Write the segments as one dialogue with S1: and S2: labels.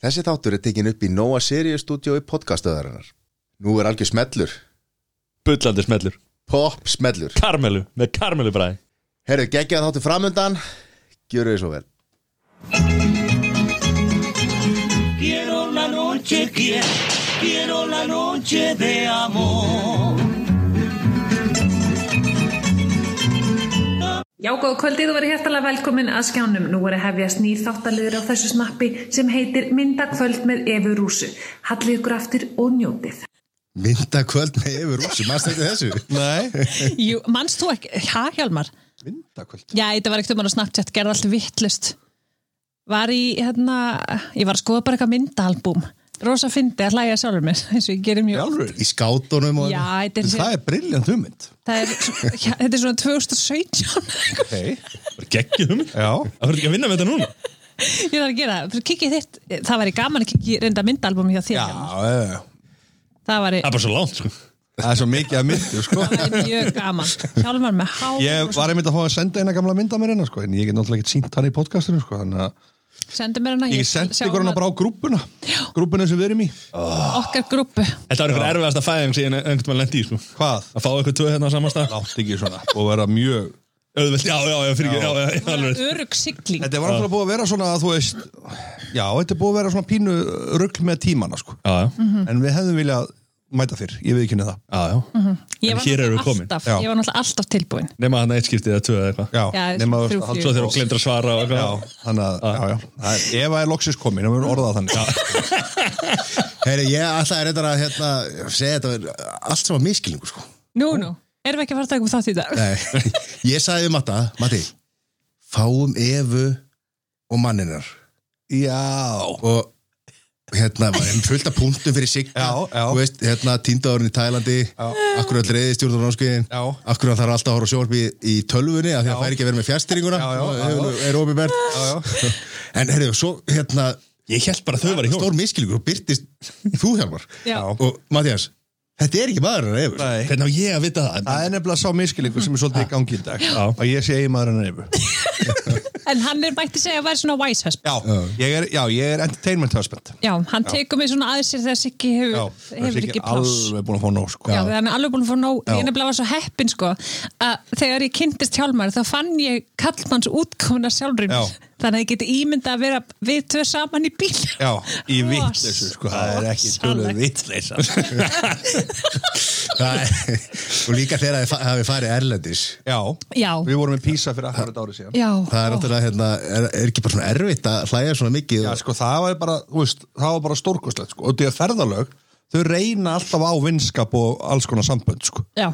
S1: Þessi þáttur er tekin upp í Nóa Sirius stúdíói podcastöðarinnar. Nú er algjör smellur,
S2: Bullandi smellur
S1: pop smellur.
S2: Karmelu, með karmelu bræði
S1: Herru, geggjað þáttur framundan, gjöru þið svo vel.
S3: Quiero la noche, quiero, quiero la noche de amor.
S4: Já, góð kvöldið og verið hjertalega velkomin að skjánum. Nú er að hefjast nýr þáttaliður á þessu snappi sem heitir Myndakvöld með Efu Rúsu. Hallið ykkur aftur og njótið.
S1: Mynda kvöld með yfir rúsi, maður stætti þessu.
S5: Nei,
S6: Jú, manst þú ekki, hæ Hjálmar?
S5: myndakvöld
S6: Já, þetta var ekkert um hann á Snapchat, gerði allt vittlust Var í, hérna, ég var að skoða bara eitthvað myndaalbúm Rosa fyndi að hlæja sjálfur mér, eins og ég gerir mjög
S5: Jálfur,
S1: Í skátunum og...
S6: Já, þetta er,
S5: það er briljant hugmynd
S6: það er, svo- já, þetta er svona 2017
S5: okay.
S2: Gekkið um Það
S5: Já,
S2: fyrir ekki að vinna með þetta núna
S6: Ég þarf að gera það, Fyrir kikið þitt, það var í gaman að kikið reynda myndaalbúm hjá
S5: já,
S6: þér Hjálmar.
S5: eh,
S6: Það var í,
S2: Það er bara svo langt sko.
S5: það er svo mikið að myndu sko.
S6: það var í mjög gaman Hjálmar með há
S5: Ég var einmitt að fá að senda eina gamla mynd að mér hérna sko, en ég get náttúrulega ekki sínt hann í podcastinu sko, þannig að
S6: Sendi mér hana,
S5: ég get sendt
S6: sjá
S5: ykkur hana bara á grúpuna grúpuna sem við erum í
S6: Okkar grúppu
S2: Þetta var einhver erfiðasta fæðing sem ég einhvern veginn lendi í sko.
S5: Hvað?
S2: Að fá eitthvað tvö hérna á samastað
S5: Látt ekki svona og vera mjög
S2: Öðvöld, já, já, já, fyrir ekki já, já, já, alveg.
S6: Örug sigling
S5: Þetta var náttúrulega búið að vera svona að þú veist Já, þetta er búið að vera svona pínu rugl með tímana sko,
S2: já, já,
S6: Mhm.
S5: en við hefðum viljað mæta fyrr, ég veit ekki það
S2: já, já.
S6: Ég
S2: En
S6: var
S2: hér eru
S6: náttúrulega
S2: við komin.
S6: alltaf,
S5: Já.
S6: ég var náttúrulega alltaf tilbúin
S2: Nema hann eitt skiptið eða tvö eða eitthvað
S5: Já,
S6: Já,
S5: nema þú
S6: þrjú,
S5: veist að
S6: fjögur.
S2: Svo þegar þú glemt að svara og
S5: Já,
S2: eitthvað
S5: þannig að, já, já, það er- Eva er loksins komin, það verður orðað þannig
S1: Herru, ég alltaf er reyndar að hérna, segja þetta er allt saman miskilingu, sko.
S6: Nú, nú, erum við ekki að fara að taka upp þátt í dag?
S1: Nei, ég sagði við Matta, Matti, fáum Evu og manninar.
S5: Já,
S1: og hérna var einn fullt af punktum fyrir sig
S5: Já, já.
S1: þú veist, hérna tíndagurinn í Tælandi akkur að reyði stjórnum námskeiðin
S5: Já.
S1: akkur að það er alltaf að horfa sjórfi í tölvunni af því að það fær ekki að vera með fjastýringuna
S5: Já, já, já,
S1: er, er opinbært en heyrðu, svo hérna
S2: Ég held bara að þau var í hjón
S1: stór miskilíkur og byrtist þú hjálpar
S6: Já.
S1: og Mattias, þetta er ekki maður en efur
S5: Nei.
S2: Hvernig á ég að vita það?
S5: Það er nefnilega sá miskilingu sem er svolítið í gangi í dag
S2: Já.
S5: að ég sé eiginmaður en neyfu
S6: En hann er mætti segja að vera svona wise husband
S5: já. Ég er, já, ég er entertainment husband
S6: Já, hann tekur mig svona aðeins þegar Siggi
S5: já.
S6: hefur, hefur ekki pláss
S5: Alveg búin að fá nóg sko.
S6: Já, þegar hann er alveg búin að fá nóg
S5: Já.
S6: Ég nefnilega var svo heppin sko að þegar ég kynntist hjálmar þá fann ég kallmanns útkomuna sjálfrinn
S5: Já.
S6: þannig að ég geti ímynda að vera við tvö saman í bíl
S5: já í vitleysu sko. Það er ekki tölur vitleysa
S1: og líka þegar það hafi farið erlendis
S5: Já,
S6: Já,
S5: við vorum í Písa fyrir akkurat árið síðan
S6: já
S1: það er
S6: Ó.
S1: náttúrulega, hérna, er, er ekki bara svona erfitt að hlæja svona mikið
S5: Já,
S1: og-
S5: sko, það var bara, þú veist, það var bara stórkoslegt sko. og því að ferðalög, þau reyna alltaf á vinskap og alls konar sambönd sko.
S6: Já,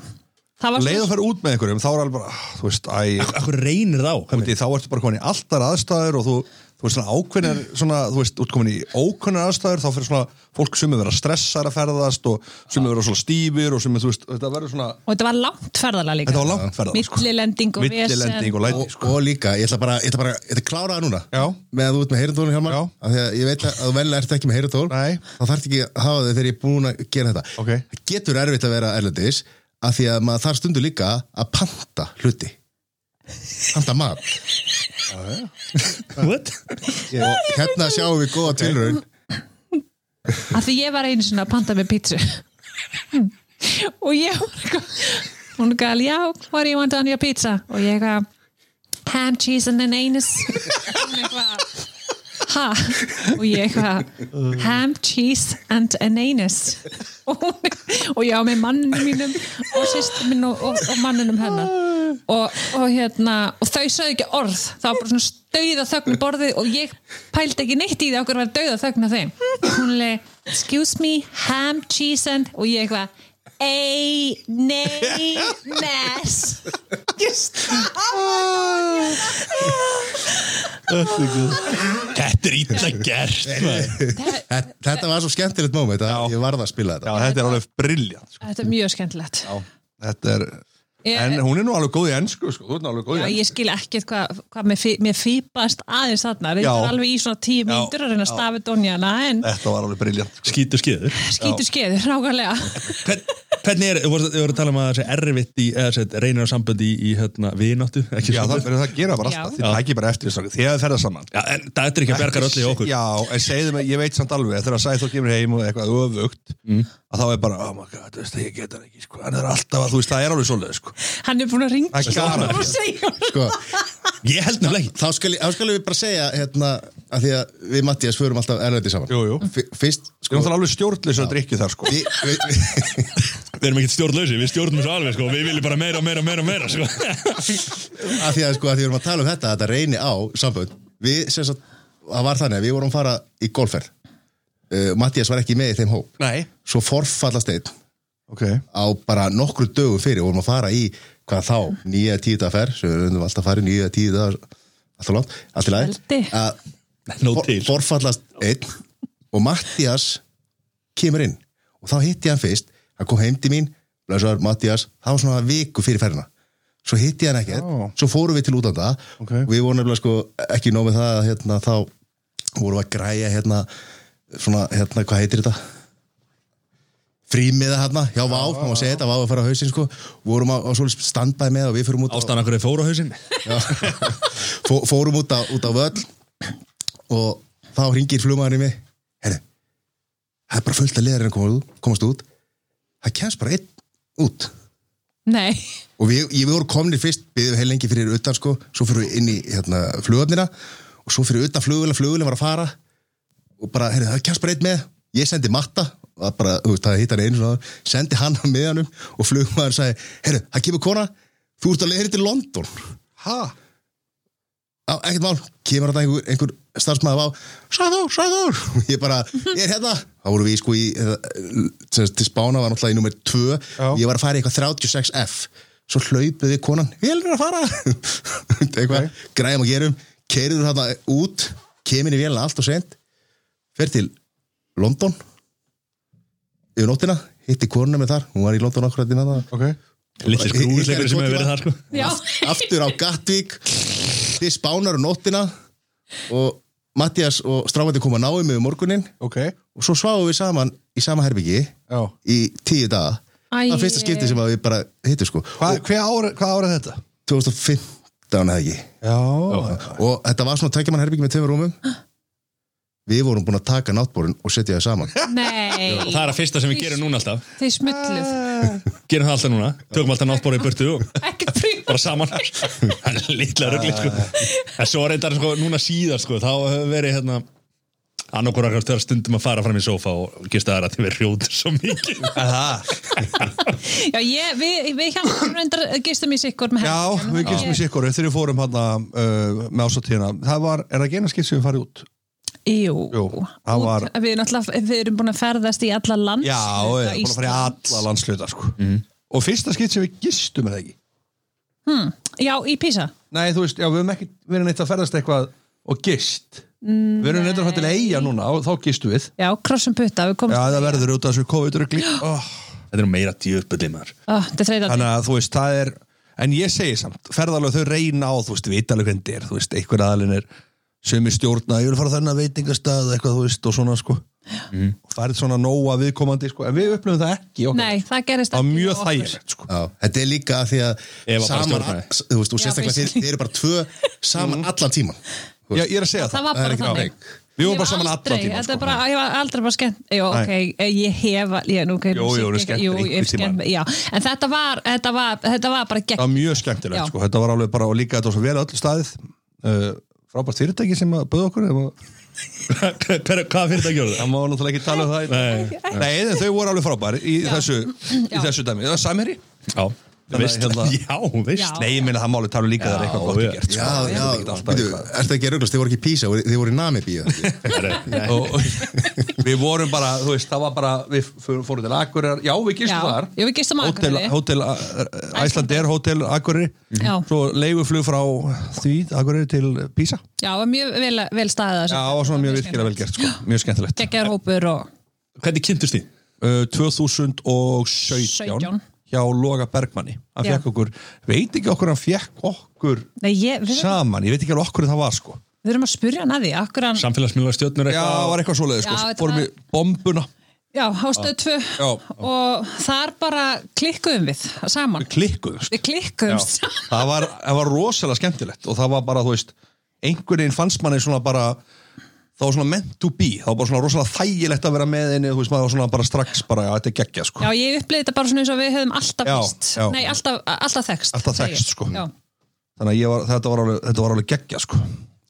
S6: það var
S5: leið
S6: svo
S5: að fara út með einhverjum, þá er alveg bara ah, þú veist, æ,
S2: Akkur reynir þá Hvað
S5: Úti, þá ertu bara komin í alltar aðstæður og þú, þú veist svona ákveðnar svona, þú veist, út komin í ókveðnar aðstæður þá fyrir svona fólk sem er vera stressar að ferðast og sem er vera svona stífir og sem er, þú veist, þetta verður svona
S6: og þetta var langt ferðalega líka
S5: þetta var langt ferðast
S6: Millilending og vesen.
S5: millilending og læti
S1: og,
S5: sko.
S1: og líka, ég ætla bara, ég ætla bara ég ætla að klára það núna
S5: Já.
S1: með að þú ert með heyrandólin Hjalmar
S5: Já.
S1: af því að ég veit að þú vel ert ekki með heyrandól
S5: Nei.
S1: þá þarf ekki að hafa þau þegar ég er búin að gera þetta
S5: Ok.
S1: það getur erfitt að vera erlendis af því að maður þarf stundu líka að panta hluti panta mat
S2: What?
S1: og hérna sjáum við góða tilraun
S6: að því ég var einu sinna að panta með pítsu og ég var eitthvað hún gal, já, what do you want on your pizza og ég eitthvað ham, cheese and an anus Hún eitthvað, ha og ég eitthvað ham, cheese and an anus og, hún, og ég á með manninu mínum og sýstum minn og, og, og manninum hennar og, og hérna og þau sögðu ekki orð, það var bara svona stauða þögn í borðið og ég pældi ekki neitt í því okkur var dauða þögn á þeim hún leið, excuse me, ham, cheese and og ég eitthvað ei, nei, nes
S2: Þetta er ítla gert maður.
S1: Þetta- þetta var svo skemmtilegt moment að ég varð að spila
S5: já,
S1: þetta
S5: þetta er alveg briljant sko.
S6: þetta er mjög skemmtilegt
S5: þetta er
S6: Ég-
S5: En hún er nú alveg góð í ennsku, sko, þú er nú alveg góð í
S6: Já,
S5: ennsku.
S6: ég skil ekkert hvað hva mér, fí- mér fýpast aðeins þarna við
S5: Já.
S6: erum alveg í svona tíu mínútur að reyna að stafi donjana en
S5: Þetta var alveg briljant. Sko.
S2: Skítur skíður
S6: skýtu skeður, nákvæmlega
S2: Hvern- Hvernig er, þú voru, voru að tala um að það sé erfitt í, eða sér, reynir á sambandi í, í hérna, vináttu, ekki
S5: Já, það,
S2: sambandi?
S5: það gera bara
S6: Já.
S5: alltaf, þið tækir bara eftir þess að þið hefði ferðað saman
S2: Já, en það er ekki að bjargar öllu í okkur.
S5: Já, en segðu mig, ég veit samt alveg þegar að sæði þú kemur heim og eitthvað öfugt
S1: Mm.
S5: að þá er bara, oh my god, þú veist, ég get hann ekki sko. hann er alltaf að, þú veist, það er alveg svoleið sko.
S6: Hann er búin að ringa
S5: Það er gaman.
S6: og segja
S1: sko,
S2: Ég held nefnilega ekki.
S1: þá skal, ég- þá skal við bara segja hérna, að því að við Mattias förum alltaf erlendi saman
S5: Jú, jú.
S1: F- fyrst
S5: Ég er
S1: sko,
S5: náttúrulega alveg stjórnleysur að drikja þar sko.
S1: vi, vi, vi,
S2: Við erum ekkert stjórnlausi, við stjórnum svo alveg, sko. Við viljum bara meira, meira, meira, meira, sko.
S1: að því að sko, að því við erum að tala um þetta að þetta reyni á sambönd við sem sagt, það var þannig að við vorum að fara í golferð uh, Mattias var ekki með í þeim hóp
S5: Nei
S1: svo forfallast einn
S5: okay.
S1: á bara nokkru dögum fyrir vorum að fara í hvað þá, nýja tíu dagar fer sem við reyndum alltaf að fara í nýja tíu dagar alltaf langt, alltaf læg
S6: Veldi.
S1: að
S2: Nó
S1: for,
S2: til.
S1: forfallast einn og Mattias kemur inn og þá hitti ég hann fyrst hann kom heim til mín, blessaður Mattias það var svona viku fyrir ferðina svo hitti ég hann ekkert,
S5: Já.
S1: svo fórum við til útlanda
S5: Ok.
S1: við vorum nefnilega sko ekki nóg með það að, hérna, þá vorum við að græja hérna, svona, hérna, hvað heitir þetta? frímiða hérna, hjá Vá, hann var að segja þetta, Vá að fara á hausinn sko, vorum á, á svolítið standbæði með og við fyrum út á
S2: Ástæðan okkur er fóra hausinn.
S1: Já. Fó, fórum út á, út á völl og þá ringir flugmaðurinn í mig herru, það er bara fullt hérna að leðarinn komast, komast út það kemst bara einn út
S6: Nei,
S1: og við, ég, við vorum komnir fyrst við heil lengi fyrir utan sko svo fyrir við inn í hérna, flugöfnina og svo fyrir utan flugvila, flugvila var að fara og bara, herru, það kemst bara einn með ég sendi matta það bara, þú veist, það hitt hann einu svona, sendi hann að miðanum og flugmaðurinn sagði, herru, það kemur kona þú ert að leðarinn til London
S5: Ha?
S1: á, ekkert mál, kemur þetta einhver, einhver starfsmæður á, Sæður, Sæður og ég bara, ég er hérna þá vorum við sko í, eða, sem sagt, til spána var náttúrulega í nummer 2
S5: Já.
S1: ég var að fara í eitthvað 36F svo hlaupið við konan, vélur að fara eitthvað, græðum og gerum keirður þarna út kemur í vélina allt og sent fer til London yfir nóttina, hitti konuna með þar hún var í London akkurat í með það
S5: Ok
S2: Lítið skrúðsleipur sem hefur verið þar, sko.
S6: já,
S1: aftur á Gatvík til spánar um nóttina og Mattias og stráfandi koma náum með morgunin
S5: Ok
S1: og svo sváum við saman í sama herbyggi
S5: Já
S1: í tíu daga
S6: Æi.
S1: það var fyrsta skipti sem að við bara hittum sko
S5: Hva, hver ára, Hvað ára er þetta?
S1: 2015 eða ekki
S5: Já
S1: og þetta var svona tækjaman herbyggi með tveimur rúmum við vorum búin að taka náttbórun og setja það saman
S6: nei
S2: Það er að fyrsta sem við gerum núna alltaf.
S6: Þeir smulluð
S2: Gerum það alltaf núna. Tökum alltaf náttbóra í burtu og
S5: Ah.
S6: Ekkert príma
S2: bara saman. Það er litla ruggli, sko. En svo reyndar, sko, núna síðar, sko, þá hefur verið, hérna, annarkur akkar þegar stundum að fara fram í sófa og gista þær að þið verið hrjóður svo mikið.
S6: Já, ég, við, við hjálpum reyndar gistum í sikkur með
S5: Já,
S6: helgina.
S5: við gistum í sikkur Þegar við fórum hann uh, með ásatíðina Það var, er það gena skipt sem við farið út?
S6: Jú,
S5: Jú, það var-
S6: Út- Við, náttúrulega- við erum búin að ferðast í alla lands
S5: Já, við erum búin að fara í alla landsluta sko. Og fyrsta skipt sem við gistum er það ekki
S6: Já, í Písa
S5: Nei, þú veist, já, við höfum ekki verið neitt að ferðast eitthvað og gist Við höfum neitt að fara til eiga núna og þá gistum við
S6: Já, krossum putta, við
S5: Já,
S6: komum
S5: það verður út af þessu COVID-rugli oh,
S2: Þetta er nú meira djöfbulli maður.
S6: Ó, Þetta er þreytandi
S5: Þannig að þú veist, það er En ég segi samt, ferðalög þau reyna á Þú veist, við alveg hvernig þetta er, þú veist, einhver aðalinn er sem er stjórna, ég vil fara á þennan veitingastað eitthvað, þú veist, og svona, sko og það er svona nóa viðkomandi, sko en við upplöfum það ekki, okkar
S6: Nei, það gerist
S5: það var
S6: hjá
S5: mjög
S6: okkur.
S5: þægilegt, sko
S1: Já, þetta er líka af því að
S2: Eva bara
S1: saman,
S2: stjórnaði.
S1: þú veist, og
S6: Já,
S1: sérstaklega þið,
S6: basically.
S1: þið eru bara tvö saman allan tíman
S5: Já, ég er að segja það,
S6: Það var
S1: Það er
S6: bara
S1: ekki
S6: þannig
S1: þannig.
S5: Við vorum
S6: Ég
S5: bara
S6: hef
S5: saman
S6: aldrei-
S5: allan tímann,
S6: Þetta er
S5: sko.
S6: bara, ég var aldrei bara skemmt Jó, ok, eh, ég hef ég, nú, okay,
S5: Jó,
S6: nú
S5: jó,
S6: sé ég
S5: eru
S6: ekki-
S5: skemmtir
S6: Jú,
S5: einhvern
S6: ég hef skemmt
S5: tímann.
S6: Já, en þetta var, þetta var, þetta var bara
S5: það var
S6: gegn
S5: mjög
S6: Já.
S5: skemmtilegt sko. þetta var alveg bara og líka þetta var svo vel öllu staðið uh, frábært fyrirtæki sem að bauð okkur það má-
S2: Hver- hver- Hvað fyrir þetta gjörðu?
S5: það má náttúrulega ekki tala um það nei, nei en þau voru alveg frábæri í þessu í
S6: Já.
S5: þessu dæmi, það var samherri
S2: Já, hérna- veist,
S5: Þannig að
S2: já, veist
S6: Já.
S5: nei, ég minna það má alveg tala um líka það er eitthvað
S2: Já,
S5: gott
S2: já.
S5: gert sko.
S1: Já,
S5: Það er
S1: já,
S5: ekki alltaf
S1: býtu,
S5: eitthvað.
S1: ertu ekki að rauglast, þið voru ekki í Písa, voru- þið voru í Namibíu
S2: Nei,
S5: Og- og við vorum bara, þú veist, það var bara við f- fórum til Akureyrar, já við
S6: Já,
S5: gistum þar
S6: já, við gistum á
S5: Hótel-
S6: Akureyri.
S5: hótel, Æslandeir, hótel Akureyri
S6: Já.
S5: svo leiguflug frá því Akureyri til Písa
S6: Já, var mjög vel, vel staðið
S5: já,
S6: þessu.
S5: það var svona mjög virkilega vel gert sko. mjög skemmtilegt
S6: Geggjaður hópur og
S2: Hvernig kynntust þið?
S5: Uh, 2017
S6: 17.
S5: hjá Loga Bergmanni hann
S6: Já.
S5: fekk okkur, veit ekki okkur hann fekk okkur
S6: Nei, ég, við, erum,
S5: saman, ég veit ekki alveg okkur það var sko
S6: við erum að spurja hann að því Akkur hann,
S2: Samfélagsmiðlar stjórnur
S5: já,
S2: eitthvað
S5: var eitthvað svoleiði
S6: Já,
S5: sko,
S6: þetta
S5: fórum
S6: var-
S5: við bombuna
S6: Já, á stöð 2
S5: Já.
S6: og þar bara klikkuðum við saman.
S5: klikkuð
S6: Við klikkuðum saman.
S5: það var, það var rosalega skemmtilegt og það var bara, þú veist, einhvern veginn fannst manni svona bara það var svona meant to be, það var bara svona rosalega þægilegt að vera með henni, þú veist, maður var svona bara strax bara, já, þetta er geggja, sko
S6: Já, ég upplýði þetta bara svona eins og við höfum alltaf
S5: Já,
S6: vist.
S5: já.
S6: Nei, alltaf, alltaf þekst.
S5: Alltaf
S6: segi ég.
S5: þekkst, sko.
S6: Já,
S5: þannig að ég var, þetta var alveg, þetta var alveg geggja, sko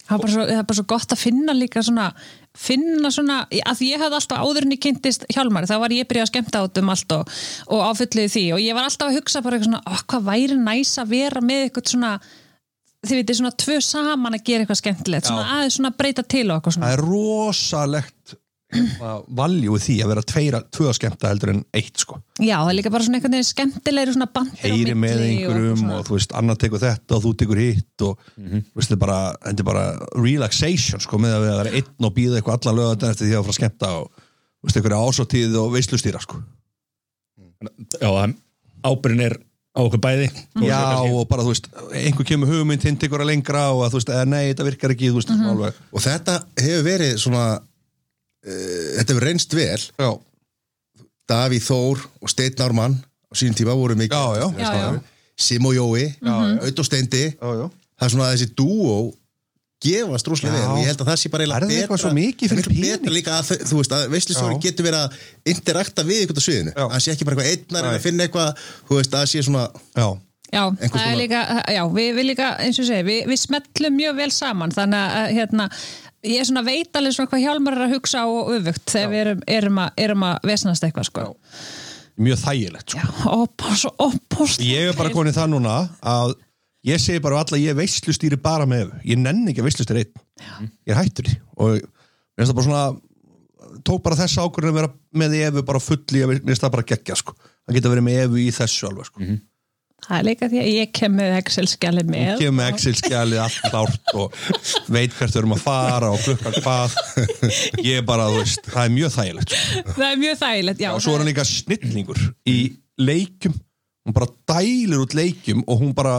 S6: það var bara svo, það var bara svo gott að finna líka svona, finna svona, að því ég hafði alltaf áður en ég kynntist hjálmari, þá var ég byrjað að skemmta át um allt og, og áfyllið því og ég var alltaf að hugsa bara eitthvað svona, oh, hvað væri næs að vera með eitthvað svona, þið veitir svona tvö saman að gera eitthvað skemmtilegt, svona aðeins svona breyta til og eitthvað svona.
S5: það er rosalegt valjú því að vera tveira, tvö að skemmta heldur en eitt, sko
S6: Já, það er líka bara svona einhvern veginn skemmtilegri svona bandir
S5: heyri með einhverjum og, þú veist, annar tekur þetta og þú tekur hitt og
S2: Mhm.
S5: þú veist, þetta er bara, þetta er bara relaxation, sko, með að við að vera einn og býða eitthvað allan lögðan eftir því að fara að skemmta og þú veist, einhverja ásóttíð og veislustýra, sko.
S2: Já, hann- ábyrgðin er á okkur bæði
S5: Já, og bara, þú veist, einhver kemur hugmynd hinn tekur að lengra og að, þú veist, eða nei, þetta virkar ekki, þú veist, mm alveg.
S1: og þetta hefur verið svona uh, þetta hefur reynst vel
S5: Já,
S1: Davíð Þór og Steinn Ármann á sínum tíma voru mikið
S5: já, já,
S6: Já, já.
S1: Sim og Jói, Ödd og Steindi
S5: já, já.
S1: það er svona að þessi dúó gefast rúslega
S5: Já.
S1: vel og ég held að það sé bara eiginlega
S5: Það er eitthvað svo mikið
S1: það er
S5: fyrir
S1: miklu
S5: pening.
S1: betra líka að þau- þú veist að veistlustjóri
S5: Já.
S1: getur verið að interakta við eitthvað á sviðinu,
S5: Já.
S1: að það sé ekki bara eitthvað einnar en
S5: Nei.
S1: að finna eitthvað, þú veist að það sé svona
S5: já.
S6: Já,
S1: einhvers
S6: það er
S1: konar-
S6: líka, eh, já, við, við líka eins og ég segi, við, við smetlum mjög vel saman þannig að hérna ég er svona veit alveg svona hvað hjálmar er að hugsa og öfugt þegar við erum, erum, að, erum að vesnast eitthvað sko.
S5: Mjög þægilegt, sko.
S6: Já, opos, opos
S5: Ég er bara komin í það núna að ég segi bara alltaf að ég veislustýri bara með Evu. ég nenni ekki að veislustýri einn ég er hættur því og mér finnst það bara svona tók bara þessa ákvörðin að vera með Evu bara fulli, mér finnst það bara geggja sko. það geta verið með Evu í þessu alveg sko.
S6: Það er líka því að ég kem með Excel-skjali með
S5: kemur með Excel-skjalið allt klárt og veit hvert við erum að fara og klukkan hvað ég er bara, þú veist, það er mjög þægilegt sko.
S6: Það er mjög þægilegt, já,
S5: og svo er hann líka snillningur í leikjum hún bara dælir út leikjum og hún bara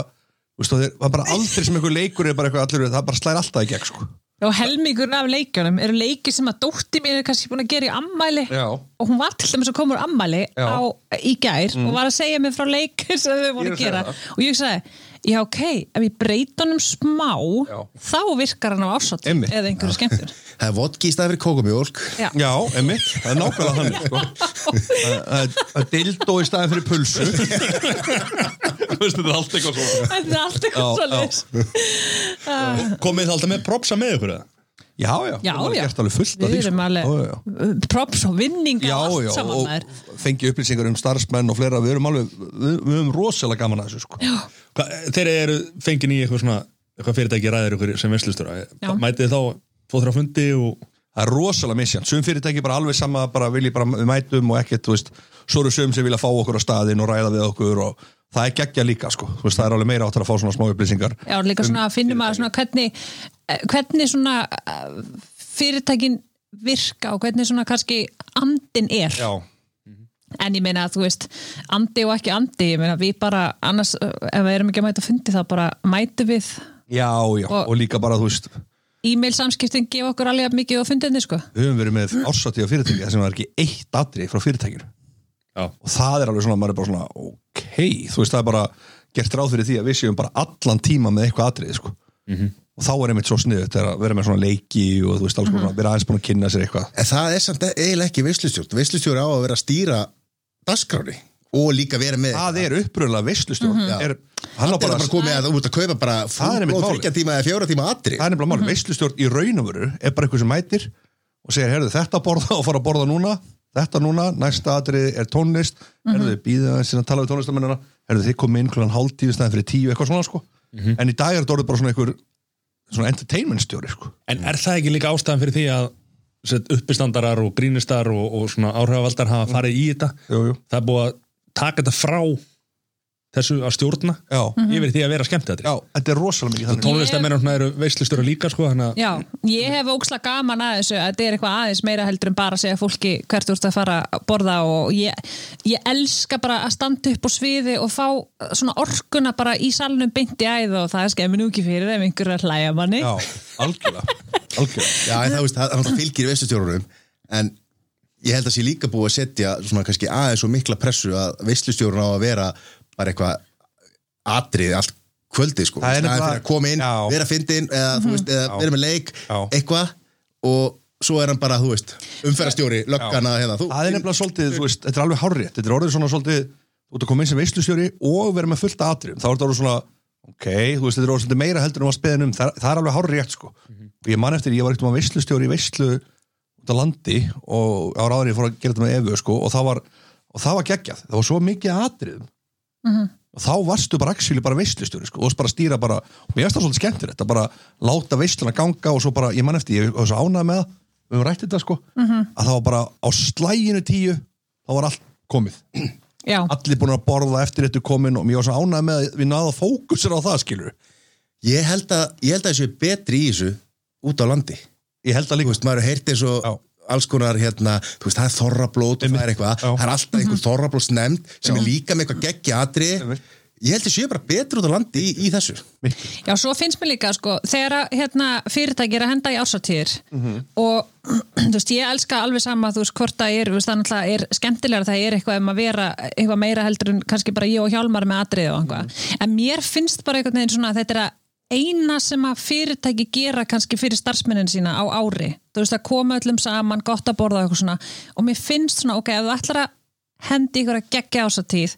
S5: þú veist, það er- það er bara aldrei sem einhver leikur er bara eitthvað allir, það bara slæðir alltaf í gegn sko.
S6: og helmingurinn af leikjunum eru leiki sem að dótti mín er kannski búin að gera í ammæli
S5: Já.
S6: og hún var til dæmis að koma úr ammæli
S5: Já. Mm.
S6: á, í gær og var að segja mér frá leik sem þau
S5: Ég er að
S6: voru að
S5: segja
S6: gera
S5: það.
S6: og ég sagði, já ok, ef ég breyti honum smá
S5: Já.
S6: þá virkar hann á ásat
S5: Einmitt.
S6: eða einhverju skemmtur
S1: það er vodki í staði fyrir kókumjólk
S6: já.
S5: já, emitt, það er nákvæmlega þannig sko. Það- það- það er dildó í staðin fyrir pulsu Þú veist, þetta er allt eitthvað svona
S6: þetta er
S5: Já,
S6: allt eitthvað
S5: já.
S6: svo leis
S2: komið það alltaf með propsa með ykkur eða?
S5: já, já,
S6: Já,
S5: við erum
S6: já.
S5: gert alveg fullt af
S6: við
S5: því,
S6: erum
S5: sko.
S6: alveg
S5: Já, já, já.
S6: props og vinninga
S5: já,
S6: og allt
S5: já,
S6: saman maður
S5: og fengi upplýsingar um starfsmenn og fleira, við erum alveg við, við erum rosalega gaman að þessu sko.
S2: Hva, þeir eru fengin í eitthvað svona eitthvað fyrirtæki ræðir ykkur sem veslustjóra
S6: Já.
S2: mætið þið þá tvo þrjá fundi og
S5: það er rosalega misjant, sum fyrirtæki bara alveg sama bara vilji bara við mætum og ekkert þú veist, svo eru sum sem vilja fá okkur á staðin og ræða við okkur og það er geggja líka sko. Þú veist, það er alveg meira áttur að fá svona smá upplýsingar
S6: Já, líka svona að finnum að svona hvernig, eh, hvernig svona eh, fyrirtækin virka og hvernig svona kannski andin er.
S5: já,
S6: En ég meina að þú veist, andi og ekki andi, ég meina við bara, annars eh, ef við erum ekki að mæta á fundi þá bara mætu við
S5: já, já, og,
S6: Og-
S5: líka bara þú veist við
S6: e-mail samskiptin gefa okkur alveg jafn mikið á fundinni sko.
S5: höfum verið með ársatíð á fyrirtæki þar sem það er ekki eitt atrið frá fyrirtækinu
S2: Já.
S5: og það er alveg svona, maður er bara svona ok, þú veist, það er bara gert ráð fyrir því að við séum bara allan tíma með eitthvað atrið sko. og þá er einmitt svo sniðut að vera með svona leiki og þú veist, alls konar, vera aðeins búin að kynna sér eitthvað
S1: en það er samt eiginlega ekki veislustjórn veislustjóri á að vera að stýra dagskráni og líka vera með
S5: það er uppröðlega veistlustjórn mm
S1: Já.
S5: er, hann
S1: það Mhm.
S5: á
S1: er
S5: bara,
S1: bara komið að út að kaupa bara
S5: er einmitt
S1: fútból
S5: málið.
S1: þryggja tíma eða fjóra tíma atri
S5: það er nefnilega máli, mm
S1: Mhm.
S5: -hmm. veistlustjórn í raunumveru er bara eitthvað sem mætir og segir, herðu þetta að borða og fara að borða núna þetta núna, næsta atrið er tónlist
S1: Mhm.
S5: herðu, býðu aðeins að tala við tónlistamennina herðu, þið komið inn klugan hálftíu stæðan fyrir tíu eitthvað svona sko, en í dag er þetta orðið bara svona einhver svona entertainment stjóri sko
S2: en er það ekki líka ástæðan fyrir því að set, uppistandarar og grínistar og, og svona áhrifavaldar hafa farið í þetta
S5: Mm. jú, jú.
S2: það er búið að taka þetta frá þessu að stjórna
S5: Já.
S1: Mhm.
S6: Mhm.
S2: yfir í því að vera skemmt þetta
S5: Já, þetta er rosalega mikið þannig
S2: tónlistamennar eru veistlustjóra líka sko, þannig að-
S6: Já, ég hef óksla gaman að þessu að þetta er eitthvað aðeins meira heldur en bara að segja fólki hvert þú ert að fara að borða og ég, ég elska bara að standa upp á sviði og fá eh, svona orkuna bara í salnum beint í æð og það skemmir nú ekki fyrir ef einhver er að hlæja manni
S5: Já, algjörlega, algjörlega.
S1: Já, en það, veist, það, það fylgir veistustjórunum en ég held að sé líka búið að setja svona kannski aðeins og mikla pressu að veislustjórun á að vera bara eitthvað atrið allt kvöldið sko,
S5: Það er
S1: Í staðinn
S5: nefnilega-
S1: fyrir að koma inn,
S5: Já. Mhm.
S1: vera fyndin eða, þú veist, eða vera með leik,
S5: Já.
S1: eitthvað og svo er hann bara, þú veist umferðarstjóri, löggana hérna, þú
S5: það er nefnilega svolítið, þú veist, þetta er alveg hárrétt þetta er orðið svona svolítið, þú ert að koma inn sem veistlustjóri og vera með fullt atriðum, þá er þetta orðið svona ok, þú veist, þetta er orðið svolítið meira heldur en var speðin um, það, það er alveg hárrétt sko
S1: Mhm.
S5: og ég man eftir, ég var ekkert um veistlustjóri í veistlu út á landi og ára áður en ég fór að gera þetta með efu sko og það var, og það var geggjað, það var svo mikið atriðum og þá varstu bara axíli bara veistlustjóri sko, og varst bara að stýra bara, og mér finnst það svolítið skemmtilegt að bara láta veisluna ganga og svo bara, ég man eftir, ég var svo ánægð með það við höfum rætt þetta sko, að það var bara á slæginu tíu, þá var allt komið,
S6: já,
S5: allir búin að borða eftir þetta komin og mér var svo ánægð með að við náðum að fókusir á það skilur
S1: ég held að, ég held að þessu er betri í þessu út á landi,
S5: ég held að
S1: þú
S5: líka,
S1: veist, maður heyrti eins og
S5: Já.
S1: alls konar hérna, þú veist, það er þorrablót og það er eitthvað,
S5: Já. Mhm.
S1: það er alltaf einhver þorrablóts sem er líka með eitthvað geggja atriði
S5: Einmitt.
S1: ég held að þessu er bara betri út á landi í, í þessu
S6: já, svo finnst mér líka sko, þegar að, hérna, fyrirtæki er að henda í ársatýr og þú veist, ég elska alveg sama þú veist, hvort það er, þú veist, það náttúrulega er skemmtilegra það er eitthvað um að vera, eitthvað meira heldur en kannski bara ég og Hjálmar með atrið og einhvað en mér finnst bara einhvern veginn svona að þetta er að eina sem að fyrirtæki gera kannski fyrir starfsmennin sína á ári þú veist, að koma öllum saman, gott að borða og eitthvað svona, og mér finnst svona, ok, ef þú ætlar að hendi ykkur að gegja ásatíð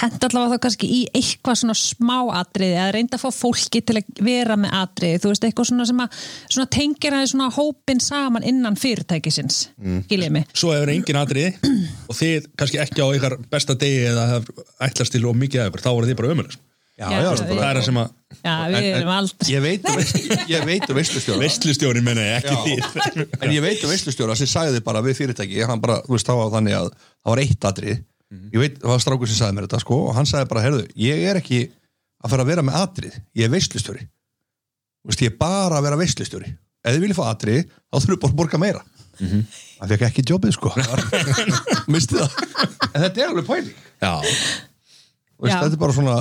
S6: henda allavega þá kannski í eitthvað svona smá atriði eða reynda að fá fólki til að vera með atriði þú veist eitthvað svona sem að svona tengir aðeins svona hópin saman innan fyrirtækisins mm. skiljið mig
S2: svo hefur engin atriði og þið kannski ekki á ykkar besta degi eða hef- ætlast til og mikið að ykkur þá voru þið bara ömulis
S5: já,
S6: Já,
S5: já,
S6: já,
S2: það er það sem að
S6: já við
S5: En- en-
S6: erum aldrei
S5: ég veit að veist- ég veit að veislustjóra
S2: vestlustjóri menna ég
S5: Já.
S2: ekki þið
S5: en ég veit að veistlustjóra sem sagði bara við fyrirtæki hann bara, þú veist, þá var þannig að það var eitt atrið
S2: Mhm.
S5: ég veit, það var strákur sem sagði mér þetta sko, og hann sagði bara, herðu, ég er ekki að fara að vera með atrið, ég er veistlustjóri þú veist, ég er bara að vera veistlustjóri ef þið viljið fá atrið, þá þurfum bara að borga meira
S2: Mhm.
S5: hann fekk ekki jobbið sko misti það en þetta er alveg pæling
S2: já,
S5: Þú veist,
S6: Já.
S5: þetta er bara svona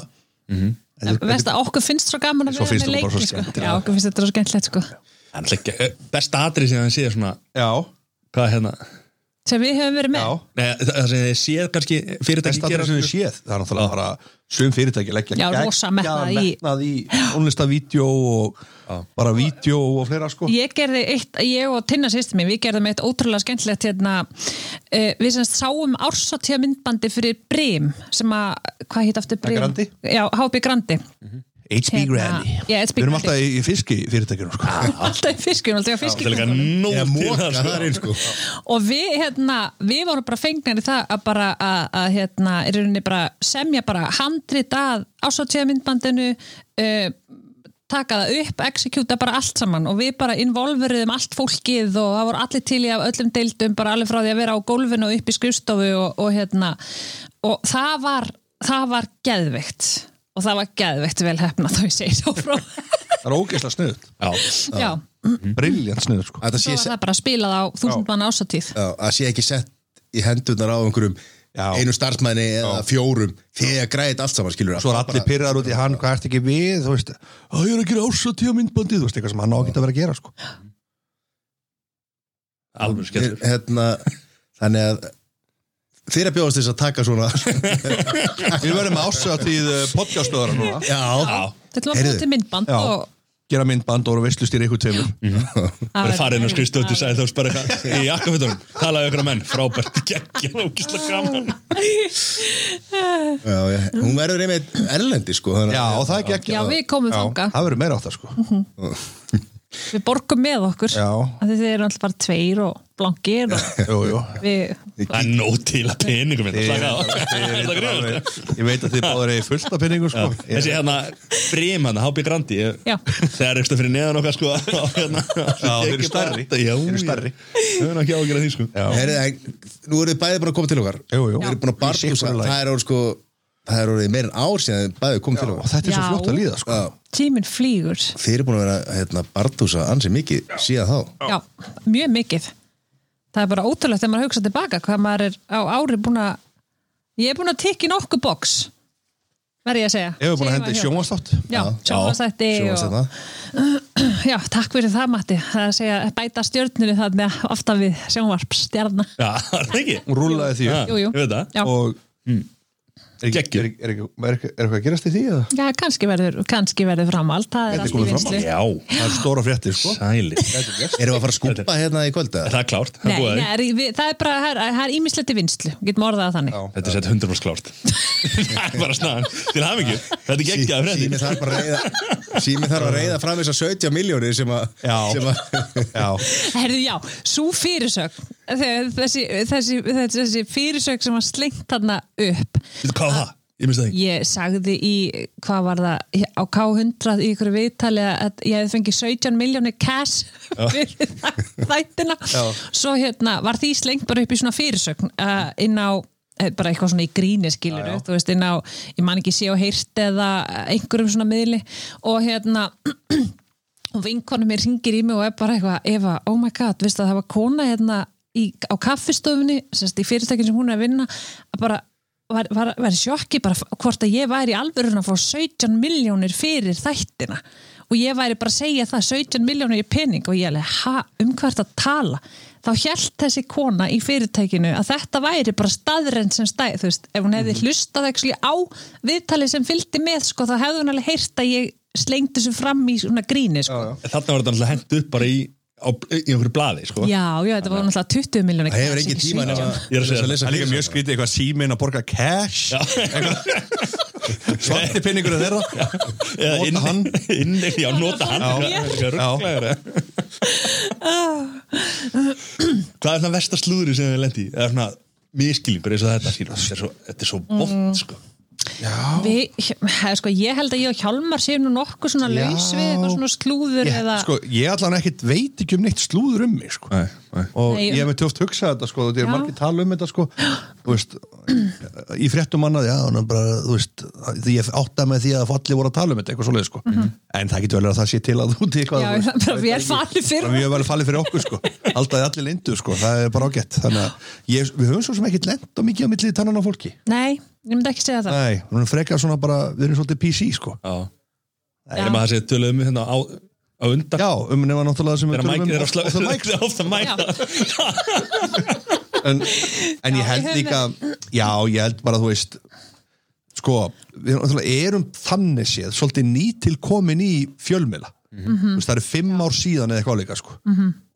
S2: Mhm.
S6: veist að okkur finnst svo gaman að
S5: Svo
S6: vera
S5: finnst
S6: með
S5: okkur bara svo
S6: leiki sko.
S5: skemmtilegt.
S6: já okkur finnst þetta svo skemmtilegt sko
S2: Það er náttúrulega ekki- besta atrið sem það séð svona
S5: já,
S2: hvað er hérna
S6: sem við höfum verið
S5: já
S6: með
S2: Nei, það það sem þið séð kannski fyrirtæki
S5: besta atrið sem þið séð það er náttúrulega bara sum fyrirtæki leggja
S6: Já, rosa metnað í-
S5: metnað í ónlistavídjó og bara vídjó og fleira sko
S6: Ég gerði eitt, ég og Tinna sýstum mín, við gerðum eitt ótrúlega skemmtilegt hérna, uh, við semst sáum ársatíða myndbandi fyrir Brim sem að, hvað hitt aftur Brim?
S5: Grandi?
S6: Já, HB Grandi
S5: HB
S6: Hérna,
S5: Granny
S6: já, HB
S5: Við erum
S6: Granny.
S5: alltaf í, í fiski fyrirtækjunum sko.
S6: alltaf í fiskjum, alltaf í
S2: Það er líka
S6: fiskjum
S2: nóg
S1: eða
S2: til
S1: móka
S2: það
S1: það er
S2: sko.
S1: einn sko
S6: og við, hérna, við vorum bara fengnir í það að bara, að, að hérna, er rauninni bara semja bara handrit að ásatíða myndbandinu uh, taka það upp, executa bara allt saman og við bara involveruðum allt fólkið og það voru allir til í af öllum deildum bara alveg frá því að vera á gólfinu og upp í skrifstofu og, og hérna og það var, það var geðveikt og það var geðveikt vel hefna þá ég segi svo frá
S5: Það er ógeðslega sniðut
S2: Já,
S6: Já,
S5: Briljant sniðut sko.
S1: að það
S6: svo
S1: sé,
S6: var það bara spilað á þúsund manna ásatíð
S1: já, að sé ekki sett í hendunar á einhverjum
S5: Já.
S1: einu starfsmæni eða fjórum þegar græðið allt saman skilur
S5: Svo er allir pyrraður út í hann, hvað ert ekki við Þú veist, að ég er að gera ársatíða myndbandi Þú veist, eitthvað sem hann á ekki að vera að gera sko.
S2: alveg
S1: Þeir-
S2: skellur
S1: hérna, þannig að þeir að bjóðast þess að taka svona
S5: Við verðum með ársatíð podcastöðara núna
S1: já,
S6: Þetta var bara
S1: Heyrðu.
S6: til myndband
S5: Já.
S6: og
S5: Gera myndband og veistlustýri ykkur tveimur
S2: Það er farin að skrifstöðu sæði þá spara eitthvað í jakkafutunum, talaði okkur að menn, frábært geggjum, ógislega gaman
S1: já, já, hún verður einmitt erlendi sko þannig,
S5: Já,
S1: að-
S5: og það er ekki
S6: Já, við komum þangað. Mhm.
S5: Það verður meira á það sko
S6: við borgum með okkur
S5: Já.
S6: af því þið eru alltaf bara tveir og blankir og
S5: Jú, jú
S6: við,
S2: Það er nóg til að peningum þetta, slaka á
S5: Ég
S2: Það er
S5: veit að
S2: greiður
S5: alveg- ég veit að þið báður eigi fullt af penningu sko.
S2: um Þessi hérna, brim hérna, hábjör grandi ég-
S6: Já.
S2: Þegar eftir fyrir neðan okkar sko á, hérna,
S5: Já, þeir eru stærri.
S2: Já,
S5: Þeir eru stærri.
S2: Þau eru ekki ágjörð því sko
S5: Já.
S1: Herið, en, nú eru þið bæði bara að koma til okkar
S5: Jú, jú.
S1: Þið eru búin að barnúsa,
S5: Í sitt hvoru lagi.
S1: það er orðið sko það er orðið meir en ár síðan þið bæði komið til
S5: Og
S1: okkar
S5: þetta er svo
S6: Já.
S5: flott að líða sko.
S1: já,
S6: tíminn flýgur
S1: þið eru búin að vera hérna, barnúsa ansi mikið síðan þá
S6: já, mjög mikið það er bara ótrúlegt þegar maður hugsa tilbaka hvað maður er á ári búin að ég er búin að tikka í nokkuð box verð ég að segja
S5: Ef við búin að
S6: Segjum
S5: hendi
S6: hjá-
S5: sjónvastátt
S6: Já, sjónvarpsþætti
S1: sjónvarpsþætti.
S6: og- Já, takk fyrir það Matti það er að segja bæta stjörnunni þarna aftan við sjónvarp stjarna
S2: Já, er það ekki?
S5: Hún rúlaði því
S2: Já,
S5: upp
S6: Jú, jú.
S2: Ég veit það
S6: Já. Hmm.
S5: og er, ekki,
S2: Geggjuð.
S5: er, er, ekki- er, ekki- er eitthvað að gerast í því eða?
S6: Já, kannski verður, kannski verður framald það er
S5: Gæti
S6: allt í
S5: komið framhald.
S6: vinslu
S2: Já,
S5: Það er stóra fréttir sko
S2: sæli
S1: Erum við að fara að skúpa hérna í kvöld?
S2: Er
S1: eða?
S2: það klárt? Það er
S6: Nei,
S2: búið að
S6: nei,
S2: því?
S6: er, við, það er bara, það er, það er ímislegt í vinslu, getum orðað það þannig.
S5: Já.
S2: Þetta er sett 100% klárt Það er bara snaðan Til hafingju Þetta er
S1: Sí-
S2: geggjað
S1: Sími
S2: frétti
S1: þarf bara að reyða Sími þarf að reyða fram þessar 70 miljónir sem að
S5: Já.
S1: sem að-
S5: Já,
S6: Herðu, já, svo fyrirsögn, þe- þessi, þessi, þessi, þessi fyrirsögn sem var slengt þarna upp,
S2: Hvað var það? Ég minnst það ekki
S6: ég sagði í, hvað var það, á K100 í ykkur viðtali að ég hefði fengið 17 miljónir cash fyrir þa- þættina, svo hérna var því slengt bara upp í svona fyrirsögn uh, inn á eh, bara eitthvað svona í gríni skilur þú veist inn á, ég man ekki sé og heyrt eða einhverjum svona miðli og hérna og vinkonu mér ringir í mig og er bara eitthvað Eva, oh my god, veistu að það var kona hérna í, á kaffistofunni sérst, í fyrirtækinn sem hún er að vinna að bara var, var, var í sjokki bara f- hvort að ég væri í alvörun að fá 17 miljónir fyrir þættina og ég væri bara að segja það 17 miljónir í pening og ég alveg, ha, um hvert að tala þá hjælt þessi kona í fyrirtækinu að þetta væri bara staðrenn sem stæð, þú veist, ef hún hefði hlustað ekki á viðtalið sem fylgdi með sko, þá hefði hún alveg heyrt að ég slengdi þessu fram í svona gríni sko.
S2: Þarna var þetta náttúrulega hent upp bara í á, í einhverju blaði sko.
S6: Já, já, þetta var náttúrulega 20 miljónir
S1: Það hefur engin tíma nema
S2: Ég er að
S1: til
S2: segja það.
S1: lesa
S5: það er líka mjög skrítið eitthvað símin að borga cash Svarti pinningur þeirra
S2: Eða
S5: Nota
S2: inn-
S5: hann
S2: inn, Já, nota hann
S5: Já.
S2: Hvað- hvað rugglaður er?
S6: Ah.
S2: Hvað er svona versta slúðri sem við lendi í? Eða svona miskilingur eins og þetta skilur. Þetta er svo, þetta er svo
S6: Mm.
S2: bótt sko.
S6: Vi, sko, Ég held að ég og Hjálmar séum nú nokkuð svona
S5: Já.
S6: laus við eitthvað svona slúður
S5: Ég-
S6: eða
S5: Sko, ég allan ekkit veit ekki um neitt slúður um mig sko.
S2: Nei, nei.
S5: og
S6: Nei,
S5: ég hef
S6: um-
S5: með tjóft hugsað þetta sko, þetta er
S6: Já.
S5: margir tala um þetta sko, þú veist, í fréttum annað, já, hann er bara, þú veist því ég átta með því að allir voru að tala um þetta eitthvað svoleið, sko, en það getur vel að það sé til að þú til eitthvað,
S6: Mhm.
S5: þú veist,
S6: Já, það er bara
S5: veit
S6: vel
S5: ekki.
S6: falið fyrir
S5: Bara mjög vel falið fyrir okkur, sko, alltaf allir lindu, sko, það er bara ágætt, þannig að ég, við höfum svo sem ekkit lent á mikið á millið tannan á fólki,
S6: Nei, ég myndi ekki segja það
S5: nei, hún er frekar svona bara, við erum svolítið PC, sko
S2: Já.
S6: Já.
S2: Eða maður sé töluðum við hérna á, á undan
S5: já, um nema náttúrulega sem við
S2: Þegar mæk
S5: tölum
S2: er
S5: um
S2: að slá
S5: off the mic,
S2: Off
S5: sko.
S2: the mic
S5: en, en
S6: Já,
S5: ég held
S6: við höfum
S5: líka já, ég held bara, þú veist sko, við náttúrulega erum þannig séð, svolítið nýtil komin í fjölmila
S6: Mhm.
S5: þú veist, það eru fimm ár síðan eða eitthvað líka sko.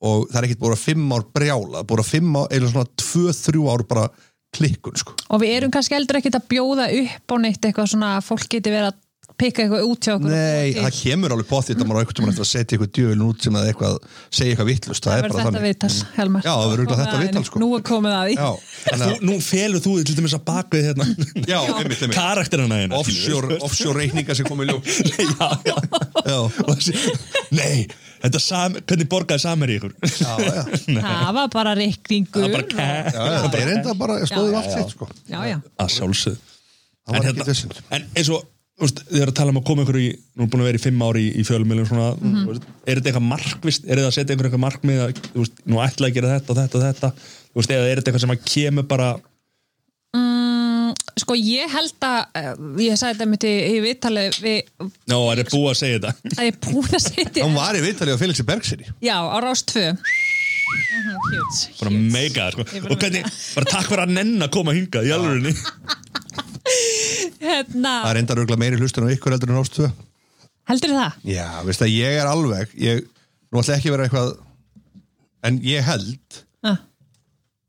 S5: og það er ekkert búið að fimm ár brjála búið að fimm ár, eða svona tvö, þrjú ár bara klikkun, sko
S6: Og við erum kannski heldur ekkit að bjóða upp á neitt eitthvað svona að fólk geti verið að pikka eitthvað út hjá okkur
S5: Nei,
S6: og búa
S5: það
S6: til.
S5: kemur alveg potið að maður á einhvern tímann eftir að setja eitthvað djöfilin út sem að eitthvað segja eitthvað vittlust, það,
S6: það
S5: er
S6: verður
S5: bara
S6: þetta
S5: þannig Mm.
S6: viðtal, Hjálmar
S5: Já, það verður örugglega þetta
S6: Komið að
S5: viðtal,
S6: henni.
S5: sko.
S6: Nú er komið að því
S5: Já,
S2: En þú, nú felur þú þig til dæmis að baka þig hérna
S5: já, einmitt, einmitt
S2: karakterina hérna
S5: Offshore, offshore reikninga sem komið ljó Já,
S2: Og þessi, nei, þetta sam, hvernig borgaði samar í ykkur
S5: já, já
S6: Það var bara
S2: það
S6: reikningur
S2: var bara kæ
S5: Já, já, það er enda bara stóðum allt sitt sko.
S6: Já, já,
S2: að sjálfsög en,
S5: Það var ekki
S2: hérna,
S5: þessum
S2: en eins og þú veist, þið eru að tala um að koma ykkur í nú er búin að vera í fimm ári í, í fjölumilum svona, mm -hmm. er þetta eitthvað markvist er þetta að setja ykkur eitthvað markmið að, þú veist, nú ætla að gera þetta og þetta og þetta þú veist, eða er þetta eitthvað sem að kemur bara
S6: sko ég held að eh, ég sagði þetta mitt í, í viðtali við,
S2: ná, er þetta búið að segja þetta
S6: að ég er búin að setja
S5: Hann var í viðtalið á Félixi Bergsinni
S6: Já, á Rás 2 Mhm, cute.
S2: bara að meika það,
S6: Ég er
S2: sko.
S6: bara
S2: og hvernig, bara takk fyrir að nenn að koma hinga í alvörinni
S5: Það
S6: Hérna,
S5: er enda rauglega meiri hlustun á ykkur heldur en ástu
S6: heldur það?
S5: Já, veist það, ég er alveg ég, Nú ætla ég ekki að vera eitthvað En ég held
S6: Ah.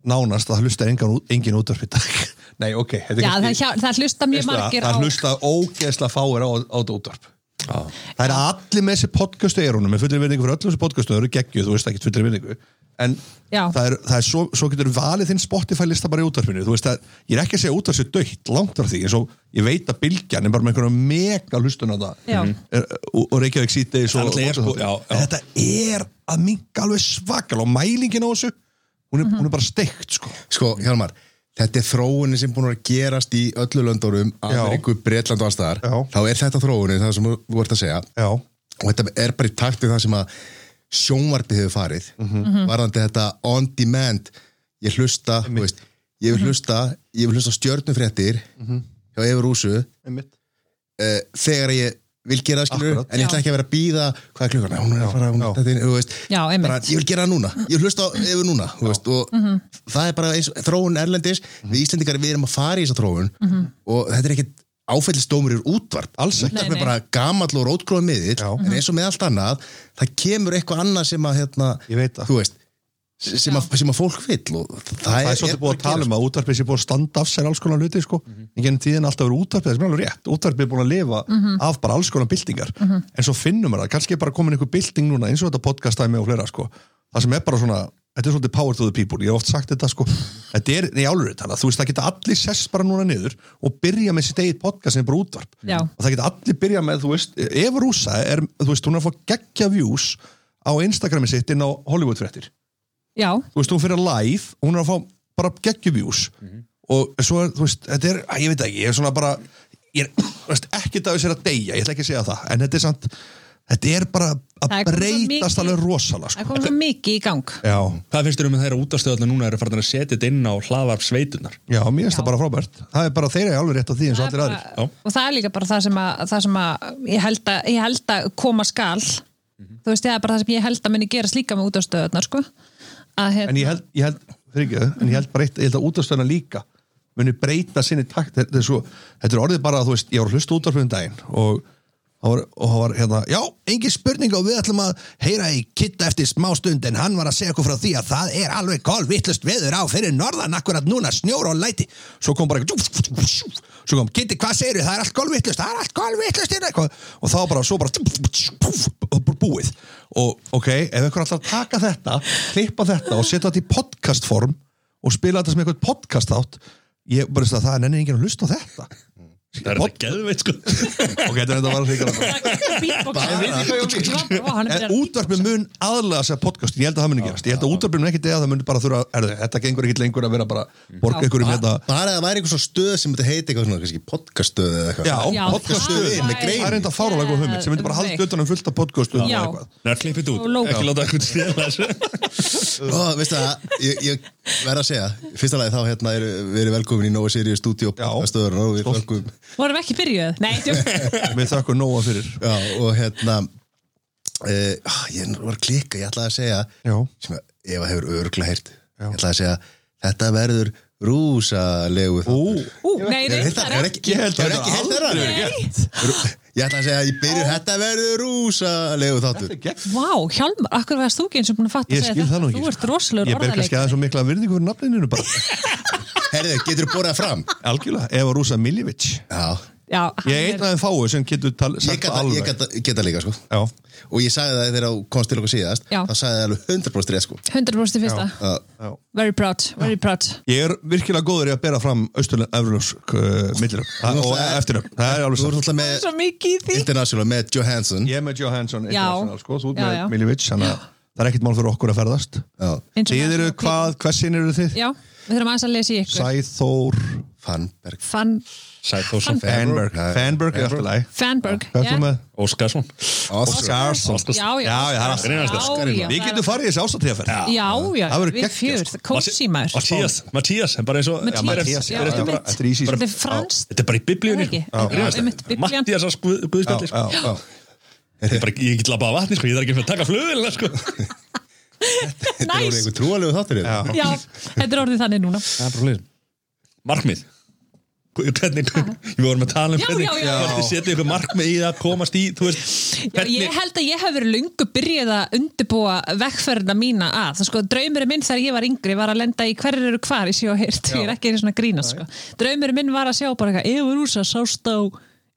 S5: nánast að það hlusta engin, engin útvarp í dag Nei, ok þetta er
S6: Já,
S5: kannski-
S6: það, hjá, það hlusta mjög
S5: Veistu það,
S6: margir á
S5: það hlusta ógeðslega fáir á, á þetta útvarp Það er allir með þessi podcastu eyrunum með fullir vinningu fyrir öllum þessi podcastu þau eru geggjuð, þú veist ekki fullir vinningu en
S6: Já.
S5: það er, það er svo, svo getur valið þinn Spotify lista bara í útvarpinu þú veist að ég er ekki að segja útvarp sér dögt langt frá því, eins og ég veit að bylgjan er bara með einhverjum mega hlustun á það Mhm.
S6: Já.
S5: Er- uh, og, og Reykjavík síðdegis og,
S2: Þannig er sko- já, já.
S5: en þetta er að minga alveg svakal og mælingin á þessu hún er,
S6: Mhm.
S5: hún er bara steikt sko
S1: Sko, Hjálmar, þetta er þróunin sem búin að gerast í öllu löndunum
S5: Já.
S1: Ameríku, Bretland og allstaðar
S5: Já.
S1: Þá er þetta þróunin, það sem þú ert að segja
S5: Já,
S1: og þetta er bara í takt við það sem að sjónvarpið hefur farið
S5: Mhm.
S6: Mhm.
S1: varðandi þetta on demand ég hlusta, þú
S6: Mhm.
S1: veist ég vil hlusta, ég vil hlusta á stjörnufréttir hjá Efur Úsu
S5: Mhm. einmitt
S1: uh, þegar ég vil gera það skilur
S5: Akkurat.
S1: en ég ætla ekki að vera að býða hvað er klukkan, hún er að fara hún,
S5: Já.
S1: þetta, er- þú veist,
S6: Já, einmitt.
S1: bara, ég vil gera það núna, ég vil hlusta á yfir núna þú veist, og það er bara eins, þróun erlendis, við Íslendingar við erum að fara í þessa þróun og þetta er ekkit áfællistómur úr útvarp alls ekki,
S6: Nei,
S1: það
S6: nei.
S1: er bara gamall og rótgróð miðill, en eins og með allt annað það kemur eitthvað annað sem að hérna,
S5: Ég veit það.
S1: þú veist sem að, sem að fólk vill og það,
S5: það er svolítið búið að tala um að útvarpið sé búið að standa af sér alls konar hluti sko. mm -hmm. en genið tíðin alltaf verið útvarpið, það sem er alveg rétt útvarpið er búið að lifa af bara alls konar byltingar en svo finnum við það, kannski er bara komin einhver bylting núna eins og þetta podcastæmi og fleira sko. það sem er bara svona, þetta er svolítið power to the people ég hef oft sagt þetta sko þetta er, nei álurinn tala, þú veist það geta allir sess bara núna niður og byrja með sitt eigið podcast sem er bara útvarp
S6: Já.
S5: og það geta allir byrja með, þú veist, ef rúsa er, þú veist, hún er að fá geggja views á Instagrami sitt inn á Hollywood fréttir
S6: já,
S5: þú veist, hún fyrir live og hún er að fá bara geggjubjús og svo er, þú veist, þetta er, að, ég veit ekki ég er svona bara, ég er þú veist, ekki dagur sér að deyja, ég ætla ekki að segja það en þetta er samt, þetta er bara að
S6: Það er komið svo
S5: breytast
S6: mikið-
S5: alveg rosalega
S6: það
S5: sko.
S6: kom svo mikið í gang
S5: já,
S2: Hvað finnst þér um að þeirra útastöðarna núna eru farin að setja þetta inn á hlaðvarp sveitunar?
S5: já, mér finnst það bara frábært það er bara þeirra alveg rétt á því eins og
S6: Það er
S5: allir
S6: bara-
S5: aðrir
S6: og það er líka bara það sem að, það sem að ég, held að ég held að koma skal
S5: Mhm.
S6: þú veist, það er bara það sem ég held að minni gerast líka með útastöðunar sko. að
S5: en
S6: hérna,
S5: ég held, ég held, fyrirgeðu, en ég held bara eitt, ég held að útastöðna líka muni breyta sinni takt þetta er, svo, þetta er orðið bara að þú veist, ég var að hlusta útvarpið um daginn og það var, og það var hérna, já, engin spurning og við ætlum að heyra í kitta eftir smá stund en hann var að segja okkur frá því að það er alveg kolvittlust veður á fyrir norðan akkurat núna, snjór og læti svo kom bara eitthvað svo kom, kitti, hvað segir það er allt kolvittlust, það er allt kolvittlust og þá bara, svo bara og bara búið og ok, ef einhver ætlar að taka þetta klippa þetta og setja þetta í podcastform og spila þetta sem eitthvað podcast átt ég bara veist að það er nenni enginn að hlusta á þetta
S2: Það er þetta geðveit sko
S5: ok, þetta er þetta var að segja
S6: Vá, hann er byrjað
S5: En
S6: að-
S5: útvarpið mun aðlega segja podcastin, ég held að það muni gerast Ég held að útvarpið mun ekki dega, það mun bara þurfa að erðu, Þetta gengur ekki lengur að vera bara borga ykkur um þetta
S1: bara að það væri eitthvað svona stöð sem þetta heiti eitthvað svona, kannski podcaststöð eða eitthvað
S5: Já,
S6: Já,
S5: podcaststöðin
S6: það
S5: með
S6: er-
S5: grein Það er enda fárálega góð hugmynd sem myndi bara halda utan um fullt af podcastuðum
S6: Já.
S2: Það er klippið út,
S6: Og logo.
S2: ekki láta eitthvað stela þessu
S1: Ó, veistu það, ég, ég verð að segja í fyrsta lagi þá hérna eru, við erum velkomin í Nova Sirius Studio
S5: Já.
S1: stöður og við
S5: Stolt.
S1: velkomin
S6: vorum við ekki byrjuð nei, djók.
S5: Við þökkum nóga fyrir
S1: já, og hérna uh, ég var að klika, ég ætlaði að segja
S5: Já.
S1: sem að Eva hefur örgla heyrt ég ætlaði að segja, þetta verður rúsalegu
S5: Ú,
S1: þáttur.
S6: Ú, nei,
S1: Hefur heyrt það?
S6: reyndar
S1: Hefur
S6: ekki
S1: ekki,
S5: Ég held að
S1: hefur
S5: þetta
S1: ekki heyrt það
S5: aldrei
S1: áður? Rú- Ég ætla að segja, ég byrjur, þetta verður rúsalegu þáttur
S6: Vá, Hjálmar, akkur veðast þú ekki eins og búin að fatta
S5: ég
S6: að
S5: skil
S6: segja
S5: það nú
S6: þetta
S5: ekki sko.
S6: Þú ert rosalegur
S5: Ég ber kannski aðeins
S6: orðaleik
S5: svo mikla virðingu fyrir nafnininu bara
S1: Herðu, getur þú borðað fram?
S5: Algjörlega, Eva Rúsa Miljevic
S1: Já,
S6: Já,
S5: Ég er einn aðeins fáu sem getur tal-
S1: ég
S5: sagt
S1: geta,
S5: það
S1: ég
S5: alveg
S1: geta, geta líka sko
S5: Já,
S1: og ég sagði það þegar þú komst til okkur síðast
S6: Já.
S1: þá sagði það alveg 100% rétt sko
S6: 100% fyrsta
S1: Já.
S5: já
S6: Very proud, very proud
S5: Ég er virkilega góður í að bera fram austurlun, efrunus, uh,
S1: Þú
S5: millunum og
S1: náttúrulega-
S5: eftirnum, það er
S1: Þú
S5: alveg satt
S1: ert alltaf með
S6: Svo mikið í því
S1: International með Johansson
S5: Ég er með Johansson International, sko, þú ert
S6: Já, já.
S5: með Miljevic þannig að það er ekkert mál fyrir okkur að ferðast
S1: Já.
S5: Þið eru hvað, hversin eru þið?
S6: Já, við þurfum aðeins að lesa í ykkur
S5: Sæþór
S1: Fannberg
S6: Fan,
S2: Sætósson
S5: Fanberg
S1: Já,
S5: Fanberg er alltaf læg
S6: Fanberg
S5: Hvað er þú með?
S2: Óskarsson
S5: Oscarsson
S6: Já, já,
S5: Já, já, það er
S6: já,
S2: alltaf-
S6: já,
S5: Við getum farið í þessi ástatíðaferð
S6: Já, já,
S5: Það verður
S6: við
S5: geggjað,
S6: fjör,
S5: sko.
S6: það kósi maður
S2: Mattías, Mattías, en bara eins og
S6: Matthías,
S2: bara-
S6: já,
S2: bara-
S6: einmitt.
S2: bara-
S5: Þetta er easy, sko.
S6: Þetta er franskt,
S2: Þetta er bara í biblíunni
S6: ekki?
S2: sko.
S6: Já, einmitt, biblían.
S2: Mattías að guðspjalli sko.
S5: já
S2: Þetta er bara- Ég get labbað að vatni, sko. ég þarf ekki að taka flugilina sko.
S1: Þetta er orðið
S6: næs
S1: einhver trúalegu þáttur hérna.
S6: Já, þetta er orðið þannig núna
S2: Markmið Hvernig, við vorum að tala um
S6: Já,
S2: hvernig
S6: já, já.
S2: Hvernig setja ykkur markmið í það, komast í Þú veist,
S6: Já, ég
S2: hvernig
S6: held að ég hef verið lungu byrjuð að undirbúa vegferðina mína að það sko, draumurinn minn þegar ég var yngri var að lenda í hverjir eru hvar í sjó hýrt, ég er ekki einu svona grína sko. draumurinn minn var að sjá bara eitthvað yfir úsa sást á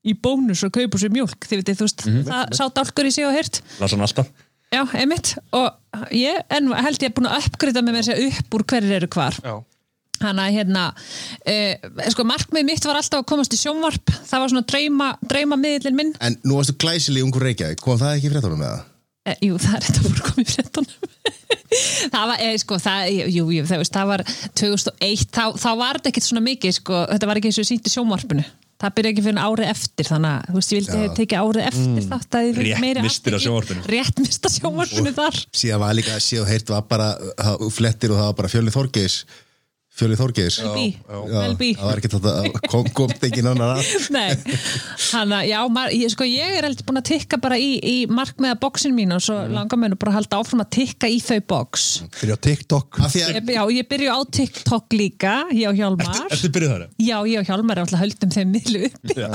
S6: í bónus og kaupa sér mjólk, þið veitir, þú veist það sá dálkur í sjó hýrt,
S2: Lasa hann alltaf
S6: já, einmitt og ég, en held ég er búin að uppgriða með mér sér upp úr hverjir eru hvar
S5: Já.
S6: Þannig að hérna, uh, sko markmið mitt var alltaf að komast í sjónvarp, það var svona drauma, drauma minn
S1: En nú varstu glæsileg í ungur Reykjavík kom það ekki í fréttunum með það?
S6: Eh, Jú, það er þetta voru komið fréttunum Það var, eh, sko, það, jú, jú, það, veist, það var 2001, þá, þá var þetta ekkit svona mikið, sko, þetta var ekki eins og sýnt í sjónvarpinu Það byrja ekki fyrir árið eftir, þannig að, þú veist, ég vildi hefði tekið árið eftir mm. þátt að ég fengi
S2: Rétt
S6: meiri
S2: misstir af
S6: athygli.
S2: sjónvarpinu.
S6: Rétt mista sjónvarpinu þar
S1: Síðan var líka, síðan heirt var bara það- flettir og það var bara fjölni Þorgeis Fjöli Þorgeis
S6: Melby, Melby
S1: það var ekki þetta að kom, kom engin annar að
S6: Nei, hann að, já, mar, ég, sko, ég er heldur búin að tikka bara í, í markmiða bóksin mín og svo langar mér nú bara að halda áfram að tikka í þau bóks.
S5: Fyrir á TikTok
S1: Af því að
S6: Ég, já, ég byrju á TikTok líka, ég og Hjálmar.
S2: Ertu byrjuð þar?
S6: Já, ég og Hjálmar er alltaf höldum þeim miðlu uppi.
S5: Já.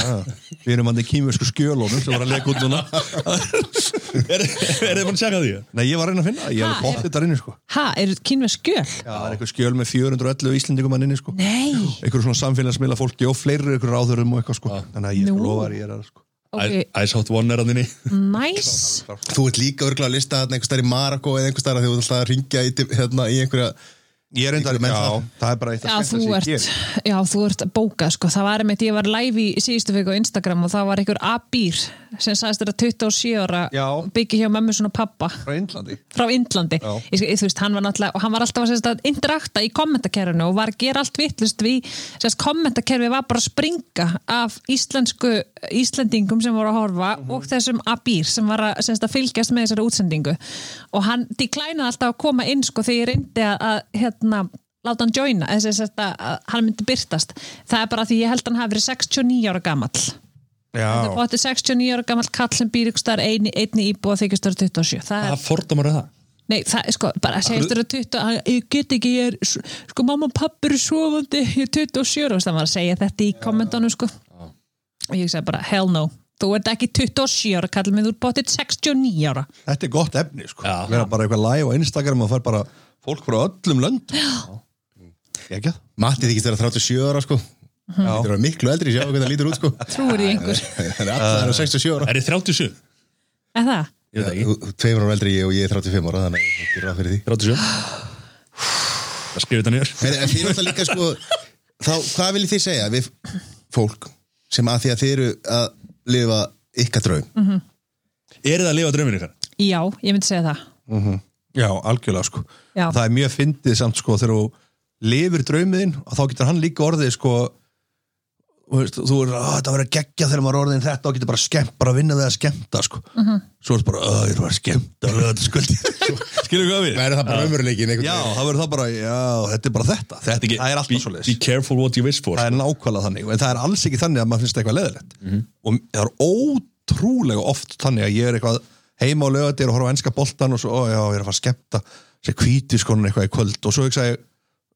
S5: Við erum hann í kýmjösku skjölunum sem var að leka út núna
S2: Er þið búin að sjaka því?
S5: Nei, ég var að reyna að finna, ég
S6: Ha,
S5: hef bótt þetta inni sko
S6: Ha, eru kynveð skjöl?
S5: Já, það er eitthvað skjöl með 411 íslendingum hann inni sko
S6: Nei,
S5: Eitthvað svona samfélagsmiðla fólki og fleiri ykkur ráðurum og eitthvað sko Þannig að ég
S6: Nú.
S5: lofa að ég er að sko
S6: ok,
S2: Ice Hot One er að þinni
S6: næs.
S1: þú ert líka örgulega að lista þarna einhver starf í Marako eða einhver starf því þú ert alltaf að ringja í, hérna, í einhverja
S5: Ég er reyndar,
S1: Ykkur menn
S5: já,
S1: það.
S5: það er bara eitt
S6: Já þú, ert, já, þú ert bókað sko, það var einmitt, ég var live í síðustu viku á Instagram og það var einhver Abir sem sagðist þetta 27 ára
S5: Já.
S6: byggja hjá mömmu svona pappa
S5: Frá Índlandi
S6: frá Indlandi
S5: Já.
S6: ég, ég, þú veist, hann var náttúrulega, og hann var alltaf að sérst, að interakta í kommentakerfinu og var að gera allt vitlust við, sérst, kommentakerfi var bara að springa af íslensku Íslendingum sem voru að horfa og þessum Abir sem var að, sérst, að fylgjast með þessari útsendingu og hann deklænaði alltaf að koma inn sko þegar ég reyndi að, að hérna láta hann joina, þess að, að, að hann myndi byrtast, það er bara því ég held að hann hafi verið 69 ára gamall
S5: Já,
S6: og þetta er 69 ára gamall kall sem býr ykkur starf einni, einni íbúa þykistur 27, það er
S2: Það fordómar er það
S6: Nei, það er sko, bara segist þér að 20, hann- ég get ekki, ég er, s- sko, mamma og pappi eru sofandi, ég er 27, og það var að segja þetta í kommentunum, sko. Og ég segi bara, hell no, þú ert ekki 27 ára, kallar mig, þú ert bóttið 69 ára.
S5: þetta er gott efni sko
S2: Já.
S5: Vera bara eitthvað live á Instagram og fær bara fólk frá öllum lönd Ég ekki það
S1: Matti þykist vera 37 ára sko
S5: Já.
S1: Þetta er miklu eldri, sjá hvernig það lítur út sko
S6: Trúir því einhver,
S1: Þannig að það eru 67 ára
S2: Er þið 37?
S6: er það?
S2: Ég veit það ekki
S1: Þú- þú- Tveimur ára eldri en ég og ég er 35 ára þannig að ég gerir ráð fyrir því
S2: 37 Það skrifir þetta nýjar
S1: Heri, en þið eru alltaf líka sko þá, hvað viljið þið segja við fólk sem að því að þið eru að lifa ykkar draum
S2: Mm. Er þið að lifa drauminu ykkar?
S6: Já, ég myndi segja það.
S5: Já, algjörlega sko
S6: Já.
S5: Það er mjög fyndið samt sko þegar þú lifir draumiðin og þá getur hann líka orðið sko þú veist, þú er að það verður að gegja þegar maður er orðin þetta og getur bara skemmt, bara að vinna við að skemmta sko.
S6: Mhm.
S5: Svo er það bara, að sko." ég var skemmt að löða skuldi Skilur hvað við?
S1: Það er það bara ömurleikin
S5: Já, það verður það bara, já, þetta er bara þetta, þetta það er alltaf svo
S2: Be careful what you wish for
S5: það er nákvæmlega þannig en það er alls ekki þannig að maður finnst eitthvað leðilegt og það er ótrúlega oft þannig að ég er eitthvað heima á lögatir og horfa á enska boltan og svo, ó já, ég er að fara að skemmta sér hvíti skonan eitthvað í kvöld og svo hugsa ég,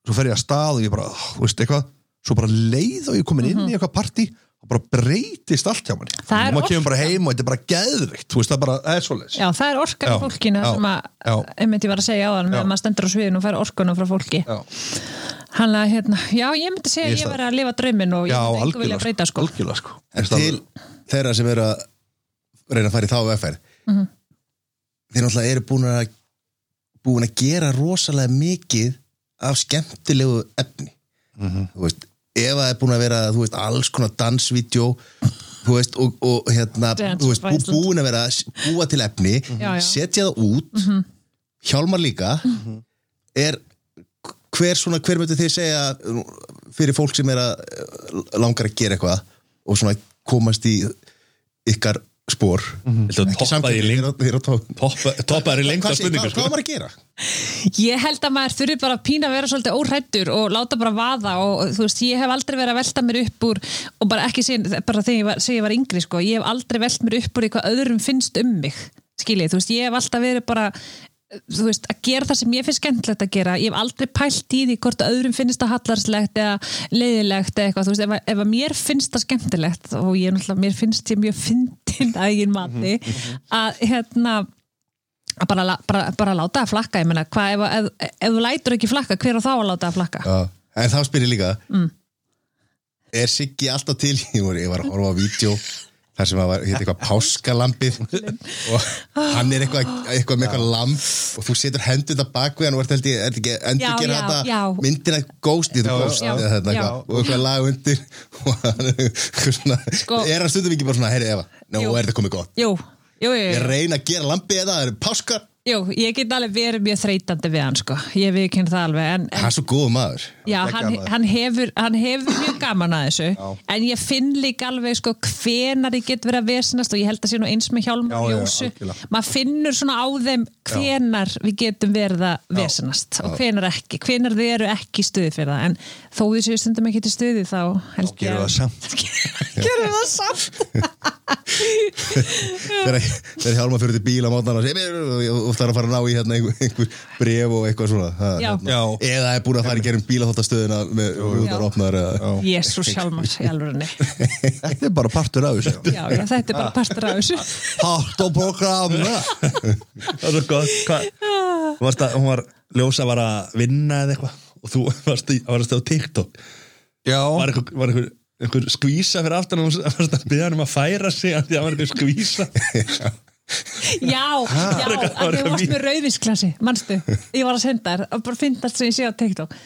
S5: svo fer ég að stað og ég bara, "Ah, þú veist eitthvað, svo bara leið og ég er komin inn í eitthvað partí og bara breytist allt hjá manni
S6: Mhm. Það er
S5: og maður kemur
S6: oft-
S5: bara heim og þetta er bara geðvikt þú veist, það er bara, það er svoleiðis
S6: Já, það er orkan
S5: Já,
S6: í fólkinu
S5: já,
S6: sem að,
S5: já.
S6: einmitt ég var að segja á þannig
S5: Já.
S6: að maður stendur á sviðinu og fær orkuna frá fólki.
S5: Já.
S6: Hann að, hérna, já, ég myndi segja
S5: Ég
S6: að ég
S5: stað-
S6: væri að lifa drauminn og ég
S5: Já,
S6: myndi engu vilja
S5: algjörlega
S6: breyta, sko.
S5: algjörlega sko
S1: En til þeirra sem eru að reyna að fara í þá vegferð
S2: Mhm.
S1: þeir náttúrulega eru búin að búin að gera rosalega mikið af skemmtilegu efni þú veist, ef það er búin að vera þú veist, alls konar dansvídjó þú veist, og, og hérna
S6: Dance
S1: þú veist, bú,
S6: Iceland.
S1: búin að vera að s- búa til efni
S6: Mhm. Já, Mhm. já.
S1: setja það út hjálmar líka er hver svona, hver myndu þið segja nú, fyrir fólk sem er að eh, langar að gera eitthvað og svona komast í ykkar spór
S2: Viltu að toppa því lengt Toppa þér í lengta
S1: um- hvað,
S2: spurningu sko?
S1: hvað var að gera?
S6: Ég held að maður þurfi bara að pína að vera svolítið órættur og láta bara vaða og þú veist, ég hef aldrei verið að velta mér upp úr og bara ekki sín, bara þegar ég var, þegar ég var yngri sko, ég hef aldrei velt mér upp úr í hvað öðrum finnst um mig, skiljið, þú veist, ég hef alltaf verið bara þú veist, að gera það sem ég finnst skemmtilegt að gera ég hef aldrei pælt í því hvort öðrum finnst það hallarslegt eða leiðilegt eða eitthvað, þú veist, ef, að- ef að mér finnst það skemmtilegt og ég náttúrulega, mér finnst ég mjög fyndin að eigin mati að hérna að bara, la- bara, bara láta það flakka ég meina, hvað ef, ef, ef, þú lætur ekki flakka hver á þá að láta það flakka
S1: Já. en þá spyr ég líka
S6: Mm.
S1: er Siggi alltaf til ég var, ég var að horfa á vídeo þar sem að var, hétt eitthvað páskalambið og hann er eitthvað, eitthvað með eitthvað lamb og þú setur hendurna bak við hann og ert held ég, er ekki endur
S6: Já,
S1: gera
S6: já,
S1: þetta
S6: já.
S1: myndina ghost, ég þú ghost
S6: já.
S1: eða þetta
S6: Já.
S1: eitthvað, og eitthvað lag undir og hann er eitthvað svona,
S6: Sko-
S1: er hann stundum ekki bara svona, heyri Eva, nú
S6: Jú.
S1: er þetta komið gott
S6: jú, jú, jú,
S1: ég
S6: jú.
S1: reyna að gera lambið þetta, það eru páskar
S6: Jú, ég get alveg verið mjög þreytandi við hann sko, ég viðkynna það alveg en, en
S1: Hann er svo góð maður
S6: já,
S5: geggjað
S6: hann,
S5: maður.
S6: hann, hefur, hann hefur mjög gaman að þessu en ég finn líka alveg sko hvenar ég get verið að vesinast og ég held að sé nú eins með hjálm og
S5: Já, já,
S6: ljósu
S5: algjörlega.
S6: maður finnur svona á þeim hvenar við getum verið að vesinast og hvenar ekki, hvenar þið eru ekki í stuði fyrir það en þó þið séu stundum ekki til stuði þá held
S5: gerum
S6: ég
S5: við það samt.
S6: gerum það samt
S1: Þegar þegar hjálma fyrir til bíl á mótnar og segir og það er að fara að ná í hérna einhver, einhver bref og eitthvað svona það,
S6: Já.
S1: hérna.
S5: Já.
S1: Eða er búin að fara í gerum bílaþóttastöðina með rúðar opnar eða
S6: Jésús hjálmar í alvörinni
S5: Þetta er bara partur af þessu
S6: já, já, þetta er bara partur af þessu
S5: Hátt og program
S2: það var svo gott hvað- Þú varst að, hún var ljósa var að vinna eða eitthvað og þú varst, í, varst á TikTok
S5: Já,
S2: var einhver, var einhver, einhver skvísa fyrir aftan og hún varst að byrja hann um að færa sig af því að það var einhver skvísa
S6: Já, já,
S2: var eitthvað-
S6: að
S2: var
S6: þau
S2: eitthvað
S6: varst
S2: vín.
S6: með rauðvísklasi, manstu, ég var að senda þér og bara fyndast sem ég sé á TikTok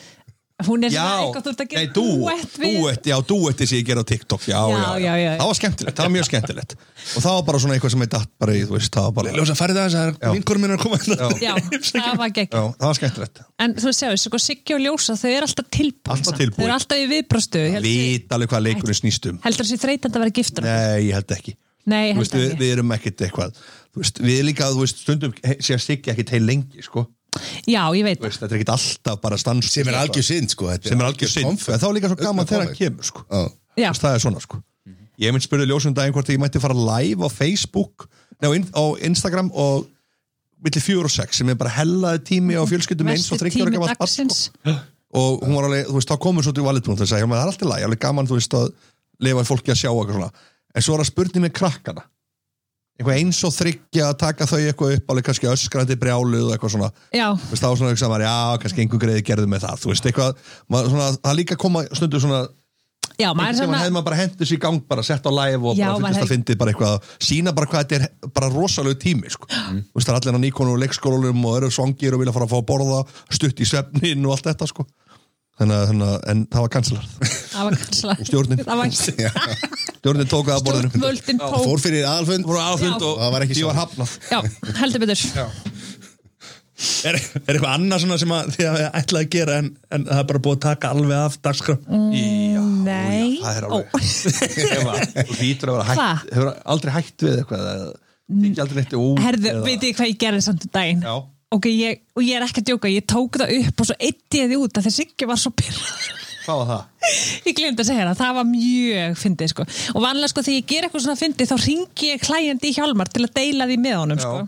S6: Hún er
S5: já
S6: svona eitthvað þú ert að gera
S5: Nei, dú,
S6: dúett við
S5: dúett, Já, dúetti sem ég gera á TikTok já, já,
S6: Já,
S5: já,
S6: já, já.
S5: Það var skemmtilegt, það var mjög skemmtilegt Og það var bara svona eitthvað sem ég datt bara í þú veist, Það var bara,
S2: ljósa farið aðeins að
S5: Já.
S2: vinkur minn er að koma
S1: hérna.
S6: Já, það var gegn
S5: já, það var skemmtilegt
S6: En þú séu, sko, Siggi og Ljósa, þau eru alltaf tilbúin
S5: Alltaf
S6: samt.
S5: tilbúin.
S6: Þau eru alltaf í viðbrostu
S5: Vít alveg hvað leikurinn snýst um
S6: Heldur þessi þreytandi að vera giftur
S5: Nei, ég held ekki
S6: Nei,
S5: Þú veist,
S6: heldur
S5: við,
S6: ekki
S5: við erum ekkert eitthvað Þú veist, Við líka, þú veist, stundum he- sé að sigja ekkert heil lengi sko.
S6: Já, ég veit
S5: Þú veist, Þetta er ekkert alltaf bara stans
S1: sem er algjör synd sko þetta
S5: sem er algjör synd
S1: comfort.
S5: en þá er líka svo gaman
S1: Ultimate
S5: þegar það
S1: comfort.
S5: kemur sko.
S1: Já.
S6: Já.
S5: Þú veist, það er svona sko. ég mynd spurði ljósum daginn hvort ég mætti fara live á Facebook nei, á, in, á Instagram og milli fjögur og sex sem er bara hellaði tími á fjölskyldum eins og
S6: Verstu
S5: þryggja ára
S6: Mm, tími
S5: gamalt barn,
S6: dagsins
S5: sko. og hún var alveg, þú veist, þá komur svo til valitbúin þess að það er alltaf læg, alveg gaman þú veist að lifa fólki að sjá eitthvað svona en svo var að spurði með krakkana eitthvað eins og þryggja að taka þau eitthvað upp alveg kannski öskrandi brjáluð og eitthvað svona
S6: Já,
S5: Þú veist, þá var svona hugsa maður, já, kannski einhver greiði gerði með það, þú veist, eitthvað, maður, svona, það líka koma stundu svona,
S6: já, maður er
S5: einhvern tímann
S6: svona
S5: hefði maður bara hendur sér í gang, bara sett á live og
S6: Já,
S5: bara
S6: maður
S5: fyndist að
S6: hefði-
S5: fyndi bara eitthvað, sína bara hvað þetta er bara rosalegu tími, sko, þú veist, það er allir hann íkonur og leikskólum og eru svangir og vilja fara að fá að borða, stutt í svefnin og allt þetta, sko, þannig að, þannig að, en það var kanslað,
S6: Það var kansla
S5: Stjórnin.
S6: Það var
S5: djórnin tókaði að borðinu,
S6: völdin tók
S1: fór fyrir aðalfund
S5: voru aðfund
S6: Já.
S5: og
S1: Það var ekki
S5: því var
S1: saman.
S5: hafnað,
S6: Já, heldur betur
S2: er, er eitthvað annað svona sem að þið hafið ætlaði að gera en, en það er bara búið að taka alveg af dagskrá
S5: Mm. já,
S6: Mm, Nei
S5: það er
S6: Ó,
S5: alveg, Eva, þú hlýtur að vera
S6: Hva?
S5: hætt, hefur aldrei hætt við eitthvað, eða, þykir aldrei neitt út,
S6: Herðu,
S5: eða-
S6: veit ég hvað ég gerði samt um daginn
S5: Já.
S6: Ok, ég, og ég er ekki að djóka, ég tók það upp og svo eitti ég því út að þessi ekki var svo pyrrað
S5: Hvað var það?
S6: Ég glemd að segja það, það var mjög fyndið sko. og vanlega sko þegar ég ger eitthvað svona fyndið þá ringi ég klæjandi í hjálmar til að deila því með honum sko.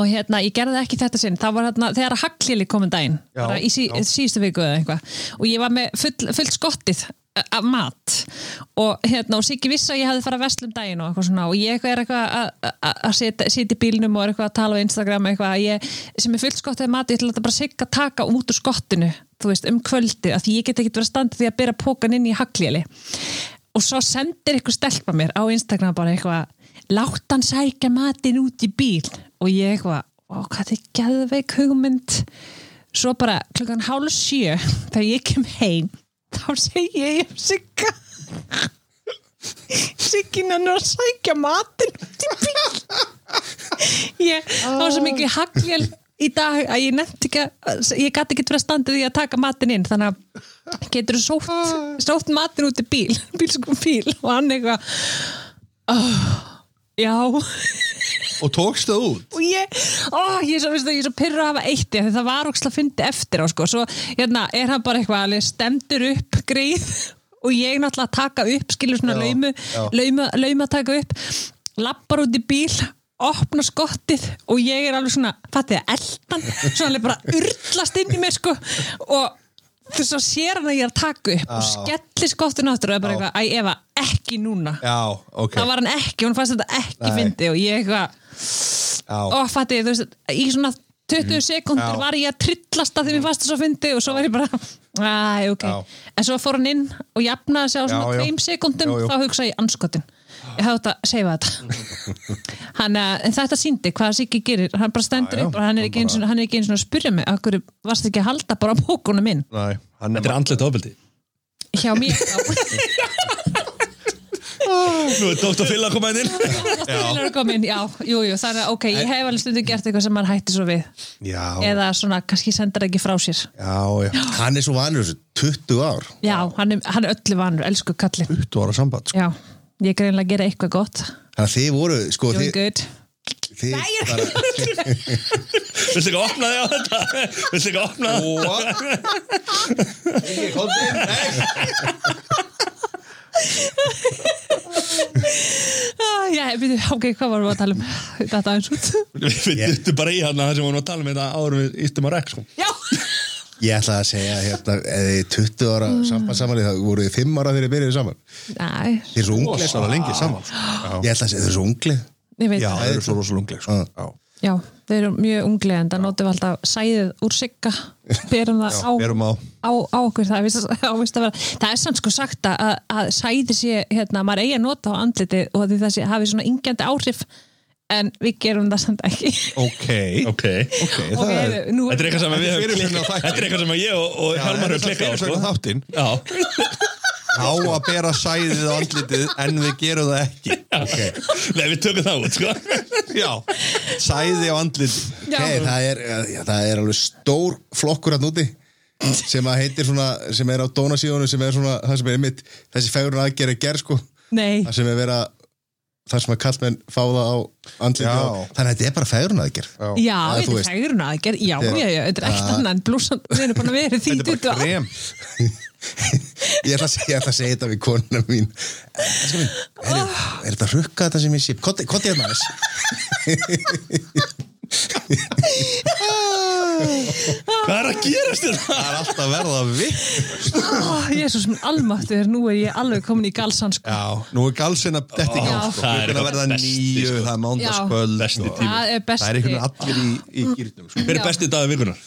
S6: og hérna, ég gerði ekki þetta sinn það var hérna, þegar Haglili komum daginn
S5: Já,
S6: bara í sí,
S5: já.
S6: síðustu viku eða eitthvað og ég var með full, full skottið eh, af mat og hérna, og Siggi vissi að ég hafði farið að vestlum daginn og eitthvað svona og ég eitthvað er eitthvað að- að- að setja- sitja í bílnum og er eitthvað að tala á Instagram eitthvað að ég, sem er full skottið af mat ég ætla þetta bara Sigga taka út úr skottinu þú veist, um kvöldið, af því ég get ekki verið að standa því að bera pókan inn í Haglili og svo sendir eitthvað stelpa mér á Instagram bara eitthvað látt hann sækja matinn út í bíl og ég eitthvað, ó hvað þið geðveik hugmynd svo bara klukkan hálf sjö þegar ég kem heim þá segi ég ég sigga Siggin hann er að sækja matinn út í bíl ég, það var svo mikið hagljál í dag að ég nefnt ekki að ég gæti ekki verið að standa því að taka matinn inn þannig að getur þú sótt, sótt matinn út í bíl, bílskum bíl og hann eitthvað oh, já
S5: Og tókst það út?
S6: og ég, ó, ég er svo, veistu, ég er svo pyrru að hafa eitt því það var óksla fyndi eftir á sko. svo hérna, er hann bara eitthvað alveg stendur upp greið og ég náttúrulega að taka upp, skilur svona
S5: Já,
S6: laumu,
S5: já.
S6: laumu laumu að taka upp lappar út í bíl opna skottið og ég er alveg svona fattið að eldan, svona alveg bara urtlast inn í mér sko og þú svo sér hann að ég er að taka upp og skellir skottinu áttur og er bara
S5: Já.
S6: eitthvað, æ, Eva, ekki núna
S5: Já, ok.
S6: það var hann ekki, hún fannst þetta ekki
S5: Nei.
S6: fyndi og ég eitthvað
S5: Já, Mhm.
S6: og fatti, þú veist, í svona 20 sekundur
S5: Já.
S6: var ég að trillast að því mér fast þess að fyndi og svo var ég bara æ, ok,
S5: Já.
S6: en svo fór hann inn og jafnaði sig á svona
S5: Já, já.
S6: tveim sekundum
S5: Jú, jú.
S6: þá hugsa ég anskotin ég hafði þetta að segja þetta hann, eh, en þetta síndi hvað Siggi gerir hann bara stendur
S5: Já, já.
S6: upp og hann er ekki eins og hann er ekki eins og að spurja mig, af hverju varst ekki að halda bara á bókunum minn
S5: næ, hann
S2: þetta er andlet ofbeldi
S6: hjá mér já.
S2: Nú er Dr. Phil að koma inn
S6: Þeir eru komin, já, jú, jú, þannig að ok, ég hef alveg stundum gert eitthvað sem maður hætti svo við
S5: Já,
S6: eða svona, kannski sendir ekki frá sér
S5: já, já
S1: Hann er svo vanur þessu, 20 ár
S6: Já, hann er, hann er öllu vanur, elsku kallinn
S5: 20 ára samband, sko
S6: Já, ég er greinlega að gera eitthvað gott
S1: Þannig að þið voru, sko
S6: Doing
S1: þið,
S6: good
S1: þið bara,
S2: Viltu ekki opna þig á þetta? Viltu ekki opna þig?
S6: ah, Já, byrju, ok, hvað varum við að tala um þetta aðeins út
S2: Við dyttum bara í hann að það sem við varum að tala um þetta árum við ístum á rekk sko.
S6: Já,
S1: Ég ætla að segja hérna, eða þið 20 ára
S6: Mm.
S1: samband saman þá voru þið 5 ára þegar þið byrjuðu saman
S6: næ,
S1: Þið er svo ungli
S5: Ósala lengi saman sko.
S1: Ég ætla að segja þið er svo ungli
S6: ég veit
S5: Já,
S6: það
S5: það eru svo rosalega ungleg sko.
S1: Já.
S5: Já.
S6: Já, þeir eru mjög unglega en það notum við alltaf sæðið úr sigga berum það á,
S5: berum á.
S6: Á, á okkur það, er víst- á, víst að vera. það er samt sko sagt að, að sæði sé hérna, maður eigi að nota á andliti og því það sé, hafi svona yngjandi áhrif en við gerum það samt ekki
S5: Ok,
S2: Ok
S5: okay
S6: Ok,
S5: það er
S6: heyrðu, nú,
S2: Þetta er eitthvað sem við
S5: Þetta er
S2: höfum
S5: fyrirfram
S2: klikkað-
S5: þáttur.
S2: Þetta er eitthvað sem ég og, og
S5: Já,
S2: Hjálmar höfum
S5: þetta er
S2: klikkað á
S5: fyrirfram
S2: sko.
S5: þáttinn
S2: Já,
S5: Á að bera sæðið á andlitið en við gerum það ekki
S2: Nei, við tökum það út sko.
S5: Já, sæði á andlitið
S6: Já.
S1: Hey, það, er, já, það er alveg stór flokkur hann úti sem að heitir svona, sem er á dónasíðunum sem er svona, það sem er einmitt þessi fegurinn aðgerð er gerð sko
S6: Nei,
S1: það sem er vera, það sem að kallmenn fá það á andliti
S5: Já.
S1: á- þannig að þetta er bara fegurinn aðgerð
S6: já,
S1: eða þú
S6: þetta er
S1: veist.
S6: hægurinn aðgerð Já,
S1: Þetta er-
S6: já, já, þetta er ekkert annað en blúsan við erum búin að vera í því
S5: Þetta er bara
S6: 20 ár.
S5: krem
S1: ég ætla að segja, ég ætla að segja þetta við konuna mín Elskan mín, er, er þetta rukka þetta sem ég sé kontið hérna aðeins
S2: Hvað er að gerast hérna? þetta?
S5: Það er alltaf að verða vitt
S6: Ó, Jesús, minn almáttur, nú er ég alveg komin í galsan sko.
S5: Já, nú er galsinn að detti hjá
S6: Já.
S5: sko.
S2: Það
S5: Það
S2: er
S5: er að
S2: eitthvað
S5: verða
S2: besti,
S5: nýju,
S2: sko.
S5: það er mándaskvöld
S2: Besti
S5: og-
S2: tími.
S6: Það er
S5: Það er
S6: besti.
S5: einhvern veginn allir í, í gýrnum sko.
S2: Hver er besti dag vikunar?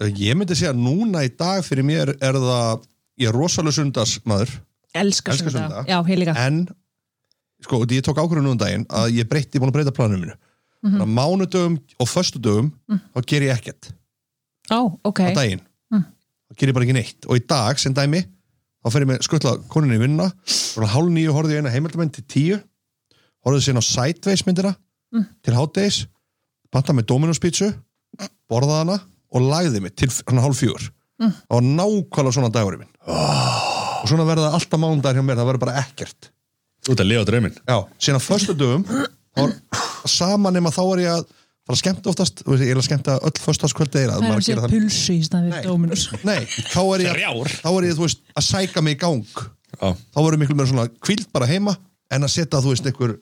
S5: Ég myndi segja að núna í dag fyrir mér er það Ég er rosalega sundasmaður
S6: Elskar
S5: Elskar
S6: sunnudag.
S5: sunnudag.
S6: Já, ég líka
S5: En, sko, og ég tók ákvörðu núna um daginn að ég breytti, ég búin að breyta planum minu
S2: Mhm.
S5: Þannig að mánudögum og föstudögum þá ger ég ekkert
S6: Ó, ok
S5: á daginn Þá ger ég bara ekki neitt Og í dag, sem dæmi, þá fer ég með skuttla koninni í vinna Svona hálf nýju horfði ég eina heimildamenn til tíu Horfði síðan á Sideways myndina til hátdeis Panta með Dominos pítsu Borðaði hana og lagði mig til hann hálf fjör mm. Það var nákvæmlega svona dagurinn minn Og svona verða alltaf mánudagur hjá mér, það verður bara ekkert
S2: Þú ert að lifa drauminn
S5: Já, síðan á föstudöfum þá er sama nema þá er ég að fara að skemmta oftast, þú veist, ég er að skemmta öll föstudagskvöldi eða
S6: Það er
S5: maður að
S6: að
S5: gera
S6: segja
S5: það
S6: pulsu í staðan við Dominus
S5: Nei, þá er ég,
S2: Þrjár.
S5: þá er ég þú veist, að sæka mig í gang
S2: Já.
S5: þá verður miklu meira svona kvíld bara heima en að setja þú veist einhver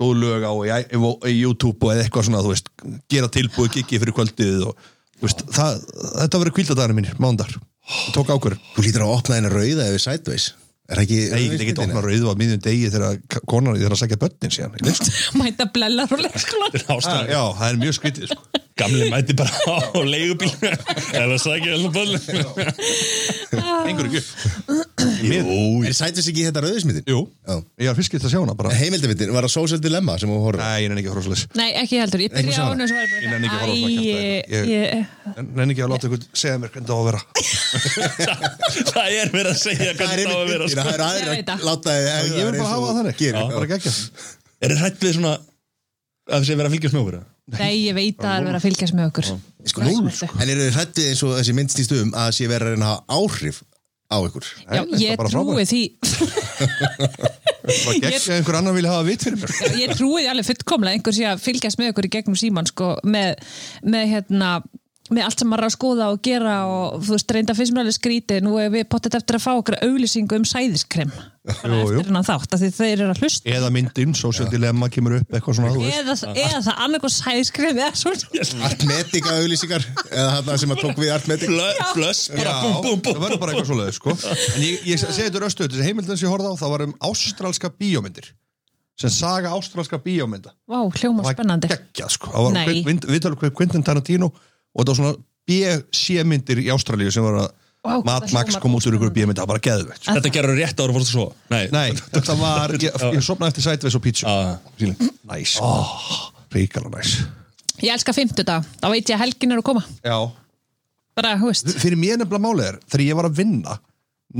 S5: góð lög á í, í, í YouTube og eða eitthvað svona þú veist, gera tilbúið gigi fyrir kvöldið og þú veist, það, þetta verður kvíldadagarnir mínir, mándar tók ákvörðin
S1: þú lítur að opna henni rauða yfir sideways er ekki
S5: Nei, ég get ekki opna rauðu á miðjum degi þegar k- konan þegar að sækja börnin síðan í leikskóla.
S6: Mæta blellar og leikskólan
S2: Þetta er ástæðan
S5: Já, það er mjög skrítið sko.
S2: Gamli mæti bara á leigubíl Eða sækja hérna böllum
S5: Engur ekki
S1: er sideways ekki þetta rauðismitin?
S5: Jú,
S1: Já.
S5: ég var fyrst gett að sjá hana bara
S1: heimildavitin var að social dilemma sem hún horfði á.
S5: Nei, ég nenni ekki að horfa slis
S6: Nei, ekki heldur, ég
S1: Eitthvað
S6: byrja á
S1: svona.
S6: hennu og svo er
S5: Ég nenni ekki að
S6: bara
S5: horfa á svona kjafta
S6: Æ,
S5: hérna.
S6: ég-
S5: Nenni ekki að láta ykkur segja mér hvernig það á að vera
S2: Það er verið að
S1: það
S2: segja
S1: er
S2: hvernig það á að vera
S1: einmitt
S2: sko.
S1: það er
S6: Ég
S1: aðrir
S6: veit það.
S1: að láta þið
S5: Ég vil bara hafa það þannig
S1: gerir, já.
S5: Bara ekki
S2: Er það hrætt við svona að það sé verið að fylgjast með okkur? eða?
S6: Nei, ég veit að það er verið að fylgjast með okkur
S1: Sko, núl, sko. En eru þið hrættið eins og þessi minnst í stöðum að sé verið að reyna að hafa áhrif á ykkur?
S6: Já,
S5: Nei, það er
S6: ég
S5: bara
S6: trúi
S5: frábært.
S6: því
S5: Bara ekki að einhver annar vilja hafa vit fyrir mér
S6: Já, Ég trúi því alveg fullkomlega að einhver sé að fylgjast með okkur í gegnum síman sko, með, með hérna með allt sem maður er að skoða og gera og þú veist, reynda fyrst mér alveg skrítið nú er við pottet eftir að fá okkur auglýsingu um sæðiskrem bara
S5: Jú, jú.
S6: eftir hennan þátt af því þeir eru að hlusta
S5: Eða myndin, social dilemma kemur upp eitthvað svona þú veist.
S6: eða, eða það annarkoð sæðiskrem eða svona
S1: Artmedica auðlýsingar eða það sem að tók við Artmedica
S2: Blö- Blöss, bara búm, búm,
S5: það
S2: búm
S5: verður bara eitthvað svoleiðis sko. En ég, ég segi þetta röstu, þessi heimildin sem ég horfði á það var um ástralska bíómyndir sem saga ástralska bíómynda
S6: Vá, hljóma spennandi
S5: geggja sko það var
S6: Nei.
S5: Quint- Quint- viðtal við Quentin Tarantino og þetta var svona B-C-myndir í Ástralíu sem var að
S6: Vá, hvað
S5: Mad
S6: það
S5: Max
S6: hljómar
S5: kom út úr ykkur B-mynd það var bara geðveitt sko.
S2: Þetta gerur rétt ára fórst að svo Nei,
S5: Nei, þetta var, ég, ég sopnaði eftir Sideways og pítsu
S2: Ah, síðan.
S5: Næs oh, Ríkala næs
S6: Ég elska fimmtudag, þá veit ég að helgin er að koma
S5: Já
S6: bara, hú veist,
S5: Fyrir mér nefnilega málið er, þegar ég var að vinna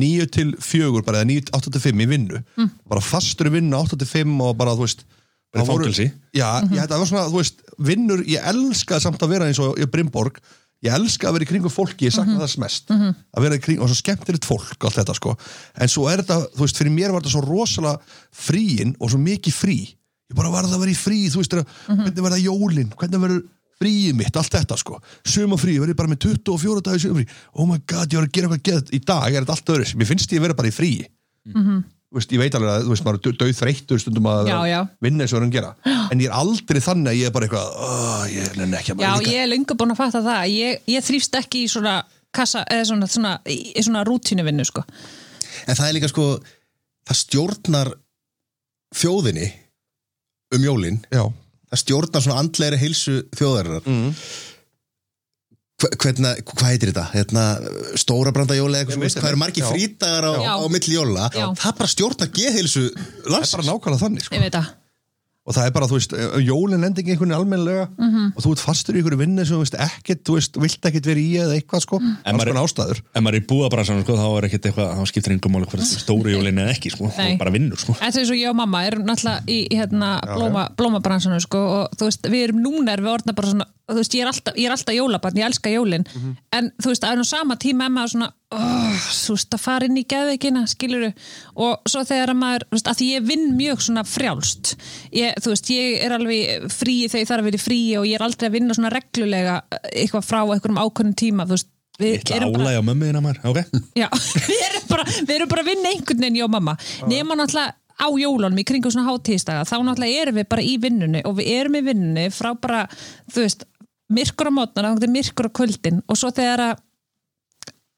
S5: 9 til 4 bara, eða 9 til 8 til 5 í vinnu bara fastur í vinnu 8 til 5 og bara þú veist
S2: Bara í
S5: það voru-
S2: fangelsi.
S5: já,
S6: Mhm.
S5: ég, þetta var svona, þú veist, vinnur ég elska samt að vera eins og í Brimborg ég elska að vera í kringum fólki, ég sakna
S6: Mhm.
S5: þess mest að vera í kringum, og svo skemmtilegt fólk og allt þetta sko, en svo er þetta þú veist, fyrir mér var þetta svo rosalega fríin og svo mikið frí, ég bara varð að vera í frí, þú veist, mm -hmm.
S6: Mhm.
S5: hvernig verða jólin hvernig verður fríið mitt, allt þetta sko sumafrí, verður ég bara með 24 dagi sumafrí, oh my god, ég var að gera eitthvað geð í dag er þetta allt öðru, mér finnst ég vera bara í fríi þú veist, ég veit alveg að þú veist, maður er döð þreyttur stundum að
S6: Mhm. Já, já.
S5: vinna eins og hann gera en ég er aldrei þannig að ég er bara eitthvað oh, ég nenni ekki að
S6: Já,
S5: bara
S6: ég er lengur búin að fatta það ég, ég þrýfst ekki í svona kassa, eða svona, svona, í í svona rútínuvinnu sko.
S1: en það er líka sko það stjórnar þjóðinni um jólin
S5: já,
S1: það stjórnar svona andlegri heilsu þjóðarinnar mm. hvernig, hvað heitir þetta? Hérna, stóra branda jóla eða
S5: Ég
S1: eitthvað
S5: veit
S1: svona, hvað
S5: það.
S1: eru margir
S5: Já.
S1: frítagar á,
S6: Já.
S1: á milli jóla
S6: Já.
S1: það bara stjórnar geðheilsu
S5: það er bara
S1: landsins
S5: nákvæmlega þannig
S6: ég
S5: sko.
S6: veit að
S5: og það er bara, þú veist, eh, jólin endi ekki einhvern almennilega
S6: Mhm.
S5: og þú ert fastur í einhverju vinnu sem þú veist ekkert, þú veist, vilt ekkert verið í eða eitthvað
S6: Mm.
S5: sko,
S2: En
S5: alls
S2: maður-
S5: konar ástæður
S2: ef maður er í búðabransanum sko, þá er ekkert eitthvað, þá skiptir engum máli hvort þetta er stóru jólin eða ekki, sko, þá
S6: Nei.
S2: bara vinnur sko.
S6: Þetta er svo ég og mamma erum náttúrulega í í, hérna, blóma, blómabransanum sko, og þú veist, við erum núna erum við orðna bara svona, þú veist, ég er alltaf, ég er alltaf jólabarn, ég elska jólin,
S2: Mhm.
S6: en þú veist, að nú sama tíma er maður svona, oh, þú veist, að fara inn í geðveikina, skiluru og svo þegar að maður, þú veist, að því ég vinn mjög svona frjálst, ég, þú veist ég er alveg frí þegar ég þarf að vera í frí og ég er aldrei að vinna svona reglulega eh, eitthvað frá einhverjum ákveðnum tíma, þú veist við
S2: Ég ætla álæg á mömmuðina maður, ok?
S6: Já, við erum bara, við erum bara að vinna einhvern veginn, já mamma. Nefna náttúrulega á jólunum í kringum svona hátíðstaga, þá náttúrulega erum við bara í vinnunni og við erum í vinnunni frá bara, þú veist, myrkur á mótnar, þá er myrkur á kvöldin og svo þegar að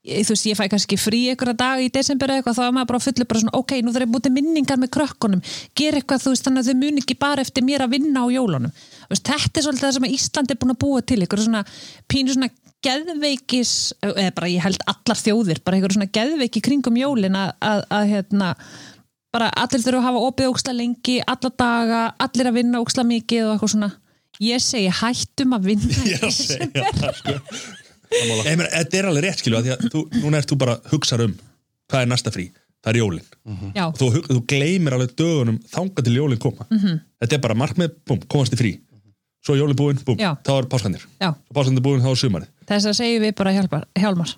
S6: ég- þú veist, ég fæ kannski frí einhverja dag í desember eða eitthvað, þá er maður bara fullur bara svona ok, nú þarf ég bútið minningar með krökkunum gera eitthvað, þú veist, þannig að þau muni ekki bara eftir mér að vinna á jólunum Þú veist, þetta er svolítið það sem að Ísland er búin að búa til einhverju svona pínu svona geðveikis, eða bara ég held allar þjóðir, bara einhverju svona geðveiki kringum jólin að, að, að hérna bara allir þurfa að hafa opið óksla lengi alla daga, allir að vinna óksla mikið og eitthvað svona ég segi hættum að vinna
S2: Ég er að segja það sko. Nei, menn, þetta er alveg rétt skilju, af því að þú, núna ert þú bara að hugsa um hvað er næsta frí, það er jólin
S6: Já,
S2: og þú, hug- þú gleymir alveg dögunum þanga til jólin koma -hmm. þetta er bara markmið, búm, komast í frí svo er jólin búin, búm,
S6: Já.
S2: þá er páskandir
S6: já
S2: svo páskandir búin, þá er sumarið
S6: þess að segjum við bara hjálpar, Hjálmar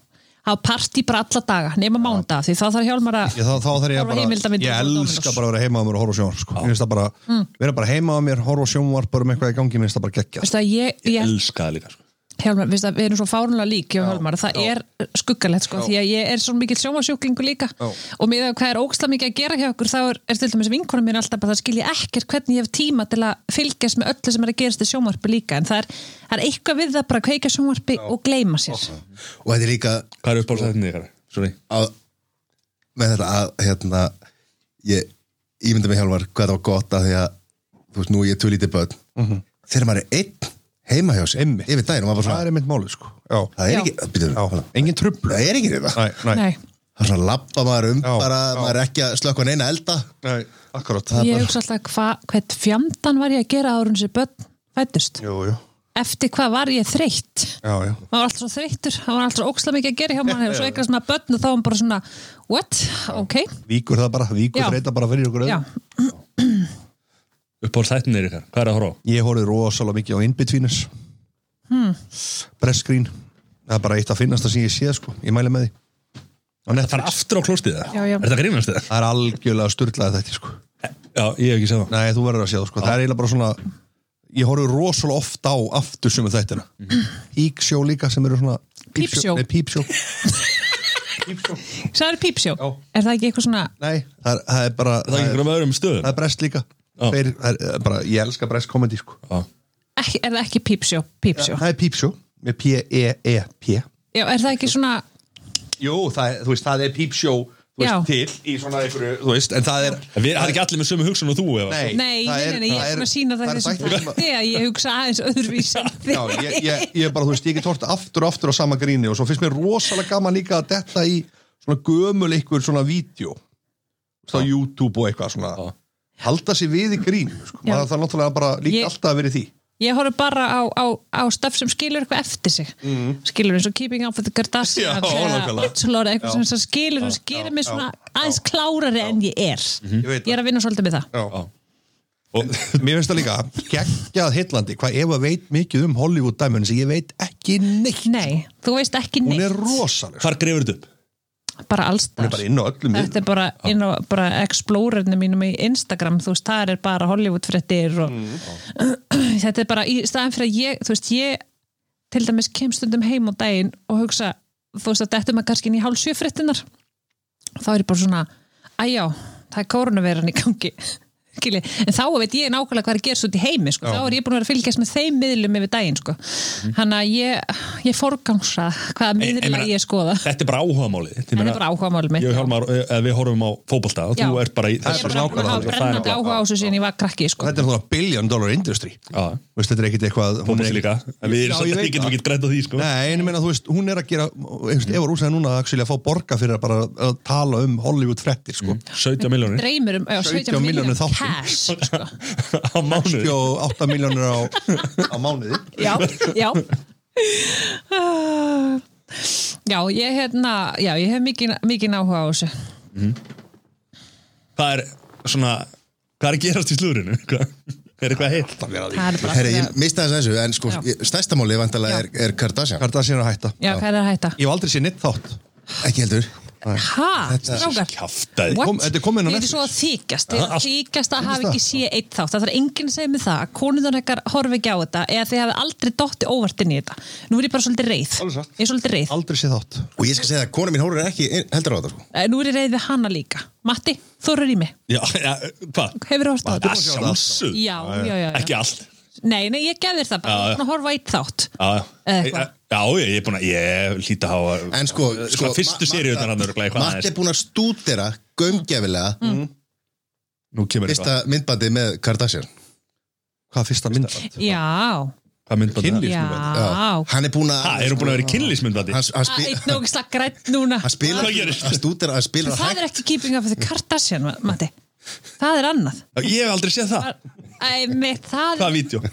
S6: hafa partí bara alla daga, nema mánda því þá þarf Hjálmar að
S5: ég, þá, þá þarf ég
S6: Horfa
S5: að bara,
S6: heimildarmyndir
S5: ég
S6: frá
S5: elska
S6: um Dominos. Mm.
S5: bara að vera heima á mér og horfa á sjónvarp sko. Mér finnst það bara, vera bara heima á mér, horfa á sjónvarp bara með eitthvað í gangi, mér finnst það bara geggja
S6: Veistu að ég, ég,
S2: elska það líka sko.
S6: Hjálmar, veistu að við erum svo fárunlega lík hjá Hjálmar, það er skuggalegt sko, því að ég er svo mikill sjómasjúklingu líka og með að hvað er óksla mikið að gera hjá okkur þá er, er til dæmis vinkonum mér alltaf bara það skilja ekkert hvernig ég hef tíma til að fylgjast með öllu sem er að gerast í sjómarpi líka en það er, það er eitthvað við það bara að kveika sjómarpi og gleyma sér
S1: og þetta er líka
S2: hvað er uppáðsættinni ykkar? Sorry.
S1: að, með þetta að hérna, ég ímynda mig hjálmar hvað það var gott að því að þú veist, nú er ég tvö lítið börn þegar maður er einn heima hjá sér
S5: Mhm. Einmitt.
S1: yfir daginn og maður bara
S5: það
S1: svona
S5: er einmitt málið sko. já,
S1: það er
S6: Já.
S1: ekki, byrjum,
S5: já, engin trublu
S1: það er ekki þetta
S5: Nei, nei.
S6: Nei,
S1: það er svona að lappa maður um
S5: Já,
S1: bara,
S5: já.
S1: maður er ekki að slökka neina elda
S5: Nei, akkurat
S6: ég hugsa alltaf hva, hvert fjamdan var ég að gera árun sér börn fættust
S5: Jú, jú,
S6: eftir hvað var ég þreytt
S5: já, já
S6: maður var alltaf svo þreyttur, það var alltaf óksla mikið að gera hjá manni og svo eitthvað svona börn og þá var hann bara svona what, ok,
S5: Víkur það bara, víkur
S6: Já.
S5: þreita bara fyrir okkur
S6: já
S5: öðrum.
S2: uppáðsættinni ykkar, hvað er að horfa á?
S5: Ég horfði rosalega mikið á Inbetweeners hmm. Breskrín Það er bara eitt að finnast það sem ég sé sko Ég mæli með því Á
S2: það fara
S5: Netflix
S2: aftur á klóstið það?
S6: Já, já.
S2: er það grínast það?
S5: Það er algjörlega sturlaði þetta sko
S2: já, ég hef ekki segð það
S5: Nei, þú verður að sé það sko Það er eiginlega bara svona Ég horfði rosalega oft á aftur sem er þættina Íksjó líka sem eru svona
S6: Pípsjó.
S5: Nei, pípsjó
S6: það er pípsjó,
S5: Já.
S6: er það ekki eitthvað svona
S5: Nei, það er, það er bara
S2: Er það ekki einhverjum öðrum stöðum?
S5: það er brest líka
S2: Já.
S5: Þeir, það er eh, bara, Ég elska brest komedi sko
S2: Já.
S6: ekki, er það ekki pípsjó, pípsjó
S5: Það er pípsjó Með P-E-E-P
S6: já, er það ekki svona,
S5: Jú, það, er- þú veist, það er pípsjó þú
S6: Já.
S5: veist, til í svona einhverju, þú veist, en það er
S2: En Við erum ekki allir með sömu hugsun og þú eða?
S5: Nei,
S6: nei,
S5: það
S6: nei,
S5: er-
S6: nei, nei,
S5: það
S6: ég er
S5: er-
S6: svona að sína það
S5: það er
S6: þessum
S5: þættir sem að-
S6: þætti að ég hugsa aðeins öðruvísi en þig.
S5: Já, ég, ég, ég bara, þú veist, ég get hort aftur og aftur á sama gríni og svo finnst mér rosalega gaman líka að detta í svona gömul einhver svona vídeo á YouTube og eitthvað svona halda sér við í grín, sko,
S6: Já.
S5: maður það er náttúrulega bara líka
S6: Ég-
S5: alltaf að vera í því
S6: ég horf bara á, á, á stöf sem skilur eitthvað eftir sig mm. skilur eins og Keeping Up with the Kardashians
S5: Mhm. Já, nákvæmlega.
S6: Bachelor, eitthvað sem sem skilur sem gerir mig svona aðeins klárari en ég er
S5: Mhm. Ég veit
S6: ég er að vinna svolítið með það
S5: Já. Og mér finnst það líka geggjað heitlandi, hvað Eva veit mikið um Hollywood dæmunum sem ég veit ekki neitt
S6: nei, þú veist ekki
S5: hún
S6: neitt,
S5: er rosaleg sko.
S2: Hvar grefur þetta upp?
S6: bara allstar
S5: hún er bara inn á öllum
S6: Þetta er bara, inn á, bara explorerinu mínum í Instagram, þú veist, það er bara Hollywood fréttir og þetta er bara, í staðan fyrir að ég, þú veist, ég til dæmis kem stundum heim á daginn og hugsa, þú veist, að þetta maður kannski inn í hálsjö fréttinar þá er ég bara svona, æjá, það er kórunaveiran í gangi Kili. en þá veit ég nákvæmlega hvað er að gerast út í heimi sko. þá er ég búin að vera að fylgjast með þeim miðlum yfir daginn sko. þannig að ég, ég forgangsa hvaða
S2: Ég- ég
S6: miðla
S2: meina-
S6: ég skoða
S2: Þetta er bara áhugamálið Þetta
S6: er bara áhugamálið mitt,
S2: Ég og
S6: já.
S2: Hjálmar, eh, eh, við horfum á fótbolta og þú
S6: Já.
S2: ert bara í
S5: Það
S6: ég
S5: er bara
S6: er bara búin að
S5: nákvæmlega
S6: hafa
S5: þannig.
S6: brennandi áhuga á þessu síðan ég var krakki sko.
S5: þetta er náttúrulega billion dollar industry
S2: Já.
S5: Veist, þetta er ekkit eitthvað hún
S2: Fótbolti
S5: er-
S2: líka En Við
S5: Já,
S2: erum samt
S5: ég
S2: ekki
S5: veit
S2: getum
S5: það.
S2: ekki grænt á því sko
S5: Nei, en ég meina, þú veist, hún er að gera mm. Eva Rúsa er núna að, actually að fá borga fyrir að bara að tala um Hollywood frettir sko.
S1: Mm.
S2: 17 miljónir
S6: dreymir um já,
S5: 17
S6: 17
S5: milljónir
S6: miljónum
S5: þáttum.
S6: cash sko.
S2: á
S5: Sko.
S2: mánuði
S5: 68 miljónir á, á mánuði
S6: já, já Ah. já, ég hérna já, ég hef mikið, mikið áhuga á þessu
S2: Hvað er svona Hvað er að gerast í slúrinu? Er eitthvað heilt?
S6: það er bara
S1: Herri, ég mista þess að þessu, en sko,
S6: Já.
S1: ég- stærsta málið vantalega
S6: Já.
S1: er, er Kardashian
S5: Kardashian er að hætta
S6: já, hvað er að hætta?
S5: Ég hef aldrei séð neitt þátt
S1: Ekki heldur
S6: hæ, strákar
S2: Kjaftaði.
S6: What?
S5: Kom- þetta er komin á
S6: Ég er
S5: Netflix.
S6: svo að þykjast, ég er
S2: allt-
S6: að þykjast að hafa
S5: það.
S6: ekki séð eitt þátt, það þarf enginn að segja mig það að konundan ekkar horfi ekki á þetta eða þið hafi aldrei dotti óvartin í þetta nú er ég bara svolítið reið,
S5: Alveg satt.
S6: ég er svolítið reið
S5: Aldrei séð þátt
S1: Og ég skal segja að kona mín hóru er ekki heldur á þetta sko.
S6: Eh, nú er ég reið við hana líka Matti, þú eru í mig,
S2: Já, ja, hvað?
S6: hefur þú hort á
S2: Það
S6: þetta?
S2: er sjálfsög
S6: Já, já, já, já.
S2: Ekki allt
S6: Nei, nei, ég gefðir það bara,
S2: Já, já.
S6: ég er búin að horfa á eitt þátt
S2: Já,
S6: Eða
S2: já,
S6: eitthvað.
S2: já, ég er búin að, ég hlýta að hafa
S1: En sko,
S2: Svona
S1: sko
S2: Fyrstu
S1: Ma-
S2: sériu utan
S1: Marta-
S2: hann örgla eitthvað
S1: Matt
S2: aðeins.
S1: er búin að stúdera gaumgefilega
S6: Mm.
S2: Nú kemur
S1: fyrsta
S2: eitthvað
S1: myndbandið með Kardashian
S5: Hvað er fyrsta myndband?
S6: Já,
S2: Hvað myndbandi það?
S5: Kynlíf.
S6: já
S1: Hann er búin að
S2: Það eru búin að vera í kynlísmyndbandi
S1: Hann, hann,
S6: Það er
S1: spil,
S6: einn og slag grætt núna
S1: hann spilar
S2: Hvað gerist?
S1: Hann stúdera, hann spilar
S6: Það
S1: hægt
S6: er ekki keeping up with the Kardashian, Ma- Matti Það er annað
S2: Ég hef aldrei séð það
S6: Æ, mitt, það
S2: Hvaða vídeo?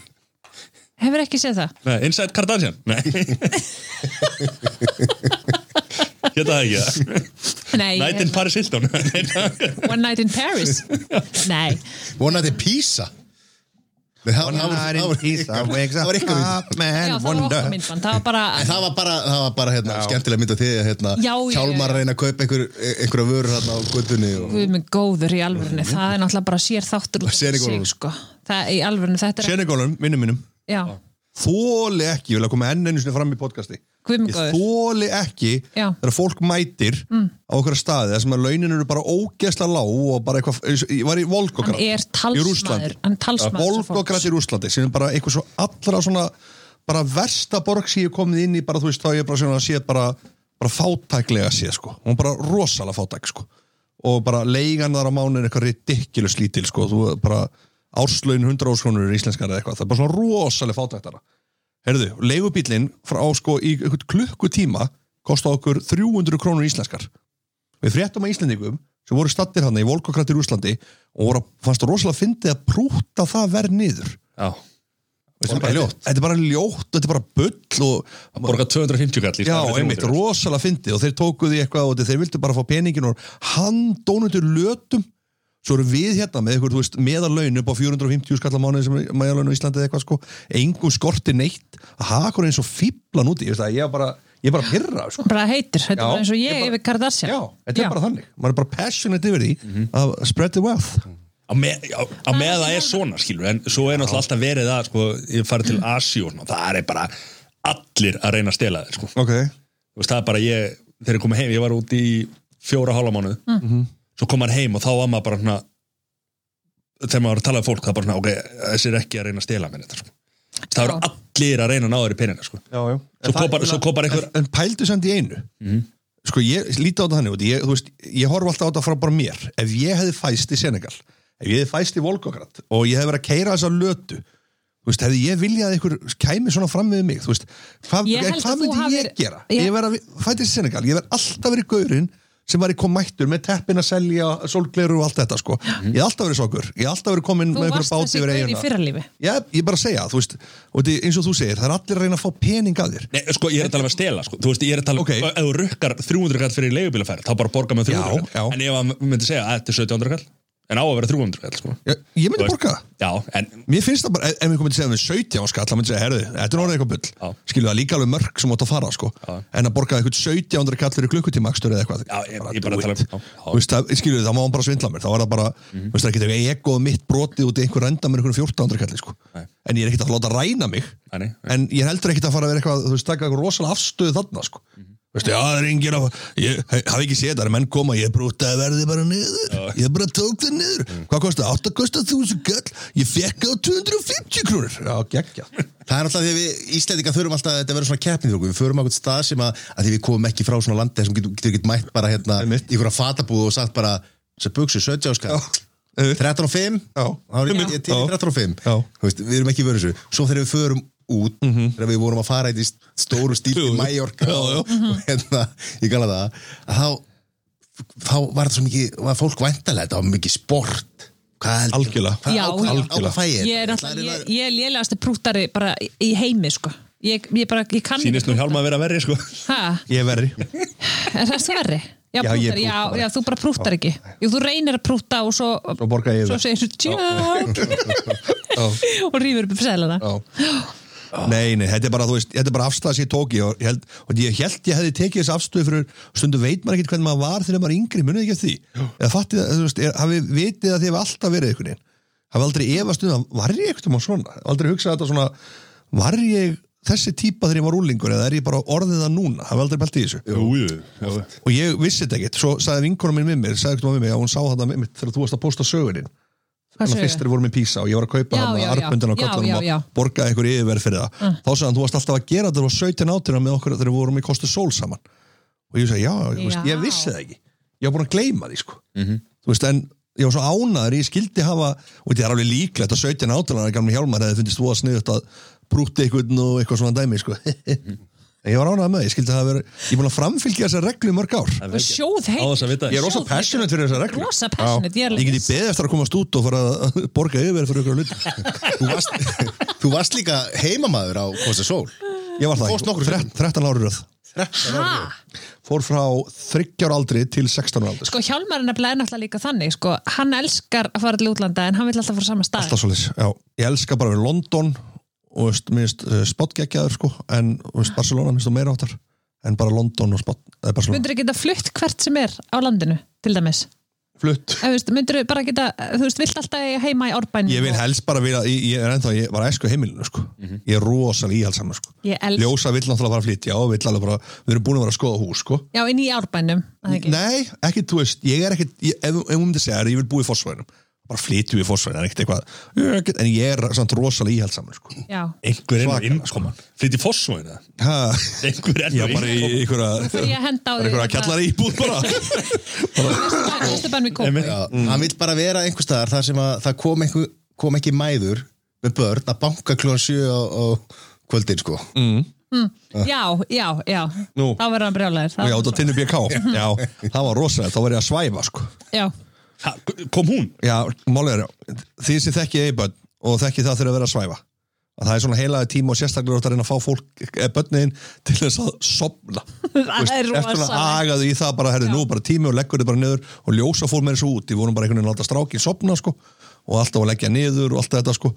S6: hefur ekki séð það
S2: Nei, Inside Kardashian? Nei Geta það ekki það?
S6: Nei,
S2: Night in Paris Hilton Nei,
S6: One Night in Paris Nei,
S1: Vonandi Písa Nei, það- það var- það var ykkar- það var ykkar mynd.
S6: já,
S5: man
S6: það var okkar myndband Það var bara,
S1: En það var bara, það var bara hérna, skemmtilega mynd á því að hérna,
S6: Já, já,
S1: Hjálmar
S6: já.
S1: reyna að kaupa einhver, einhverja vörur hérna á guttunni og
S6: við með góður í alvörinu Það er náttúrulega bara sér þáttur út af
S1: Senególum.
S6: sig, sko. Það í alvörinu, þetta er
S5: Senególum, vinnum mínum
S6: Já,
S5: Þóli ekki, ég vil að koma enn einu sinni fram í podcasti
S6: Guð minn
S5: Ég
S6: góður.
S5: þóli ekki
S6: Já.
S5: þegar fólk mætir
S1: Mm.
S5: á okkur staði þar sem að launin eru bara ógeðsla lág og bara eitthvað, eins og- ég var í Volgograd
S6: Hann er talsmaður,
S5: í Rússlandi.
S6: hann er talsmaður
S5: Ja,
S6: þessa
S5: Volgograd í Rúslandi sem er bara eitthvað svo allra svona bara versta borg sem ég er komið inn í bara þú veist þá ég er bara svona að sé bara bara fátæklega sé sko hún er bara rosalega fátæk sko og bara leigan þar á mánu er eitthvað ridiculous lítil sko þú bara árslaun 100 óskonur íslenskar eða eitthvað það er bara svona rosalega fátækt þarna Herðu, leigubílinn frá sko í einhvern klukkutíma kostaði okkur 300 krónur íslenskar. Við fréttum að Íslendingum sem voru stattir hann í Volkokrættir Úslandi og voru, að- fannst rosalega fyndið að prúta það verð niður.
S2: já
S5: Þetta er bara ljótt. Þetta er bara ljótt, þetta er bara bull og...
S2: Borga 250 kall í
S5: Já,
S2: staðinn fyrir
S5: einmitt,
S2: 300.
S5: rosalega fyndið og þeir tókuði eitthvað og þeir vildu bara fá peningin og handónundur lötum svo eru við hérna með eitthvað, þú veist, meðalaun upp á 450 skallamánuði sem er meðalaun á Íslandi eða eitthvað sko, engum skorti neitt að hakur eins og fíblan úti, ég veist það, ég er bara, ég er bara pyrra, sko.
S6: bara heitur, þetta
S5: Já,
S6: var eins og
S5: ég
S6: ég
S5: bara-
S6: yfir Kardashian
S5: Já, þetta er bara þannig, maður er bara passionate yfir því að spread the wealth.
S2: Á með, á, á með það er svona skilur En svo er náttúrulega alltaf verið að sko, Ég farið til Asi og svona Það er bara allir að reyna að stela þér sko.
S5: Ok.
S2: Þú veist, það er bara ég, þegar ég kom heim, ég var út í fjóra hálfa mánuð,
S5: Mhm.
S2: svo kom maður heim og þá var maður bara svona þegar maður var að tala um fólk, það er bara svona ok, þessi er ekki að reyna að stela mér þetta sko. það eru
S6: Já.
S2: allir að reyna að ná þér í peninga sko.
S5: Já, já.
S2: Svo kom bara- svo kom bara einhver- Mhm.
S5: En, en pældu samt í einu. Sko, ég líti á þetta þannig, út, ég, þú veist, ég horf alltaf á þetta frá bara mér. Ef ég hefði fæst í Senegal, ef ég hefði fæst í Volgograd og ég hefði verið að keira þessa lötu, þú veist, hefði ég viljað að einhver kæmi svona fram með mig, þú veist, hvað
S6: Ég held
S5: hva
S6: að þú
S5: myndi ég
S6: hafir-
S5: gera?
S6: Ég-
S5: Ég verið að fæta í Senegal, ég verið alltaf verið gaurinn sem var í kom mættur með teppin að selja sólgleru og allt þetta sko ég hef alltaf verið sokur, ég hef alltaf verið komin
S6: Þú
S5: með
S6: varst
S5: einhverja báti
S6: þessi
S5: yfir
S6: gaur í
S5: eiguna
S6: fyrralífi.
S5: Já, ég er bara að segja, þú veist og þetta er eins og þú segir, það er allir að reyna að fá pening að þér
S2: Nei, sko, ég er að tala um að stela, sko. Þú veist, ég er að tala um,
S5: Ok.
S2: ef þú rukkar 300 kall fyrir leigubílaferð, þá bara borga með 300
S5: Já, já.
S2: kall. En ef hann myndi segja að þetta er 1700 kall, en á að vera 300 kall, sko.
S5: Já, ég myndi
S2: Þú veist,
S5: borga það.
S2: Já, en
S5: Mér finnst það bara, ef við komum til að segja með 17 skall, það myndi segja, herðu, þetta er orðið eitthvað
S2: Já.
S5: bull skilju það er líka alveg mörg sem átt að fara sko.
S2: Já.
S5: en að borga eitthvað 17 kallir í klukkutíma ekstur eða eitthvað
S2: Já, ég- ég bara
S5: do
S2: tala um- já,
S5: it.
S2: já.
S5: Þú veist, það- skilju það má hann bara svindla mér þá er það bara,
S2: Mhm.
S5: þú veist það er ekki eitthvað egoð mitt brotið út í einhver renda með einhverjum 14 kallir sko.
S2: Nei.
S5: en ég er ekkert að láta ræna mig
S2: Nei, nei, nei.
S5: en ég er heldur ekkert að fara að vera eitthvað þú veist, taka eitthvað rosalega afstöðu þarna sko.
S2: Mhm.
S5: Þú veist, já, það er engin að ég he- hafi ekki séð það, það er menn koma, ég brútaði verði bara niður, ég bara tók það niður
S2: Mm.
S5: hvað kostið, 8 kostið 1000 kall ég fekk á 250 krónur já, geggja
S1: Það er alltaf því að við Íslendingar þurfum alltaf að þetta verður svona keppnið okkur. Við förum á einhvern stað sem að, að því við komum ekki frá svona landi sem getur, getur ekki mætt bara hérna í
S5: Einmitt.
S1: einhverja fatabúð og sagt bara sem buksu, 17 áska, 13 og 5
S5: Já.
S1: þá er ég- ég til í
S5: Já.
S1: 13 og 5
S5: Já. Mhm.
S1: Þú veist, við erum ekki verið þessu. Svo þegar við förum út, þegar við vorum að fara í st- stóru stíl í Mallorca og og hérna, ég gala það að þá, þá var það svo mikið, var fólk væntalega, þetta var mikið sport Hvað heldur?
S5: Algjörlega.
S1: Hvað-
S6: Já,
S1: á hvað- á
S5: algjörlega.
S1: hvað fæ
S6: Ég er
S1: þetta?
S6: alltaf,
S1: Það
S6: ég, ég er lélegasti prúttari bara í- í heimi, sko. Ég, ég bara, ég kann
S2: sínist nú hjálma að vera verri, sko.
S6: Hæ?
S5: ég er verri
S6: Er það svo verri? Já,
S5: Já, ég
S6: prúttar, já,
S5: prútta bara.
S6: já, þú bara prúttar ekki Jú, þú reynir að prútta og svo
S5: Svo borga ég
S6: Svo
S5: yfir.
S6: segir þú tjók og rýfur upp selana
S5: Já. Nei, nei, þetta er bara, þú veist, þetta er bara afstæða sem ég tók í og ég held, og ég held ég hefði tekið þessi afstöðu fyrir stundu veit maður ekkert hvernig maður var þegar maður er yngri, munið ekki eftir því eða fattið að, þú veist, er, hafi vitið að þið hefur alltaf verið einhvern veginn, hafi aldrei efast um að var ég eitthvað maður svona, aldrei hugsað þetta svona, var ég þessi típa þegar ég var úlingur eða er ég bara orðið það núna, hafi aldrei pælt í þessu
S2: Jú, jú, jú.
S5: og ég vissi þetta ekkert, svo sagði vinkonum minn við mér, sagði ekkert með mig að hún sá þetta með mér þegar þú varst að posta sögunin
S6: Hvað
S5: Þannig
S6: sögu?
S5: að fyrst þeir vorum í Písa og ég var að kaupa
S6: Já,
S5: hann
S6: já,
S5: að
S6: já.
S5: arpöndin á
S6: Já, já,
S5: kollanum
S6: já. Mm.
S5: og borgaði einhver yfirverð fyrir það þá sagði hann, þú varst alltaf að gera þetta, þú var 17 átina með okkur þegar við vorum í Kostu Sól saman og ég sagði, já, já. Veist,
S6: Já.
S5: ég vissi það ekki ég var búin að gleyma því, sko þú veist, en ég var svo ánaður, ég skildi hafa og þetta er alveg líklegt að 17 átina að gamli hjálmar hefði fundist þú að sniðut að brúti einhvern og eitthvað svona dæmi, sko En ég var ánægð með, það, ég skildi það að vera, ég er búin að framfylgja þessa reglu í mörg ár.
S6: og sjóð
S2: Á þess að
S6: heitt
S2: vita
S5: Ég er rosa
S6: Sjóð
S5: passionate fyrir þessa reglu.
S6: Rosa passionate, ég er
S5: Ég get í beðið eftir að komast út og fara að borga yfir fyrir ykkur hlut.
S1: þú varst, þú varst líka heimamaður á Kosta Sól
S5: Ég var
S1: Fórst
S5: það,
S1: nokkur
S5: Þre- 13 ári röð.
S6: Ha?
S5: Fór frá 30 ára aldri til 16 ára aldri.
S6: Sko Hjálmar er nefnilega náttúrulega líka þannig sko, hann elskar að fara til útlanda en hann vil alltaf fara á sama stað
S5: Alltaf svolítið, já. Ég elska bara við London og veist, minnst spotgeggjaður sko, en veist, Barcelona minnst þú meira áttar en bara London og spot, eh, Barcelona.
S6: Myndur þú geta flutt hvert sem er á landinu til dæmis?
S5: Flutt.
S6: Myndur þú bara geta, þú veist, vilt alltaf eiga heima í Árbænum
S5: Ég vil
S6: og-
S5: helst bara vera, ég, ég er ennþá, ég var æsku heimilinu sko. Ég er rosalega íhaldsamur sko.
S6: Ég elska-
S5: Ljósa vill náttúrulega fara að flytja og vill alveg bara, við erum búin að vera að skoða hús sko.
S6: Já, inn í Árbænum að það ekki?
S5: Nei, ekki, þú veist, ég er ekkit ég, ef, ef hún myndi segja að ég vil búa í fórsvæðinum bara flytjum í fórsvæðinu, það er ekkit eitthvað ég er ekkit, en ég er samt rosalega íhaldsamur sko.
S6: Já,
S2: Einhver er nú
S5: Svakalega,
S2: innkoman. Flytt í fossvóinu, það.
S5: ha,
S2: Einhver er
S5: ég
S2: nú
S5: er bara í
S2: innkoman.
S5: einhverja
S6: fyrir ég að henda á hérna
S5: bara
S6: því
S5: einhverja kjallari íbúð bara
S6: Vesturbænum í Kópavík.
S1: Já, hann vill bara vera einhver staðar þar sem að það kom, einhver, kom ekki mæður með börn að banka klón 7 á, á kvöldin sko
S5: Mm.
S6: Já, já, já
S5: Nú.
S6: Þá verður hann brjálæður
S5: og ég
S6: það-
S5: átt að tinnu BK já, það var rosalega, þá var ég að svæfa sko.
S6: Já,
S2: Ha, Kom hún?
S5: já, málega er því sem þekki ég bönn og þekki það þurfa að vera að svæfa að það er svona heilaði tíma og sérstaklega þú ert að reyna að fá fólk bönniðin til þess að sopna
S6: það er
S5: eftir að
S6: rosalega
S5: agaðu í það bara, herðu, nú er bara tími og leggur þið bara niður og ljósa fór með þessu út, ég vorum bara einhvern veginn að láta strákið sopna sko, og alltaf að leggja niður og alltaf þetta sko,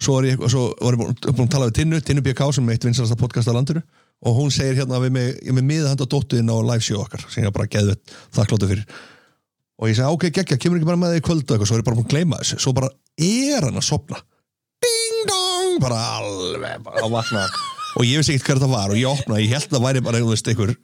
S5: svo er ég, svo var ég búin, búin að tala við Tinnu, Tinnu BK sem er eitt vinsalasta podcast að landinu og hún segir hérna að við með, ég er með miða handa dóttuðinn á live show okkar, sem ég bara geðu þakkláttu fyrir og ég segi, ok, geggja, kemur ekki bara með þig í kvöldu eitthvað, svo er ég bara búin að gleyma þessu, svo bara er hann að sopna ding dong, bara alveg bara að vakna hann. og ég vissi ekkert hver þetta var og ég opnaði, ég held að það væri bara þú veist, einhver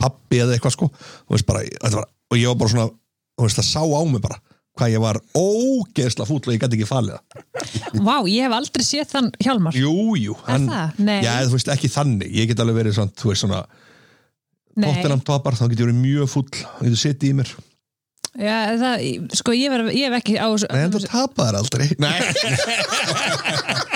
S5: pappi eða eitthvað sko Þú veist, bara, þetta var, og ég var bara svona þú veist, það sá á mig bara hvað ég var ógeðsla fúll og ég gæti ekki falið það
S6: Vá, ég hef aldrei séð þann Hjálmar
S5: jú, jú, hann,
S6: það? Nei.
S5: já, þú veist, ekki þannig ég get alveg verið svona, þú veist, svona tóttinam tapar, þá get ég verið mjög fúll þá get ég setið í mér,
S6: já, það, Sko, ég, ver, ég hef ekki á
S5: en þú tapar aldrei nei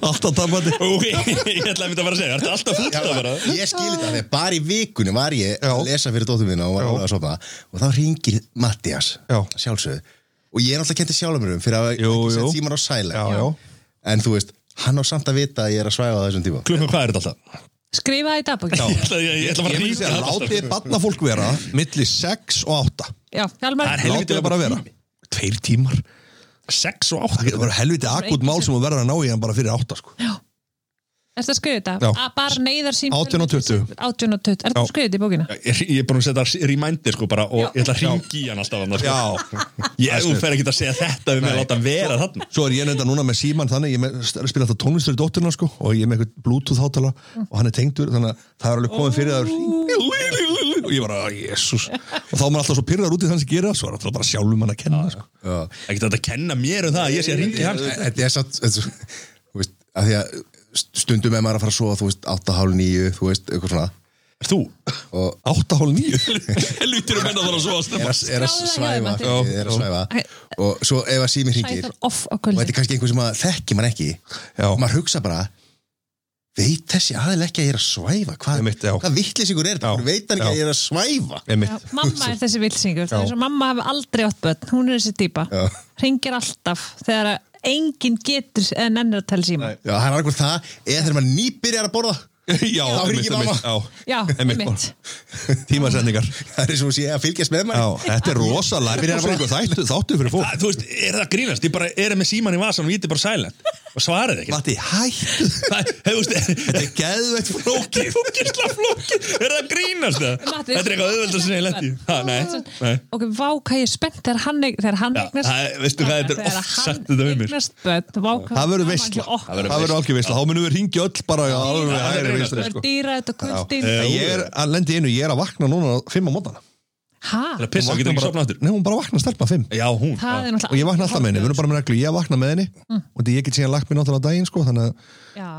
S5: Alltaf tapandi
S2: Ok, ég ætlaði að mynda að fara að segja, ertu alltaf fúll það bara?
S1: ég skil þetta, þegar bara í vikunni var ég
S5: Já.
S1: að lesa fyrir dóttum minna og var
S5: Já.
S1: alveg að sofa og þá ringir Mattias
S5: Já.
S1: sjálfsögðu og ég er náttúrulega kentið sjálfum mér um fyrir að
S5: Jú,
S1: ekki setja
S5: jú.
S1: síman á sæla
S5: Já, já.
S1: en þú veist, hann á samt að vita að ég er að svæfa á þessum tíma
S2: Klukkan hvað er þetta alltaf?
S6: Skrifa það í dagbók
S2: Ég ætla, ég, ég ætla bara
S5: Ég
S2: að
S5: myndi
S2: ringa
S5: að látið barnafólk vera milli 6 og 8
S6: Já, Hjalmar
S2: Það er
S5: Látið
S2: Helviti
S5: það bara
S2: langur
S5: vera Tveir tímar
S2: Sex og
S5: Það
S2: átta
S5: getur bara helviti akut mál sem þú verður að ná í hann bara fyrir 8 sko.
S6: Ertu að skrifa þetta?
S5: Já.
S6: Að bara neyðar sín
S5: 18 og 20.
S6: 18 og 20 Ertu
S5: Já.
S6: að skrifa þetta í bókina?
S2: Ég ég er búin að setja reminder sko bara og ég ætla að ringi í hann alltaf annars sko. Ég þú fer ekki að segja þetta við mig að láta hann vera þarna
S5: Svo er ég nefnda núna með síman þannig Ég er með- spila alltaf tónlistur í dótturna sko, og ég er með eitthvað bluetooth hátala og hann er tengdur þannig að það er alveg komið fyrir það hringi- og ég bara, jésús og þá er maður alltaf svo pyrrar út í þannig að gera svo er alltaf bara sjálfum hann að kenna sko.
S1: Já.
S2: Það getur þetta að kenna mér um það að ég sé að ringi hann
S1: þetta er satt þetta er svo- þú veist, að því að stundum er maður að fara að sofa, þú veist, 8.30 þú veist, eitthvað svona
S2: Er þú?
S1: og
S5: 8.9
S2: Helvitir um hennar þarf að svo að
S1: er að, er að
S6: Skráðu það hjá
S1: svæfa
S6: þér, Matti.
S1: er að svæfa og svo ef að sími
S6: Það
S1: hringir
S6: er off á
S1: og þetta
S6: kvöldi
S1: er kannski einhver sem að þekki mann ekki
S5: Já.
S1: og maður hugsa bara veit þessi aðeil ekki að ég er að svæfa hvað,
S5: Einmitt, já.
S1: hvað vittlisingur er
S5: Já.
S1: þetta, veit hann ekki
S5: Já.
S1: að ég er að svæfa
S6: Já, Mamma er þessi vilsingur
S5: Já.
S6: þessi Mamma hafi aldrei átt börn, hún er þessi típa
S1: Já.
S6: Ringir alltaf þegar að enginn getur eða nennir að tala í síma
S1: já, það er alveg það, eða þegar maður nýbyrjar að borða
S5: Já,
S1: Þá hringir
S5: einmitt,
S1: mamma.
S5: einmitt, já.
S6: Já,
S5: Einmitt,
S6: einmitt.
S5: bara. Tímasendingar
S1: það er eins og hún sé að fylgjast með
S5: Já,
S1: maður
S5: þetta er rosa lærdómsríkur þættu, þáttu fyrir fólk
S2: Ah, Þú veist, er það að grínast? Ég bara er með síman í vasan og íti bara silent og svarið ekki
S5: Matti, hættu
S2: Það þú veist,
S5: Þetta er geðveitt
S2: Þetta er
S5: flókið
S2: fókisla flókið Er það að grínast það?
S6: Matti,
S2: Þetta er eitthvað auðvöldast sem ég lendi Nei, nei
S6: Ok, vá hvað ég er spennt þegar hann, eig- þegar hann
S2: Já,
S6: eignast
S2: það er- veistu hvað, þetta er
S6: Þegar
S2: oft
S6: hann
S2: sagt þetta um við mér.
S6: eignast börn, vá hvað
S5: Það verður
S6: gaman
S5: veistla
S6: hjá okkur.
S5: Það verður algjör veistla, þá munum við ringja öll bara á alveg
S2: Það verður
S5: hægri
S2: veisla,
S5: veistla
S6: Það
S5: sko.
S6: er dýra þetta kvöldin
S5: En Ég er að lendi einu, ég er að vakna núna á fimm á mótana
S6: Hæ?
S2: Það er að pissa, getur ekki sopna áttur
S5: Nei, hún bara vakna stelpa fimm
S2: Já, hún Ah,
S6: Það er náttúrulega
S5: Og ég vakna alltaf með henni, við erum bara með reglu, ég vakna með henni
S6: Mm.
S5: Og því ég get síðan lagt mér náttúrulega á daginn sko, þannig, að-
S6: Já,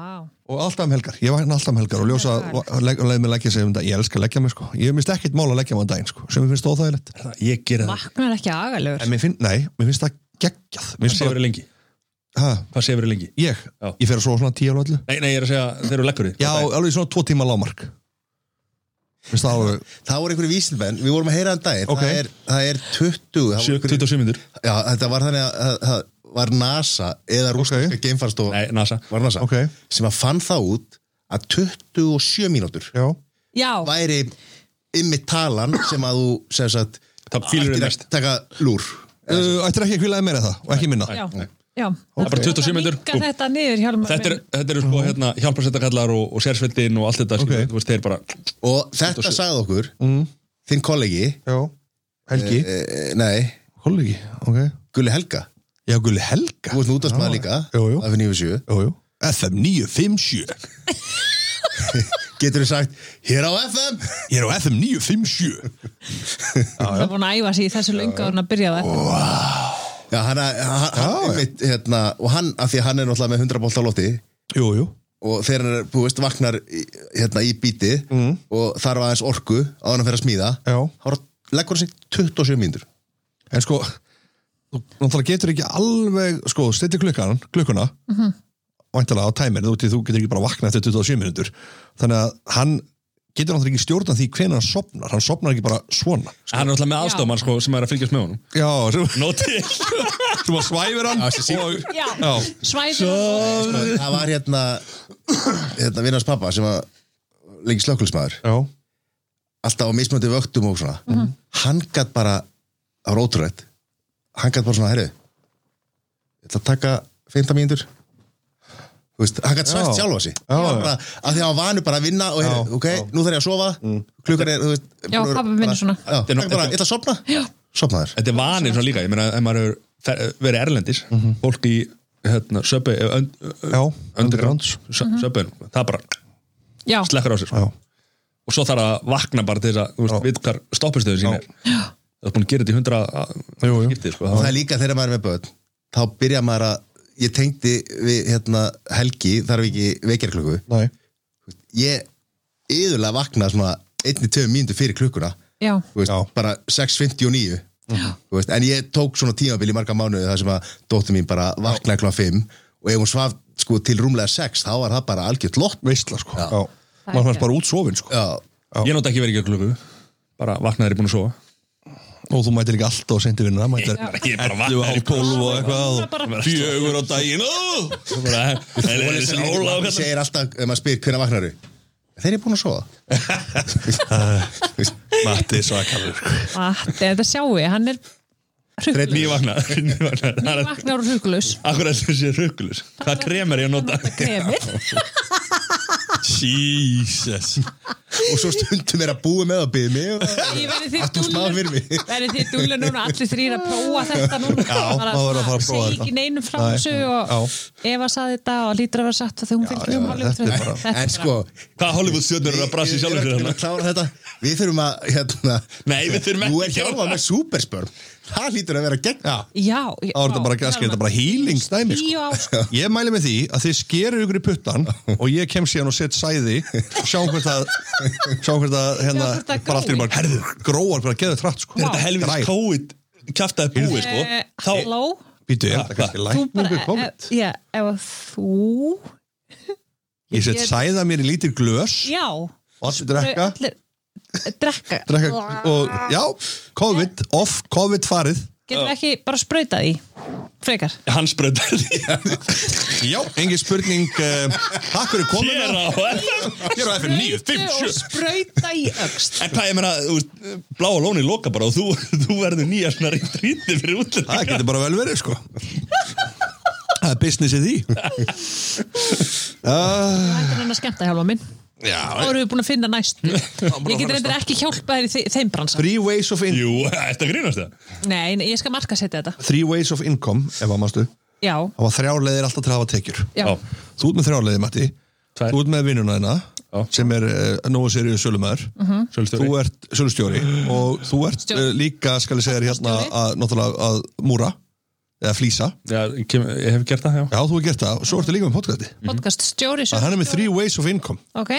S5: Og alltaf um helgar, ég vakna alltaf um helgar Og ljósa, leið leg, mig leggja sig um dag Ég elska að leggja mig sko, ég finnst ekkert mál að leggja mig á daginn sko, Sem ég finnst óþægilegt
S2: Það- ah, Ég ger það
S6: vaknar ekki agalegur
S5: En mér finn, nei, mér finnst það geggjað Mér
S2: Hvað
S5: finnst bara,
S2: sefur lengi?
S5: ha,
S2: Hvað sefur lengi?
S5: ég,
S2: Já.
S5: ég fer að sofa svona tíu alveg öllu
S2: Nei, nei, ég er að segja þeir eru leggur í
S5: Já, alveg svona tvo tíma lámark Finnst það alveg
S1: það voru einhverju vísindmenn, við vorum að heyra hann dagir
S5: Ok.
S1: það, er, það er 20 það voru einhverjir-
S2: 27 myndur
S1: já, þetta var þannig að, að, að var NASA eða rústinska okay. geimfarstof
S2: Nei, NASA
S1: var NASA
S5: Ok.
S1: sem að fann það út að 27 mínútur
S5: Já,
S6: Já,
S1: væri ymmi talan sem að þú sem sagt,
S2: Það fýlur þið mest
S1: taka lúr
S5: uh, ættir ekki að kvilaði meira en það og ekki minna
S6: já, já
S2: Það er bara 27 mínútur.
S6: Minka þetta niður Hjálmar
S2: Þetta er,
S6: minn.
S2: þetta er sko hérna hjálparsettakallar og, og sérsveldin og allt þetta
S5: Ok.
S2: okay. Þú veist, þeir bara
S1: og þetta sagði okkur
S5: Mm.
S1: þinn kollegi,
S5: Já, Helgi
S1: e, nei
S5: Kollegi, ok
S1: Gulli Helga,
S5: Já, Gulli Helga
S1: þú ert nú út að smaða líka
S5: Jú, jú.
S1: af 97,
S5: Jú, jú FM 957
S1: getur þú sagt hér á FM,
S5: Ég er á FM 957
S6: Það er búin að æfa sig í þessu löngu og hann að byrja það
S1: já, hana, hann, hann,
S5: Já, já.
S1: einmitt, hérna, og hann, af því að hann er náttúrulega með 100 bólt á lofti
S5: Jú, jú
S1: og þegar hann er, þú veist, vaknar í- hérna í bíti og þarf aðeins orku á hann að fyrir að smíða
S5: Já.
S1: þá er- leggur hann sig 27 mínútur
S5: En sko, þú náttúrulega getur ekki alveg Sko, stilli klukkan, klukkuna Væntalega á tæmir Þú, þú getur ekki bara vaknað eftir 27 minútur Þannig að hann getur náttúrulega ekki stjórna því hvenær hann sopnar Hann sopnar ekki bara svona
S2: Hann er alltaf með
S6: Já.
S2: aðstofmann sko, sem er að fylgjast með honum
S5: Já, sem,
S2: Nó til
S5: sem að svæfir hann og,
S6: Já,
S5: Já,
S6: svæðir
S1: það var hérna hérna vinnars pappa sem var lengi slökkulsmaður,
S5: já
S1: alltaf á mismöndi vöktum og svona,
S6: Mhm.
S1: hann gætt bara það var ótrúrætt hann gætt bara svona, herri ég ætla að taka 15 mínútur þú veist, hann gætt svæft
S5: Já.
S1: sjálfa sig
S5: Já,
S1: Hann var
S5: já.
S1: bara, að því að hann var vanur bara að vinna og
S5: Já, Mm.
S1: heyrðu, ok, nú þarf ég að sofa klukkan er, þú veist
S6: Já,
S1: bara-
S6: pabbi minn er
S1: bara-
S6: svona.
S1: já,
S2: er nú-
S1: hann bara,
S2: þetta-
S1: ég ætla að sofna, sofnaður
S2: Þetta er vanir svona líka, ég meina ef maður hefur fer- verið erlendis, fólk í hérna, söpbi, önd,
S5: Já,
S2: undergrounds,
S6: Mhm.
S2: söpbi það bara
S6: Já,
S2: slekkur á sér sko.
S5: Já.
S2: og svo þarf að vakna bara til þess að þú veist,
S5: Já.
S2: við hvar stoppustöðu sín er það er búin að gera þetta í hundra
S5: Jú, jú.
S2: skiptið sko.
S1: og það er líka þegar maður er með börn þá byrja maður að, ég tengdi við hérna, helgi, þarf ekki vekjarklukku,
S5: Nei
S1: ég yðurlega vakna svona 1-2 mínútur fyrir klukkuna
S6: já,
S1: þú veist,
S5: Já.
S1: bara 6.59 þú veist, en ég tók svona tímabil í marga mánuði þar sem að dóttir mín bara vaknaði klá 5 og ef hún svaf sko til rúmlega sex þá var það bara algjört lott
S5: veistla sko
S1: Já.
S5: maður fannst bara út sofin sko
S1: já,
S2: Ég nátt ekki verið ekki að klukku Bara vaknaði er búin að sofa
S5: og þú mætir ekki alltaf sendi vinna mætir
S2: Ég er bara
S5: 11 á
S2: vaknaði
S5: 12 og
S6: Það bara-
S5: eitthvað og fjögur á daginn
S1: Ég
S2: Óláð
S1: segir alltaf, ef maður spyr hvernig vaknar þau þeir eru búin að sofa
S5: Matti svakalur sko.
S6: Matti, þetta sjáu við, hann er
S2: Reit nýja vaknaði Nýja vaknaði
S6: vaknar og huglaus
S2: Akkur að þessi er rugglus Hvað krem er ég að nota?
S6: kremið,
S5: Jesus
S1: og svo stundum er að búa með að byggja mig og
S6: ég verði þið
S1: Ert þú smá fyrir mig?
S6: verði þið dúlu núna, allir þrýr að prófa þetta núna
S5: Já, maður verður að fara að prófa
S6: segja
S5: þetta.
S6: ekki neinum frá
S5: Nei,
S6: þessu og Eva saði þetta og lítur að vera satt þegar hún fylgir um
S5: já, þetta er bara-
S1: en sko
S2: Hvað Hollywood stjórnur eru að brasa
S1: ég-
S2: í
S1: ég
S2: sjálfum
S1: er ekki
S2: sér
S1: að
S2: þarna?
S1: klára þetta við þurfum að hérna,
S2: Nei, við þurfum
S1: nú er
S2: ekki að gera
S1: hjálpa
S2: það.
S1: með superspörm það hlýtur að vera gegn
S5: Já,
S6: já,
S5: þá er þetta bara gaskir, þetta er bara healing stæmi sko.
S6: tíu á
S5: Ég mæli með því að þið skerur ykkur í puttan og ég kem síðan og set sæði og sjáum hvert að sjáum hvert að hérna,
S6: Sjáum hvert að
S5: bara allt í einu bara, herðu, gróar hvert að geða þrætt sko.
S2: Þegar þetta helvins
S5: Græn.
S2: COVID kjaftaði búið sko
S6: Eh,
S2: Þá
S6: halló
S5: Býtu, er
S2: Ha,
S5: þetta kannski
S6: þú
S5: lækningu
S6: bara,
S5: COVID?
S6: eh, já, ef þú
S5: Ég set
S6: ég-
S5: sæða mér í lítir glös
S6: já,
S5: og allir drekka,
S6: allir- drekka
S5: drekka og já, COVID, off, COVID farið
S6: getur ekki bara sprauta því frekar
S2: hann spröndar því
S5: Já, engin spurning uh, Takk fyrir komuna
S2: Hér á
S5: Hér á FM 9, 5,
S6: Sprautu
S5: 7
S6: og sprauta í öxt
S2: En hvað ég meina, þú veist, bláa lóni loka bara og þú, þú verður nýja svona rítrýndi fyrir
S5: Það
S2: útlendinga
S5: getur bara vel verið sko Það er business í því
S6: Þetta er hann að skemmta hjálpa minn Þá
S5: Já,
S6: erum við búin að finna næstu Ég get reyndar ekki hjálpa þér í þe- þeim bransa
S5: Three ways of, in
S2: Jú, þetta grínast það
S6: Nei, nei, ég skal marka setja þetta
S5: three ways of income Ef að mástu Það
S6: Já,
S5: var þrjárleðir alltaf til að hafa tekjur
S6: já,
S2: Já.
S5: Þú ert með þrjárleðir, Matti
S2: Tvær.
S5: Þú ert með vinnuna þina
S2: Já. Mhm.
S5: sem er uh, nógu serið sölumæður
S2: Sölustjóri.
S5: Þú ert sölustjóri og þú ert uh,
S6: Stjóri.
S5: líka, skal ég segja þér hérna
S6: Stjóri.
S5: að, náttúrulega að múra eða flýsa
S2: Já, ég kem, ég hef gert það, já
S5: Já, þú hefur gert það og svo ertu líka með podcasti
S6: podcast stjóri
S5: að hann er með three ways of income
S6: Ok,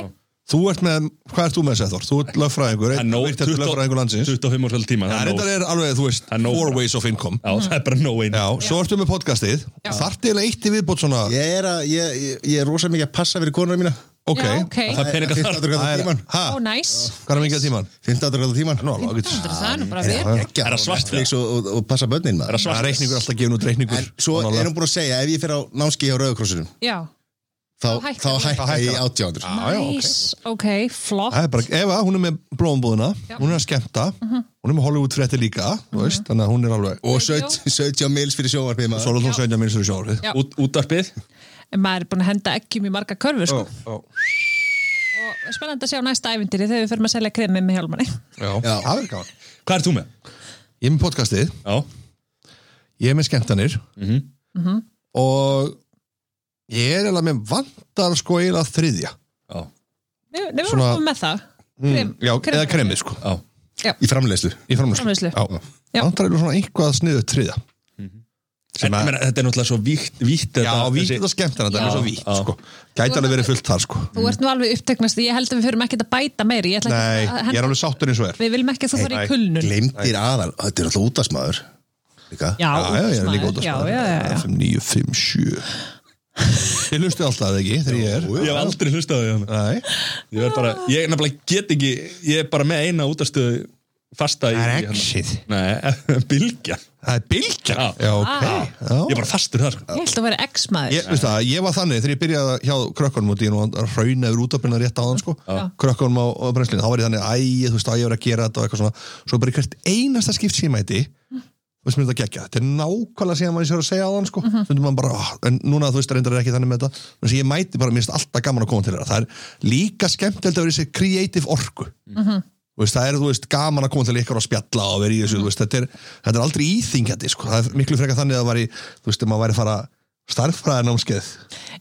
S5: Þú ert með, hvað ert þú með Sæþór? Þú ert lögfræðingur,
S2: Það er nóg,
S5: virtasti lögfræðingur landsins
S2: 25 árs vel tíma
S5: Það
S2: Það er
S5: reyndar
S2: nóg
S5: er alveg, þú veist,
S2: Það er nóg.
S5: four ways of income
S2: Já, það er bara no way
S5: Já, svo ertu með podcastið Þarfti eiginlega eitt í viðbót svona
S1: ég er, að, ég, ég, ég er rosa mikið að passa fyrir konuna mína
S5: Ok,
S6: já, ok
S2: Það er peninga þar
S1: 15 gráða
S5: það er,
S1: tíman
S5: hæ,
S6: Ó, næs
S5: hvað er mikið að tíman?
S1: 15 gráða tíman
S5: Nó, ágætt
S6: Það er nú bara við
S1: Geggjað,
S2: Er það svart
S1: Netflix og, og, og passa börnin maður
S5: Það er reikningur alltaf gefin út
S1: en
S5: reikningur
S1: svo
S5: Nálega.
S1: er hún búin að segja ef ég fer á námski hjá Rauðakrossunum
S6: Já,
S1: þá,
S6: Þá Ah. hækkar
S1: þá
S6: það.
S1: hækka
S5: hækkar
S1: ég
S5: það.
S1: átjándur
S5: já, ok.
S6: næs, ok, flott
S5: Það er bara, Eva, hún er með blómbúðina Hún er að skemmta, hún er með Hollywood frétti líka
S6: Mhm.
S5: Þú veist, þannig að hún er alveg
S1: og 17 17 mils fyrir sjóvarpið maður
S5: Svo er þú sveitja minnst fyrir sjálfið
S6: Já.
S2: Út, Útarpið
S6: En maður er búin að henda ekkjum í marga körfur sko.
S5: já.
S6: Og spennandi að sjá næsta ævindiri þegar við förum að selja kremi með hjálmari
S5: Já, það er gaman
S2: Hvað er þú með?
S5: Ég er með podcastið,
S2: Já,
S5: ég er með skemmtanir
S6: Mhm.
S5: Og ég er eiginlega með vantar sko eiginlega þriðja
S2: já,
S6: Nei, nei, við vorum
S5: Svona- Mm,
S6: komið með það Krem,
S5: Já, eða kremið sko
S2: já
S1: í framleiðslu
S5: í framleiðslu
S6: Framleiðslu. Já.
S5: Já. vantar eitthvað svona eitthvað sniðu triða
S2: En ég meina, þetta er náttúrulega svo vítt, vítt
S5: já, vítt þetta skemmt en þetta
S6: Já.
S5: er svo vítt
S2: Já.
S5: sko. gæti alveg verið fullt þar sko.
S6: Þú ert nú alveg uppteknast Ég held að við förum ekkert að bæta meiri Ég ætla
S5: nei,
S6: ekki að
S5: ég
S6: henda
S5: er alveg sáttur eins og er já,
S6: Við viljum ekki að þú fara
S5: Nei,
S6: í kulnun
S1: glemdir aðal, þetta er alltaf útasmaður líka,
S6: Já,
S5: já, ég er líka út
S6: útvarpsmaður. Já, já, já, já.
S5: 5, 9, 5, 7 þið hlustu alltaf eða ekki þegar ég er
S2: Ég hef aldrei hlustað á því hana
S5: nei,
S2: Ég er bara, ég nefnilega get ekki Ég er bara með eina útastöðu fasta í
S5: það
S2: í
S5: er
S2: hana.
S5: exið
S2: Nei, bylgja
S5: það er bylgja
S2: Já.
S5: já, ok
S6: Ah.
S2: Ég er
S5: já.
S2: bara fastur þar sko
S6: Ég held að vera X-maður
S5: Ég, veist það, ég var þannig þegar ég byrjaði hjá krökkunum og dýnum að hrauna yfir útöpina rétt áðan sko, krökkunum á, á brennslinu þá var ég þannig, æ, þú veist, að ég var að gera þetta og eitthvað svona, svo bara í hvert einasta skipt sem ég mæti, þú veist, mér þetta gekkja þetta er nákvæmlega síðan maður sér að segja áðan sko stundum maður bara, "Ah," en núna þú veist, reyndar er ekki þannig með þetta, þannig að ég mæti bara, mér finnst alltaf gaman að koma til þeirra, það er líka skemmt að vera í þessi creative orku Þú veist, það er, þú veist, gaman að koma til ykkur og spjalla og vera í
S6: Mhm.
S5: þessu, þú veist, þetta er, þetta er aldrei íþingjandi, sko, það er miklu frekar þannig að það væri, þú veist, ef maður væri að fara starffræðinámskeið,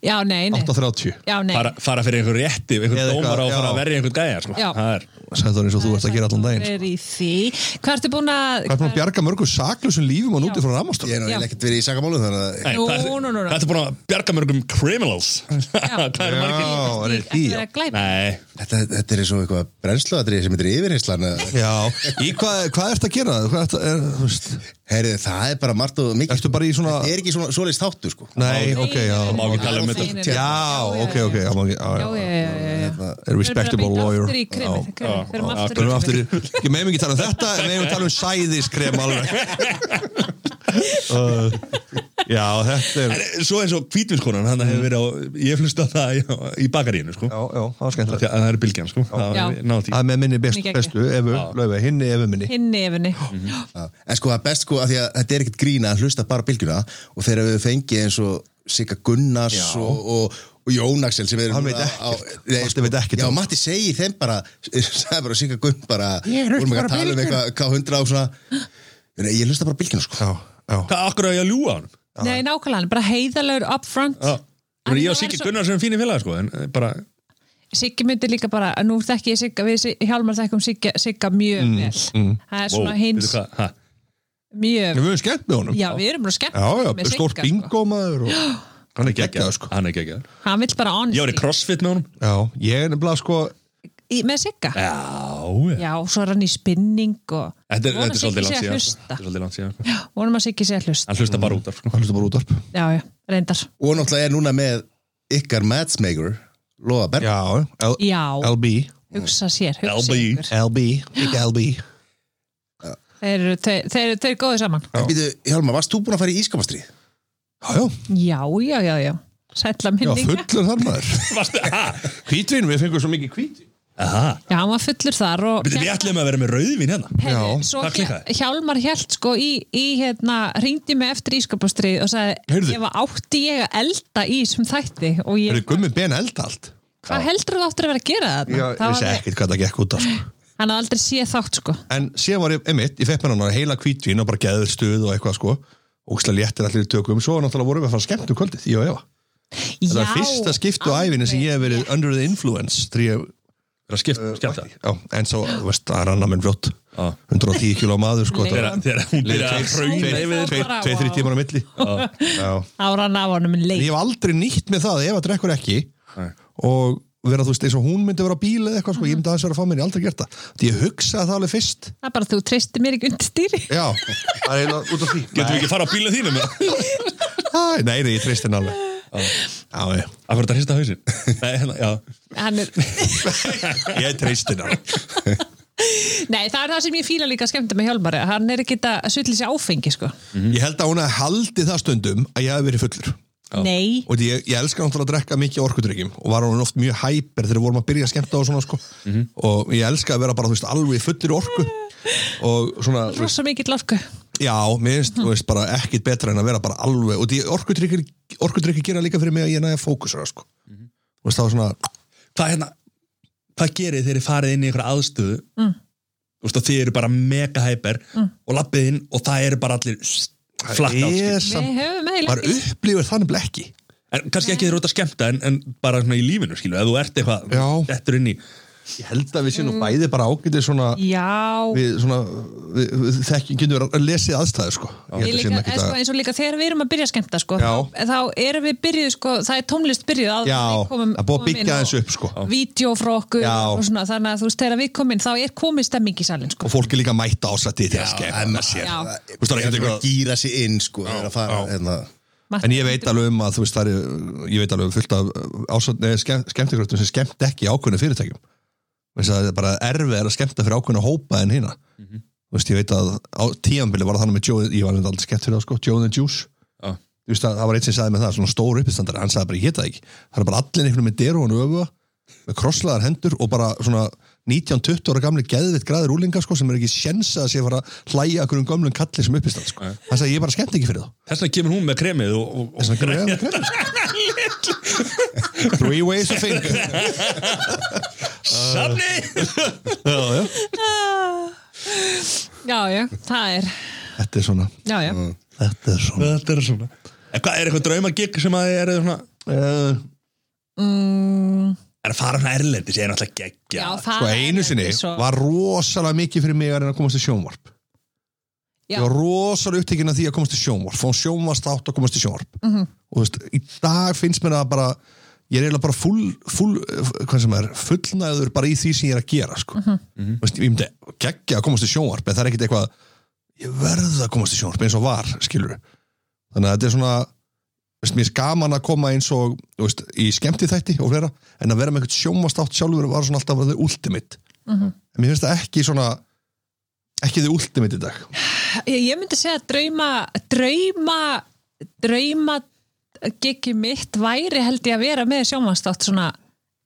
S6: Já, nei, nei
S5: 8.30
S6: Já, nei
S2: fara, fara fyrir einhver rétti, einhver
S5: Eða eitthvað,
S2: dómar á að
S5: já.
S2: fara að verja einhver gæja sko.
S6: Já.
S2: Það er,
S5: sagði það eins og þú ert að gera allan daginn
S6: Það
S5: sko.
S6: er í því Hvað ertu búin að
S5: hvað er maður að bjarga mörgu saklusum lífum og núti frá
S1: ég
S5: Ramastól
S1: er
S6: Já.
S1: náttúrulega ekkert verið í sakamálum þannig að
S2: nei,
S6: Nú,
S2: það,
S6: nú,
S2: er,
S6: nú, nú.
S2: það er búin að bjarga mörgum criminals það er margir
S5: það er því
S6: Það er að glæpa
S2: nei,
S1: þetta, þetta er eins og eitthvað brennsluatrið sem þetta er yfirheyslan
S5: Já, í hvað, hvað ert að gera? Hvað ert að, er, þú veist,
S1: Herri, það er bara margt og mikið
S5: Ertu bara í svona-
S1: Þetta er ekki svona svoleiðist þáttu sko
S5: Nei, ok, já
S6: Nei,
S2: má ekki tala um
S6: nei,
S2: þetta.
S6: nei, nei.
S5: Já, ok, ok já, má ekki- já,
S6: Já, já,
S5: já.
S6: já, já, já.
S5: A respectable
S6: Við erum bara
S5: lawyer
S6: aftur í krimið,
S5: Já.
S6: krimið, við erum
S5: Já, við
S6: aftur í
S5: erum
S6: krimið.
S5: aftur í- Ég meðum ekki tala um þetta en meðum tala um sæðiskrem alveg Uh, Já, þetta er
S2: En eh, Svo eins og hvítvinskonan, hann hefur verið á, ég flusti á það í, í bakarínu, sko.
S5: Mm. Já, já, það var skemmt
S2: Því að Það er bylgjan, sko. Það
S6: Já.
S2: er nátt í.
S5: Það er með minni best,
S6: Í gegn.
S5: bestu, efu, löfu, hinni efu minni
S6: Hinn nefni
S1: Já, En sko það er best sko að því að þetta er ekkert grína að hlusta bara á bylgjuna og þegar við fengið eins og Sigga Gunnars og, og, og Jón Axel sem er
S5: Hann veit ekkert. um Matti veit ekkert.
S1: Já, Matti segir þeim bara sagði bara Sigga Gunn bara
S5: Ég hlusta
S1: vorum ekki að
S5: bara á
S1: tala um
S5: Bylgjuna.
S1: eitthvað K100 á svona Nei, ég hlusta bara á bylgjuna sko
S5: Já, já
S2: Hvað akkur á ég að ljúa hann?
S6: Nei, nákvæmlega, hann er bara heiðalögur upfront
S2: Já. Þú veist,
S6: Hann
S2: Ég
S6: er
S2: og Siggi
S6: eins og-
S2: Gunnar sem fínir félag, sko, en eh, bara,
S6: Siggi myndi líka bara, nú þekki ég Sigga við Si- Hjálmar þekkum Sigga, Sigga mjög
S5: Mm,
S6: vel það er
S2: wow,
S6: svona hins
S2: hvað, ha?
S6: mjög
S5: Við erum skemmt með honum
S6: já, við erum bara skemmt
S5: Já, já,
S6: með
S5: stórt
S6: Sigga, sko.
S5: bingo maður og hann er geggjað sko
S2: Hann er geggjaður.
S6: hann vill bara
S2: Ég
S6: honesty
S2: var í crossfit með honum.
S5: Já, ég er nefnilega sko
S6: í, með Sigga
S2: Já, já.
S6: já, svo er hann í spinning og
S2: Þetta er,
S6: Vona
S2: þetta er svolítið
S6: Siggi
S2: langt
S6: sé að
S2: síðan, sko.
S6: hlusta.
S2: Þetta er svolítið langt síðan, sko.
S6: vonum að Siggi sé að hlusta
S2: Hann hlusta bara út af, sko.
S5: Hann hlusta bara útvarp
S6: já, já, reyndar
S1: og náttúrulega er núna með ykkar matchmaker Lóa Berg
S5: Já, L
S6: já,
S5: LB
S6: hugsa sér, hugsa
S2: LB.
S6: ykkur
S5: LB, ekki LB
S6: þeir eru þeir, þeir, þeir eru góðið saman
S1: En býtu, Hjálmar, varst þú búin að fara í ískapastrið?
S5: Já, já,
S6: já, já, já, já sætla
S5: já,
S6: minninga
S5: fullur þar maður
S2: Varstu, ha?
S5: Hvítvín, við fengum svo mikið hvítvín
S2: Aha.
S6: já, hann var fullur þar og
S2: Við við ætlum að vera með rauðvin hérna.
S6: Herri,
S5: Já,
S6: svo
S2: það
S6: hjá-
S2: klikkaði.
S6: Hjálmar held sko í, í hérna, ringdi mig eftir ískapastrið og sagði,
S5: Heyrðu.
S6: ég var átti ég að elda í sem þætti og
S5: Eru
S6: ég,
S5: gummi ben elda allt?
S6: hvað heldur þú aftur að vera að gera þetta?
S5: Ég vissi ekkert hvað það gekk út af sko.
S6: hann hafði aldrei séð þátt sko
S5: En síðan var ég, emitt, ég fekk mér hann heila hvítvín og bara geður stuð og eitthvað sko Ókslega léttir allir í tökum, svo náttúrulega vorum við að fara skemmt um kvöldið, ég og Eva
S6: Já,
S5: Það er fyrsta skipti á ævinni sem ég hef verið under the influence því ég,
S2: Það er skipt, skemmt það.
S5: já, en svo, þú veist, það rann að minn fljótt
S2: Já.
S5: 110 kíló maður, sko
S6: Leira.
S5: það var-
S2: Þegar hún byrja að hrauna
S6: Leira.
S2: yfir þér.
S6: Leira. bara,
S5: Tveir, þrjir
S6: vá.
S5: tímar á milli Já.
S6: áran af honum um en
S5: Ég
S6: leik
S5: hef aldrei nýtt með það, ef að drekkur ekki og vera, þú veist, eins og hún myndi vera á bíl eða eitthvað, sko, ég myndi aðeins vera að fá mér, ég hef aldrei gert það Því ég hugsaði það alveg fyrst
S6: það er bara þú treystir mér ekki undir stýri
S5: Já, það er eiginlega út af því
S2: Getum við ekki að fara á bílum þínum?
S5: Æ, Nei, nei, ég treyst henni alveg Já, já,
S2: Akkur þetta hrista hausin? Nei, hérna, já.
S6: hann er,
S5: ég treyst henni alveg
S6: nei það er það sem ég fíla líka skemmti með Hjálmari, hann er ekki að sulli sér áfengi sko,
S5: Ég held að hún að haldi það stundum að ég hef verið fullur
S6: nei
S5: og því ég, ég elska náttúrulega að drekka mikið orkudrykjum og var hún oft mjög hæper þegar við vorum að byrja að skemmta og svona sko og ég elska að vera bara, þú veist, alveg fullur í orku og svona, þú veist,
S6: rosa mikill orku
S5: já, mér finnst, þú veist, bara ekkit betra en að vera bara alveg og því orkudrykjur, orkudrykjur gera líka fyrir mig að ég næja fókusra sko, þú veist, það var svona
S2: Hvað hérna, hvað gerir þegar þið farið inn í einhverja aðstöðu? Mm. Þú veist, og þið eru bara mega hæper og lappið inn og það eru bara allir flatt
S5: það
S2: átt.
S5: er
S6: við
S5: samt,
S6: höfum
S5: maður
S6: eiginlega
S5: upplifir þannig ekki
S2: En kannski ekki þeir eru út að skemmta en, en bara svona í lífinu, skilu, ef þú ert eitthvað,
S5: Já.
S2: dettur inn í.
S5: ég held að við séum mm. bæði bara ágætið svona
S6: ekki- já,
S5: við svona við, við þekki, getum við að lesi aðstæður sko ég held
S6: Við
S5: að
S6: líka,
S5: séum ekki
S6: eða, sko,
S5: það
S6: eins og líka þegar við erum að byrja að skemmta sko,
S5: Já.
S6: þá- þá erum við byrjuð sko, það er tónlist byrjuð áður
S5: já,
S6: en við komum-
S5: að búa að
S6: komum inn
S5: byggja
S6: og
S5: þessu upp sko
S6: vídeó frá okkur
S5: Já.
S6: og svona, þannig að þú veist þegar við komum inn þá er komið stemming í salin sko.
S5: og fólk er líka að mæta ásættið þegar skemmt
S6: Já.
S1: Þú
S5: veist, það er
S1: er
S5: ekkert
S1: eitthvað
S5: eitthvað-
S1: að gýra sig inn sko þegar að fara, hérna.
S6: Matti-
S5: en ég veit alveg um að þú veist það er ég veit alveg um fullt af skemmtikröftum sem skemmt ekki ákveðinu fyrirtækjum þess að það er bara erfið er að skemmta fyrir ákveðinu hópa en hina
S6: Mhm.
S5: þú veist ég veit að á tíambili var það þannig með Joe, ég var aldrei skemmt fyrir það sko Joe and the Juice
S2: Já.
S5: þú veist að það var einn sem sagði með það svona stóru uppistandar, hann sagði bara ég geta það ekki það er bara allir einhvern með deru og öfuga með krosslaðar hendur og bara svona 19-20 ára gamli geðvitt græður úlinga sko, sem er ekki sjensa að sé að fara að hlæja okkur um gömlum kalli sem uppistand sko.
S2: Nei.
S5: hann sagði ég er bara skemmt ekki fyrir það
S2: Þess vegna kemur hún með kremið og, og, og
S5: Þess vegna kemur ég með Three ways to think
S2: Safni!
S6: já, já, það er
S5: Þetta er svona
S6: já, já.
S5: Mm. Þetta er svona
S2: Þetta er svona. En hvað er eitthvað draumagigg sem að þið eru svona,
S5: uh,
S2: er að fara svona erlendis, ég er náttúrulega geggja.
S6: Já, það
S5: Sko
S6: er
S5: einu sinni
S6: ekki svo-
S5: var rosalega mikið fyrir mig að reyna að komast í sjónvarp
S6: Já.
S5: Ég var rosalega upptekinn af því að komast í sjónvarp Fá sjónvarstátt og komast í sjónvarp
S6: Mhm.
S5: -hmm. Og þú veist, í dag finnst mér að bara Ég er eiginlega bara full, full Hvað sem er,
S6: Mhm.
S5: fullnæður bara í því sem ég er að gera sko. mm -hmm. veist, Ég myndi geggja að komast í sjónvarp En það er ekkit eitthvað ég verð að komast í sjónvarp eins og var, skilur þannig að þetta er svona veist, mér er gaman að koma eins og þú veist, í skemmti þætti og fleira en að vera með eitthvað sjónvastátt sjálfur var svona alltaf the ultimate
S6: Mhm.
S5: en mér finnst það ekki svona ekki the ultimate í dag
S6: ég, ég myndi segja að drauma drauma drauma gigi mitt væri held ég að vera með sjónvastátt svona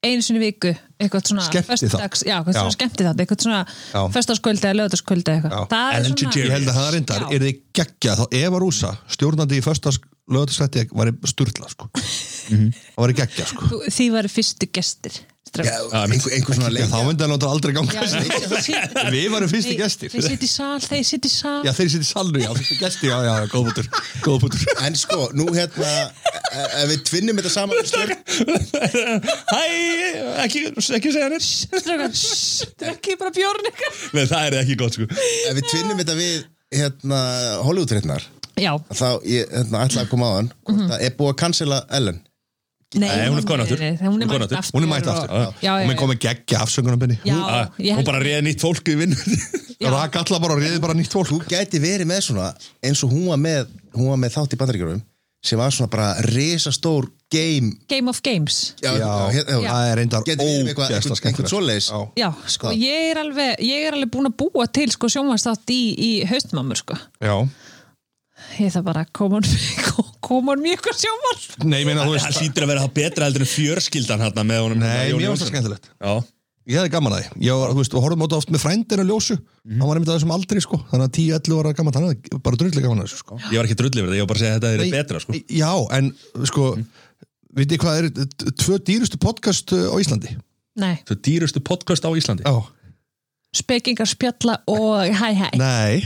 S6: einu sinni í viku eitthvað svona
S5: Skemmtiþátt.
S6: föstudags- já, eitthvað svona
S5: Já.
S6: skemmti þátt eitthvað svona
S5: Já.
S6: föstaskvöldi eða lögataskvöldi eitthvað
S5: Já.
S6: það er
S2: Ellen
S5: ég
S2: DeGeneres.
S6: svona
S5: held að það reyndar,
S6: Já.
S5: er þið geggja þá Eva Rúsa, stjórnandi í föstas lögatarsætti var sturla sko það var geggja sko
S6: Þú- því var fyrstu gestir strákar.
S1: einhver, einhver svona
S5: Já,
S1: leik
S5: þá myndi hann láta aldrei
S6: Já,
S5: ganga
S6: þú sit-
S5: Við varum fyrstu
S6: Nei,
S5: gestir.
S6: þeir sitt í sal, þeir sitt í sal
S5: Já, þeir sitt í salnu, já, fyrstu gesti, já, já, já, góð bútur, góð bútur.
S1: en sko, nú hérna e- ef við tvinnum þetta saman slök,
S2: Hæ, ekki, ekki segja hann
S6: Strákar, shh, drekki bara bjórn eitthvað
S2: Nei, það er ekki gott sko
S1: ef við tvinnum þetta við hérna, Hollywoodreitnar
S6: já,
S1: þá ég hérna, ætla að koma á hann það er búið að cancela Ellen
S6: nei,
S2: Nei, hún er komin aftur.
S6: nei, hún er mætt aftur
S5: Hún er mætt
S6: og-
S5: aftur.
S6: já,
S5: Hún er
S6: já,
S5: komið geggja afsöngunarbyrni.
S6: já,
S2: Ah,
S6: ég
S2: Hún
S6: held-
S2: bara réði nýtt fólk í vinnu
S6: já.
S5: Rak alla bara og reyði bara nýtt fólk.
S1: þú gæti verið með svona eins og hún var með, hún var með þátt í bandaríkjörum sem var svona bara risastór game
S6: Game of Games
S1: já, já, hér- já,
S5: hérna. það er reyndar
S1: gæti verið með eitthvað-
S5: ógeðsla
S1: einhvern- einhvern
S5: skemmtilegt.
S1: svoleiðis
S5: Já.
S6: Já, sko,
S1: Það.
S6: ég er alveg, ég er alveg búin að búa til sko sjónvarstátt í, í haustmámur sko.
S5: Já.
S6: Ég það bara, koma hann koma hann mjög eitthvað sjónvars
S5: Nei, ég meina, þú
S2: Það
S5: veist,
S2: hlýtur að vera það betra heldur en fjörskildan hérna með honum
S5: nei,
S2: Jóni
S5: mér varst það
S2: Jónsson.
S5: skemmtilegt.
S2: Já,
S5: Ég hefði gaman að því. Ég var, þú veist, og horfum á þetta oft með frændinu ljósu.
S1: Mhm.
S5: Hann var einmitt að þessum aldri, sko. Þannig að 10-11 ára gaman, hann er bara drullig gaman að þessu, sko.
S2: ég var ekki drullið verið, ég var bara að segja að þetta er betra sko
S5: Já, en, sko,
S1: Mhm.
S5: vitið hvað er t- tvö dýrustu podcast uh, á Íslandi?
S6: Nei,
S2: Svo dýrustu podcast á Íslandi
S5: Já.
S6: spekingar spjalla og hæ hæ
S5: Nei.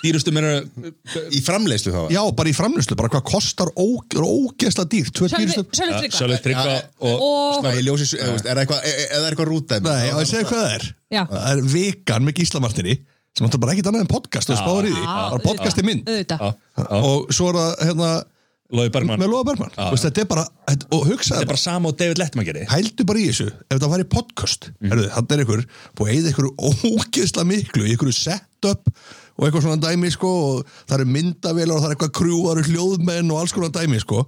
S2: Dýrustu meira
S1: í framleiðslu þá
S5: Já, bara í framlýslu, bara hvað kostar ó, er ógeðsla dýr, tvö dýrustu
S6: Sölvi Sölvi Tryggva
S2: Sjálfur Tryggva og
S6: og
S1: Svona, ég ljósi, eða, þú veist, er það eitthvað e- e- eða er eitthvað rúta
S5: Nei, og ég segi hvað það er
S6: Já.
S5: Það er vikan með Gísla Martini sem áttur bara ekkit annað en podcast og spáður í því bara podcast í mynd
S6: auðvitað.
S2: Já, já.
S5: og svo er það hérna
S2: Lói Bergman
S5: með Lóa Bergman
S2: Já,
S5: Þú veist, þetta er bara, þetta- og
S2: Þetta
S5: hugsaðu
S2: er bara sama og David Lettman gerir
S5: hældu bara í þessu ef þetta væri podcast Herðu, þannig er ykkur búið að eyða ykkur ógeðsla miklu í ykkur setup og eitthvað svona dæmi sko og það eru myndavélar og það eru eitthvað krjúar og hljóðmenn og alls konar dæmi sko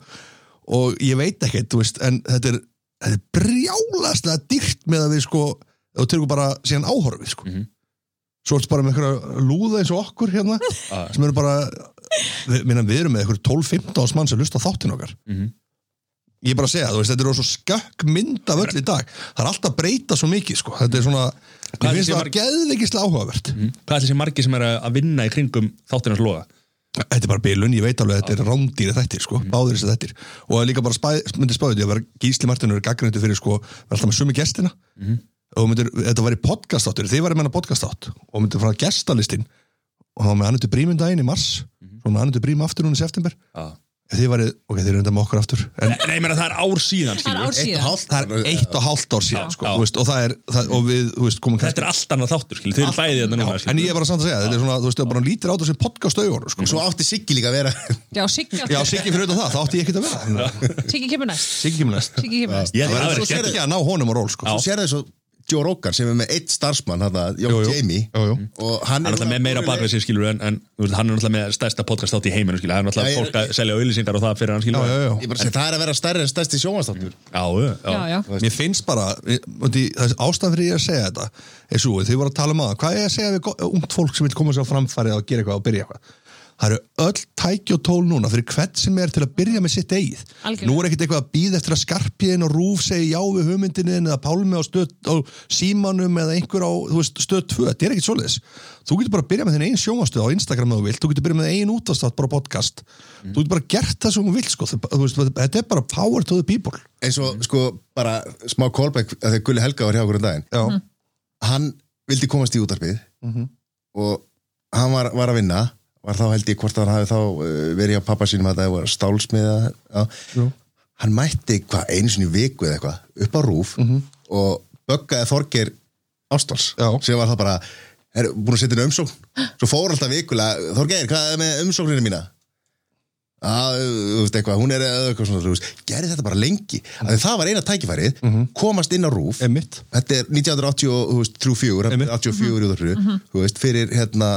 S5: og ég veit ekkert, þú veist, en þetta er, þetta er brjálaslega dýrt með að við sko og tegur bara síðan áhorfið sko svo ertu bara með einhverja lúða eins og okkur hérna sem eru bara við, minna, við erum með einhverju 12-15 mann sem lusta þáttin okkar ég er bara að segja, þú veist, þetta er svo skökk mynd af öll í dag, það er alltaf að breyta svo mikið, sko, þetta er svona
S2: Hvað
S5: mér finnst
S2: er
S5: það
S2: marg-
S5: geðveikislega áhugavert
S2: Hvað er þessi margi sem er að að vinna í kringum þáttinars loga?
S5: þetta er bara bilun, ég veit alveg að þetta er rándýri þættir, sko, báðir þessi þættir og það er líka bara spæ, myndi spáðið því að vera Gísli Martin eru gaggræntu fyrir, sko, vera alltaf með sumi gestina og myndir, þetta væri podcastáttur þið væri menna podcastátt og myndir frá gestalistinn og þá með annutu brímundaginn í mars svo með annutu brím aftur núna í september Ef þið væri, ok, þið eru enda með okkur aftur en
S2: Nei, meina, það er ár síðan
S6: Það
S2: skilur.
S6: er ár síðan
S5: það er eitt og hálft ár síðan sko,
S2: Já.
S5: þú veist, og það er, það, og við, þú veist, komum kannski-
S2: Þetta er allt annað þáttur, skilur. þau eru bæði þetta núna
S5: en
S2: skilur.
S5: ég er bara samt að segja, þetta er svona, þú veist, það bara lítir á þessi podcast auðvonu, sko.
S1: svo átti Siggi líka að vera
S6: Já, Siggi
S5: Já, Siggi fyrir auðvitað það, það átti ég ekkert að vera.
S6: Siggi kemur næst
S5: Siggi kemur næst.
S6: Siggi kemur næst
S2: Ég held
S5: Það
S2: að það verið
S5: verður svo
S2: skemmt
S5: ekki að ná honum á ról, sko.
S1: þú sér það svo Joe Rogan sem er með eitt starfsmann hérna, Jón
S5: Jú, jú.
S1: Jamie
S5: Jú, jú.
S1: og hann
S2: Hann er alltaf með meira bakveg sig skilur en, en þú veist, hann er alltaf með stærsta podcast átt í heiminu skilur. Það er alltaf
S1: Já, ég-
S2: fólk að selja auðlýsingar og það fyrir hann skilur.
S5: Já, já,
S1: Ég bara segi, það er að vera stærri en stærsti sjónvastáttur
S2: já, já.
S6: Já, já,
S5: já. Mér finnst bara, ég- veitir, það er ástæðan fyrir ég að segja þetta, er svo, þið voru að tala um aðan, hvað er ég að segja við go- ungt fólk sem vil koma sér á framfæri og gera eitthvað og byrja eitthvað? Það eru öll tæki og tól núna fyrir hvert sem er til að byrja með sitt eigið.
S6: Algjörlega.
S5: Nú er ekkert eitthvað að býða eftir að skarpiðin og rúf segi já við hugmyndinin eða pálmi á, stöð, á símanum eða einhver á þú veist, stöð 2. Þetta er ekkert svoleiðis. Þú getur bara að byrja með þinn eigin sjónvastöð á Instagram ef þú vilt. Þú getur byrja með eigin útastátt bara á podcast. Þú getur bara gert það sem þú vilt sko. Þú- þú veist, Þetta er bara power to the people.
S1: eins og sko bara smá callback að þegar Gulli Helga var hjá okkur um daginn
S5: Já. Mhm.
S1: hann vildi komast í útarpið og hann var, var að vinna var þá held ég hvort að hann hafi þá uh, verið hjá pappa sínum að það var stálsmiða já. hann mætti hvað einu sinni í viku eða eitthvað upp á rúf og böggaði Þorgeir Ástórs
S5: Mhm. Já.
S1: sem var það bara er, búin að setja inn umsókn svo fór alltaf vikulega Þorgeir hvað er með umsókninu mína að, þú veist eitthvað, hún er eða eitthvað svona, þú veist, gerði þetta bara lengi mm. það var eina tækifærið, komast inn á rúf
S5: Einmitt.
S1: þetta er
S6: Mhm.
S1: 1984 þú veist, 84, 84 mm -hmm. þú veist, fyrir hérna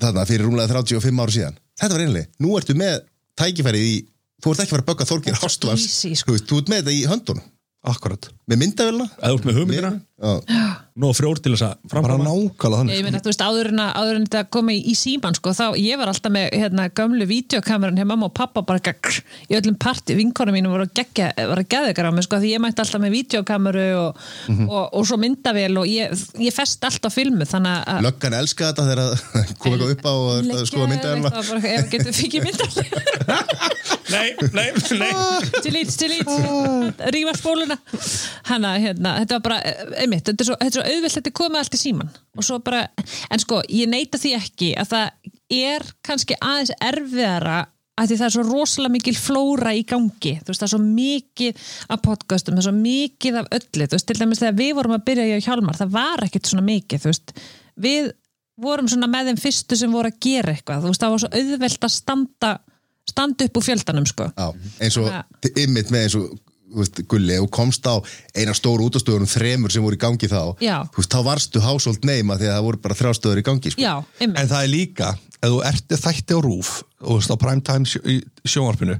S1: þarna fyrir rúmlega 35 ára síðan þetta var einlega, nú ertu með tækifærið í þú ert ekki að fara að bögga Þorgir Ástvans
S6: easy, sko.
S1: þú veist, þú ert með þetta í höndunum
S5: akkurat
S1: með myndavélina
S2: Eða út með hugmyndina,
S1: Já.
S2: nóg frjór til þess að
S5: bara
S2: framkvæma
S5: nákvæmlega þannig
S6: Ég meina, þú veist, áður en, að- áður en þetta komi í síman, sko, þá ég var alltaf með hérna, gömlu videokamerun hjá mamma og pappa bara gagr, í öllum parti, vinkonum mínum voru að gegja, var að geða ykkur á mig, sko, því ég mætti alltaf með videokameru og, og, og svo myndavél og ég, ég fest alltaf filmu, þannig að
S1: löggan elska þetta þegar að koma eitthvað upp á og
S6: Leggja
S1: skoða myndavélina
S6: eitthvað bara, Ef getur fikið myndavél
S2: Nei, nei, nei
S6: Ah. Delete, delete Rífa spóluna Hanna, hérna, þetta var bara, eh, einmitt Þetta er svo, þetta er svo auðvelt, þetta er komið allt í síman Og svo bara, en sko, ég neita því ekki Að það er kannski aðeins erfiðara að því það er svo rosalega mikil flóra í gangi þú veist það er svo mikið af podcastum það er svo mikið af öllu þú veist til dæmis þegar við vorum að byrja hjá Hjálmar það var ekkit svona mikið þú veist við vorum svona með þeim fyrstu sem voru að gera eitthvað þú veist það var svo auðvelt að standa standa upp úr fjöldanum sko
S1: Já, eins og
S6: Þannig
S1: ymmit með eins og þú veist, gulli og komst á eina stóru útastöðunum þremur sem voru í gangi þá
S6: Já.
S1: þú veist, þá varstu hásóld neyma því að það voru bara þrjástöður í gangi sko.
S6: Já, einmitt.
S5: en það er líka, ef þú ert þætti á rúf og þú veist á primetime sjó, í sjónvarpinu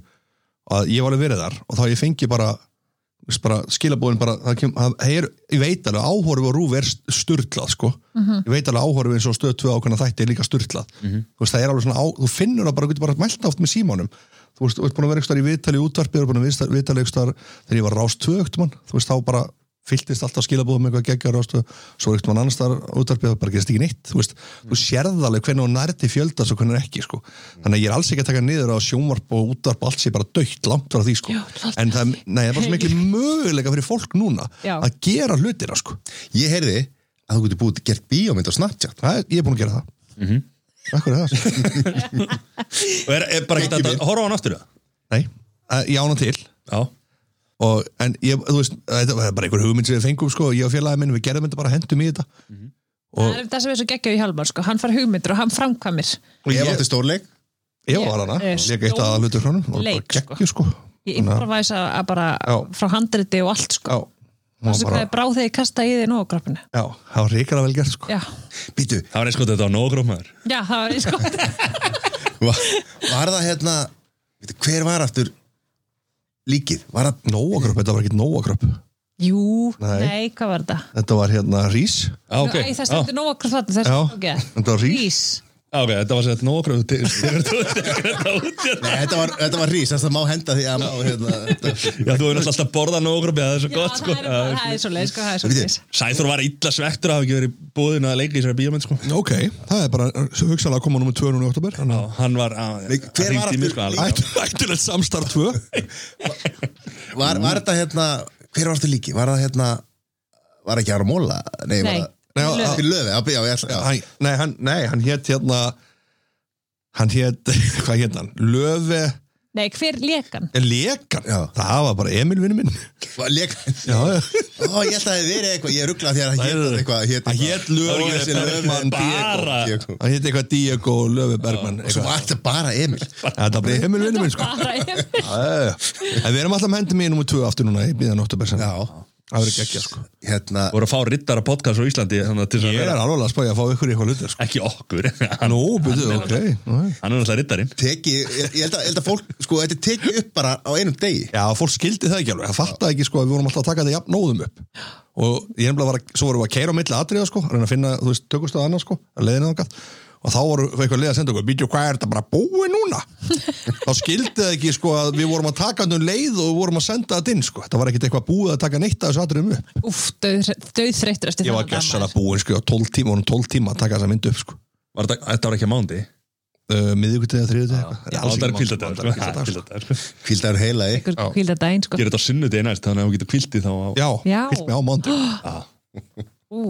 S5: að ég var alveg verið þar og þá ég fengi bara, þú veist, bara skilabóðin bara, það kem, það, það er, ég veit alveg áhorfi á rúf er styrlað sko ég veit alveg áhorfi eins og stöð 2 ákveðna þætti er líka styrlað, þú veist það er alveg svona á, þú finnur það bara, þú getur bara mælt það oft með símánum þú veist, þú ert búin að vera eitthvað í viðtali í útvarpi, þú ert búin að vera í viðtali eitthvað þegar ég var rást tvögt mann, þú veist þá bara fylltist alltaf skilabúðum eitthvað geggjar rástu svo eitt mann annars þar útvarpið það bara gerist ekki neitt þú veist, þú
S6: Mm.
S5: sérð alveg hvernig hún nærði fjölda svo hvernig ekki sko þannig að ég er alls ekki að taka niður á sjónvarp og útvarp allt sé bara dögt langt frá því sko en það, nei, það er bara svo miklu möguleika fyrir fólk núna
S6: Já.
S5: að gera hlutina sko
S1: ég heyrði að þú getur búið gert bíómynd á Snapchat
S5: það, er- ég er búin að gera það Akkur er það? sko?
S2: Og er, er bara ekki þetta, horfa á hann aftur það
S5: Nei, að- ég ána til
S2: Já,
S5: og, en ég, þú veist, þetta var bara einhver hugmynd sem við fengum sko, ég og félagið minn, við gerðum þetta bara hendum í þetta
S6: það er það sem er svo geggjað í Hjálmar sko. hann far hugmyndur og hann framkvæmir
S5: Og
S1: ef
S5: ég-
S1: átti stórleik
S5: Ég
S6: Ég
S5: var hana,
S6: er
S5: leika eitt aða hlutur hrónum og bara
S6: leik, sko.
S5: geggju sko
S6: ég improvæsa að bara
S5: Já.
S6: frá handriti og allt sko.
S5: Já, hún var
S6: það sem
S5: bara,
S6: það er brá þegar ég kasta í þig nógrappinu
S5: já, það var reikara vel gert sko
S6: já.
S1: býtu,
S2: það var eins og þetta var nóg grófmaður
S6: já, það var sko. eins gott
S1: var, var það hérna býtu, hver var aftur líkið var það,
S5: Nóakröpp, þetta var ekki nóakröpp
S6: jú,
S5: Nei.
S6: nei. hvað var þetta?
S5: Þetta var hérna Rís
S2: Já, ok,
S6: Æ, það
S2: Já,
S6: stendur nógrapp þarna það
S5: Já,
S6: er svo geggjað.
S5: þetta var Rís
S6: Rís
S2: já, ok, þetta var sett nóg grófmaður Þegar þú tekur þetta út hérna.
S1: Nei, þetta var, þetta var rís, þess að má henda því að má hérna, þetta-
S2: Já, þú hefur náttúrulega alltaf borðað nóg grófmaður Það er svo
S6: Já,
S2: gott, sko
S6: það er- það er svo leið sko, það er svo
S1: Bíddu,
S6: leið
S2: Sæþór var illa svektur að hafa ekki verið búðin að leika í þessari bíómynd, sko
S5: Ok, það er bara svo hugsanlega að koma nummer 2 núna í oktober
S2: Já, hann var að,
S1: Nei, hver var
S2: hringdi í mig, sko,
S1: aftur-
S2: alveg.
S5: Ættilegt samstarf 2
S1: var, var þetta hérna hver var aftur líkið, var það hérna var ekki Aron Móla nei,
S6: Nei.
S1: var það,
S5: Nei,
S1: fyrir löfi, já, já, ég ætla já.
S5: Hann- Nei, hann, nei, hann hétt hérna Hann hétt, hvað hétt hann? Löfi
S6: nei, hver lekan?
S5: Lekar,
S1: Já.
S5: það var bara Emil vinnu minn
S1: Var Leik,
S5: Já, já
S1: Ó, ég held að það hefði verið eitthvað, ég ruggla því að það
S5: Nei,
S1: hétt
S5: nei.
S1: eitthvað hét
S5: Hann hét
S1: Það var
S5: Löfi
S1: ekki þessi
S5: Bergmann
S1: Löfman
S2: bara.
S1: Diego
S5: Hann hétt eitthvað Diego Löfi Bergmann
S1: Svo var þetta bara Emil
S5: Þetta er bara heimil vinnum minn sko
S6: bara Emil.
S5: Æ, En við erum alltaf með hendi mér nummer 2 aftur núna í bíðan 8 persen
S1: Já,
S5: Það verður geggja sko
S1: hérna
S2: voru að fá rittara podcast á Íslandi þannig að til þess að
S5: Ég er
S2: vera
S5: alveg að spæja að fá ykkur í eitthvað hlutir sko
S2: ekki okkur hann,
S5: Nú, byrju, ok nú, hei.
S2: hann er náttúrulega rittarinn
S1: teki, ég ég held að, ég held að fólk sko, þetta er tekið upp bara á einum degi
S5: Já, fólk skildi það ekki alveg Það fattaði ekki sko að við vorum alltaf að taka þetta jafn nóðum upp Og ég er nefnilega var að, svo vorum við að keira á milli atriða sko að Reyna að finna, þú veist, tökustöð annars sko Að leiðina þangað Og þá voru var eitthvað leið að senda okkur Bíddu, hvað er þetta bara búið núna? þá skildi það ekki sko að við vorum að taka þetta um leið Og við vorum að senda þetta inn sko Það var ekkit eitthvað búið að taka neitt af þessu atriðum upp
S6: úff, döðþreyttur eftir
S5: Ég var
S6: þennan dag,
S5: gjössan
S6: maður.
S5: að búin sko 12 tíma, vorum 12 tíma að taka þessa mynd upp sko
S2: var þetta, þetta var ekki að mándi
S5: uh, miðvíkutegi að þriðutegi eitthvað
S2: það er
S5: Alls
S2: sko.
S5: ekki mál.
S2: kvildadag
S1: Hvíldar heila í
S6: Ykkur hvílda daginn sko
S2: gerir þetta á sunnudegi næst þannig að þú getur kvildið þá á
S5: Já,
S6: Já.
S5: hvilt mig á mándi
S6: Ú,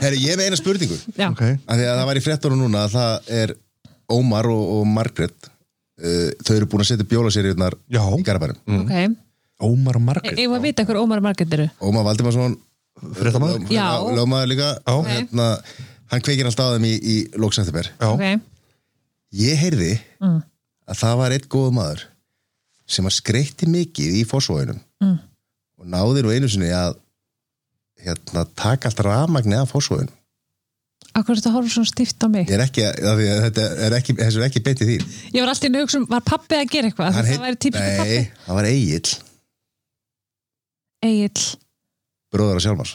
S1: Herri, ég hef eina spurningu
S6: já,
S5: okay.
S1: af því að það var í fréttunum núna að það er Ómar og, og Margrét uh, þau eru búin að setja bjólaseríurnar
S5: Já.
S1: í garabærum
S5: Mm.
S6: ok
S2: Ómar og Margrét
S6: Ég var að vita hver Ómar Margrét eru
S1: Ómar Valdimarsson
S5: Fréttamaður.
S1: lög-
S6: Já.
S1: lögmaður líka
S5: Já.
S1: hérna, hann kveikir alltaf á þeim í, í Lóksættiber
S5: Já.
S6: Ok,
S1: Ég heyrði
S6: Mm.
S1: að það var einn góð maður sem að skreytti mikið í fósvóinum mm. og náði nú einu sinni að hérna, taka allt rafmagni af fósvóinum
S6: Akkur þetta horfum svona stíft á mig
S1: Ég er ekki, að, að, að, þetta er ekki, þessu er ekki beint í þín
S6: Ég var alltaf í nögsum, var pappi að gera eitthvað
S1: Hann
S6: Það
S1: heit-
S6: væri típisk pappi
S1: Nei, það var Egil,
S6: Egil,
S1: bróður að sjálfars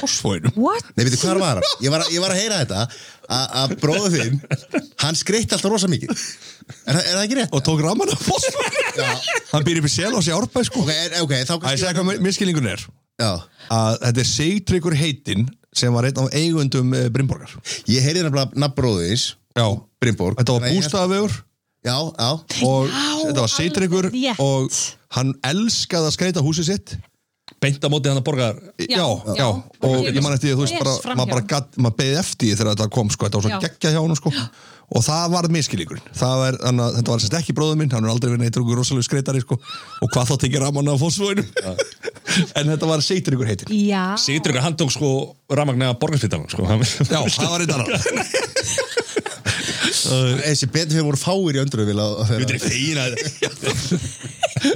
S5: Hásfóinum
S6: what?
S1: Nei, veitir, hvað var hann? Ég var, að- ég var að heyra þetta að- að bróður þinn, hann skreitt alltaf rosa mikið Er, það- er það ekki rétt?
S5: Og tók raman af fósfóinum Hann býr upp í sel og sé árbæð sko
S1: Ok, er, ok, þá
S5: Það er segja hvað miskilingun er
S1: Já,
S5: að Þetta er Sigtryggur heitin sem var einn af eigundum eh, Brynborgar
S1: ég heyrði nefnilega nafn bróður þins,
S5: Já
S1: Brynborg
S5: Þetta var
S1: Þannig að ég-
S5: bústaðavegur
S1: Já, já,
S5: og þetta var Sigtryggur
S6: alveg rétt.
S5: og hann elskaði að skreita húsið sitt
S2: beint á móti hann að borgar
S5: já, já,
S6: já.
S5: og ég man eftir því að þú veist
S6: Yes,
S5: bara,
S6: framhjá.
S5: maður bara gatt, maður beði eftir því þegar þetta kom sko, þetta var svo
S6: Já.
S5: geggja hjá honum sko og það var miskilíkurinn, það var, þannig að þetta var sérst ekki bróður minn, hann er aldrei verið neitt okkur rosalega skreitari sko, og hvað þá tekið raman af fósfóinum en þetta var seitringur heitin
S6: Já,
S2: Sigtryggur, hann tók sko rafmagnaða borgarspítalan sko. Hann-
S5: já, það var eitt annar
S1: þessi betur fyrir voru fáir í öndruðu vil að
S2: Ég veit ekki fegin að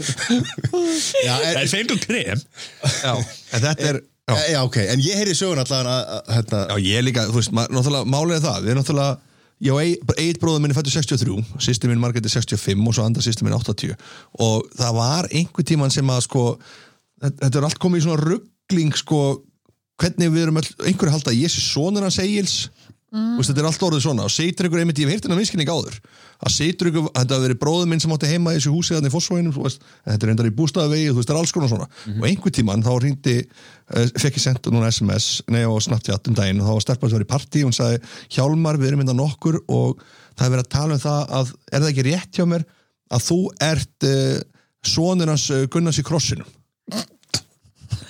S1: Já, er,
S2: það er fengur krem
S5: já, en þetta er já.
S1: Eh, já, ok, en ég heyrði sögun alltaf að, að, að hérna,
S5: Já, ég líka, þú veist, maður, náttúrulega, málið er það, við erum náttúrulega, ég og eig- bara eitt bróður minni fættu 63, sýstir minn Margrét er 65 og svo andar sýstir minn 80 og það var einhver tíman sem að sko, þetta þetta er allt komið í svona ruggling sko, hvernig við erum öll, einhverju halda að ég sé sonur hans Egils, mm. veist, þetta er allt orðið svona og setur ykkur einmitt, ég hef heyrt hennar miskinning áður að setur ykkur, þetta hafa verið bróður minn sem átti heima í þessu húsi þarna í Fossvóinum þetta er endar í bústaðavegi, þú veist, það er alls konar svona og einhver tíman þá hringdi uh, fekk ég sendt núna SMS, nei og Snapchat um daginn og þá var stelpa sem var í partí og hún sagði Hjálmar, við erum mynda nokkur og það er verið að tala um það að er það ekki rétt hjá mér að þú ert uh, sonur hans uh, Gunnars í krossinum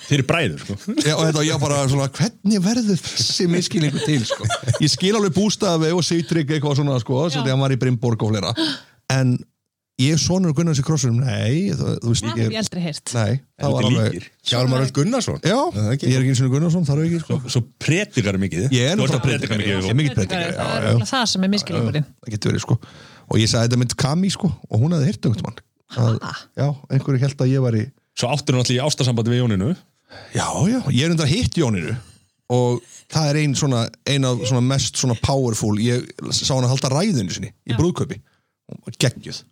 S2: fyrir bræður sko.
S5: Já, og þetta, og ég bara svona, hvernig verður þessi miskilningu til, sko? Ég skil alveg bústafi og sýtrygg eitthvað svona, sko, svo þegar hann var í Brimborg og fleira. En ég er sonur Gunnars í krossunum, nei, þú, þú veist
S6: það
S5: ekki,
S6: hef ég aldrei heyrt
S5: nei, það var alveg,
S2: líkir.
S1: Hjálmar Öll Gunnarsson
S5: já,
S1: Er það ekki?
S5: ég er ekki eins og Gunnarsson, það er ekki, sko.
S2: svo predikar mikið
S5: Ég er
S2: Þú ert
S5: náttúrulega
S2: að predika
S5: predikari,
S2: mikið
S5: ég er
S2: Hugo.
S5: mikið predikari,
S6: Það er
S5: já, já,
S6: örugglega það sem er miskilningurinn
S5: það getur verið, sko. Og ég sagði þetta mynd Kami, sko, og hún hafði hirt um eitthvað mann. Já, einhverju held að ég var í,
S2: svo áttur hann allir í ástasambandi við Jóninu
S5: já, já, ég er undra hitt Jóninu og það er ein svona ein af svona mest svona powerful ég sá hann að halda ræðinu sinni í brúðkaupi hún var geggjuð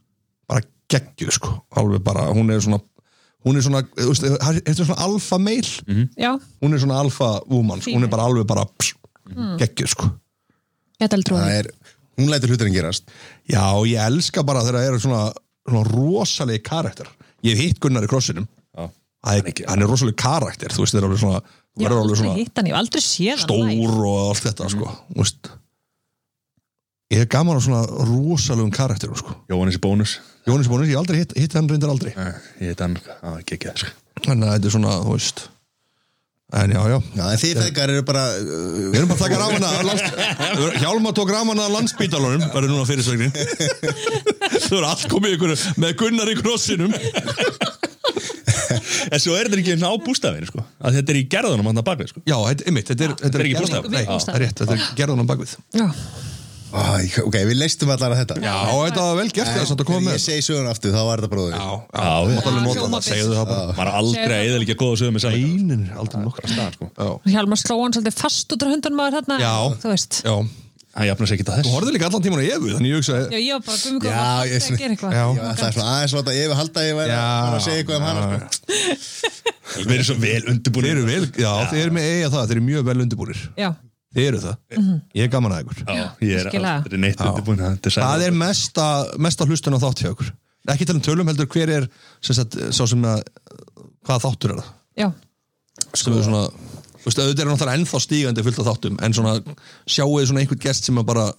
S5: bara geggjuð sko, alveg bara hún er svona, hún er svona, þú veist, er þetta svona alfa meil,
S6: Já,
S5: hún er svona alfa woman, sko, hún er bara alveg bara pss, geggjuð sko
S6: ég ætla aldrei
S1: Það
S6: að
S1: er, hún lætur hluturinn gerast
S5: já, ég elska bara þegar það eru svona, svona rosalegi karakter ég hef hitt Gunnar í krossinum hann er, hann er rosalegi karakter, þú veist, það er alveg svona þú
S6: Ég hef
S5: verður alveg
S6: aldrei
S5: svona
S6: hitt hann, ég hef aldrei séð hann live.
S5: stór og allt þetta sko mm. veist, ég er gaman á svona rosalugum karakterum sko.
S2: Jóhannes í bónus
S5: Jónis Bónus, ég hef aldrei hitt, hitt hann reyndar aldrei
S2: Nei, ég heit hann að gegja það sko.
S5: þannig að þetta er svona, þú veist en já, já,
S1: Já, en þið þegar eru bara uh,
S5: við erum bara að taka rámana af lands- Hjálmar tók rámana að landsbítalunum verður núna fyrirsögnin þú eru allt komið ykkur með Gunnar í krossinum
S2: en svo er þetta ekki á bústafinu sko. að þetta er í gerðunum hann að bakvið sko.
S5: já, þetta, einmitt, þetta er, þetta
S2: er
S5: er,
S2: ekki
S5: gerðan-
S2: bústaður.
S5: Nei,
S6: Bústaður.
S5: það er rétt, þetta er gerðan á bakvið
S6: Já,
S1: Æ, ah, ok, við leistum allar að þetta
S5: já, þetta var vel gert þess að þetta koma
S1: Þegar
S5: með
S1: ég segi sögun aftur, þá var þetta bróður
S5: já, já,
S2: Já,
S5: þú
S2: já.
S5: mátt alveg nota
S6: Hljóma
S5: það, segðu það bara
S2: maður er aldrei eða líka góða sögum með saman
S5: einir, aldrei nokkra
S2: staðan, sko.
S5: já
S6: Hjalmar sló hann svolítið fast út á hundan maður þarna
S5: Já.
S6: Þú veist
S5: Já,
S2: hann jafnar sér ekki til
S5: þú
S2: þess
S5: horfði líka allan tíman á Evu Þannig ég hugsaði
S6: Já, ég var bara gummi
S1: Já,
S6: hvað
S1: ég svona-
S6: var pabbi að gera eitthvað
S5: Já.
S1: Já, það er svona aðeins láta yfir halda að ég væri að fara að segja eitthvað um hana sko.
S2: við erum svo vel
S5: Þeir
S2: undirbúin
S5: eru vel, já, þeir eru með eiga það Þeir eru mjög vel undirbúrir
S6: Já,
S5: Þeir eru það, ég er gaman að ykkur
S2: Mhm. Já, ég er
S6: virkilega.
S2: aldrei neitt undirbúin þetta
S5: Það
S2: sæmilegt.
S5: er mesta, mesta hlustun á þátt hjá ykkur Ekki tala um tölum heldur hver er sem sagt, Sá sem að Hvaða þáttur er það
S6: já,
S5: Sem
S2: Sko-
S5: er svona, þú veist, auðvitað er náttúrulega ennþá stígandi fullt af þáttum, en svona sjáuði svona einhvern gest sem er bara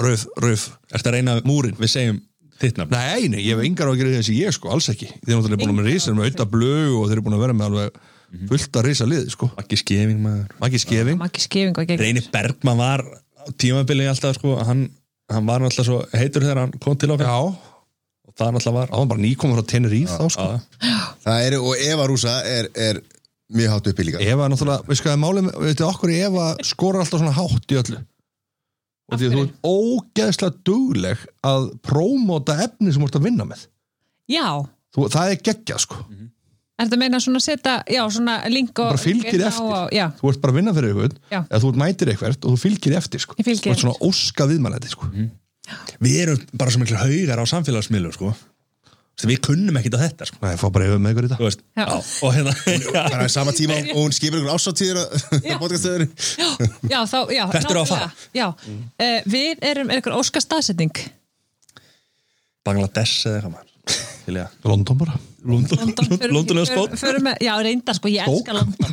S5: röf, röf
S2: Ertu að reyna múrin? Við segjum
S5: um-
S2: þitt nafn
S5: Nei, nei, ég hef engar á að gera þessi ég sko, alls ekki Þeir eru náttúrulega búin að vera risar með auðvitað blögu og þeir eru búin að vera með
S2: Mhm.
S5: alveg fullt að risa liði sko
S2: Maggi Skeving maður
S5: Maggi Skefing,
S6: maggi skefing og gegn
S2: Reyni Bergman var á tímabili alltaf sko, hann, hann var náttúrulega svo heitur þegar hann kom til okkar
S5: já,
S2: og það náttúrulega var
S5: Það var bara nýkomur frá Tenerife þá sko.
S1: Það eru, og Eva Rúsa er, er mjög hátt uppi líka
S5: Eva er náttúrulega, við skoðum málum við veitum okkur Eva skorar alltaf svona hátt í öllu og því að þú ert ógeðslega dugleg að prómóta efni sem þú ert að vinna með
S6: Já,
S5: þú, það er geggja sko
S6: Er þetta að meina svona setja, já, svona link og...
S5: bara fylgir
S6: inn á
S5: eftir,
S6: og- Já,
S5: þú ert bara að vinna fyrir eitthvað
S6: Já.
S5: eða þú ert mætir eitthvað og þú fylgir eftir sko.
S6: Ég fylgi
S5: þú ert svona óska viðmælandi sko.
S2: Við erum bara svo miklu haugar á samfélagsmiðlum sko. Þú veist, Við kunnum ekkit á þetta sko.
S5: Nei, fá bara yfir með ykkur í
S2: Þú
S5: dag
S2: veist,
S6: Já.
S2: já. og hérna
S1: bara í sama tíma og hún skipir ykkur ásáttíður að podcastöður
S6: já, já, þá, já.
S2: Hvert eru að fara?
S6: nákvæmlega, Já, mm. við erum einhver óska staðsetning.
S2: Bangladesh eða eitthvað maður. Til ég að-
S5: London bara
S2: London
S6: Förum-
S2: London eða
S6: förum-
S2: stótt
S6: förum með- Já, reynda sko, ég elska London.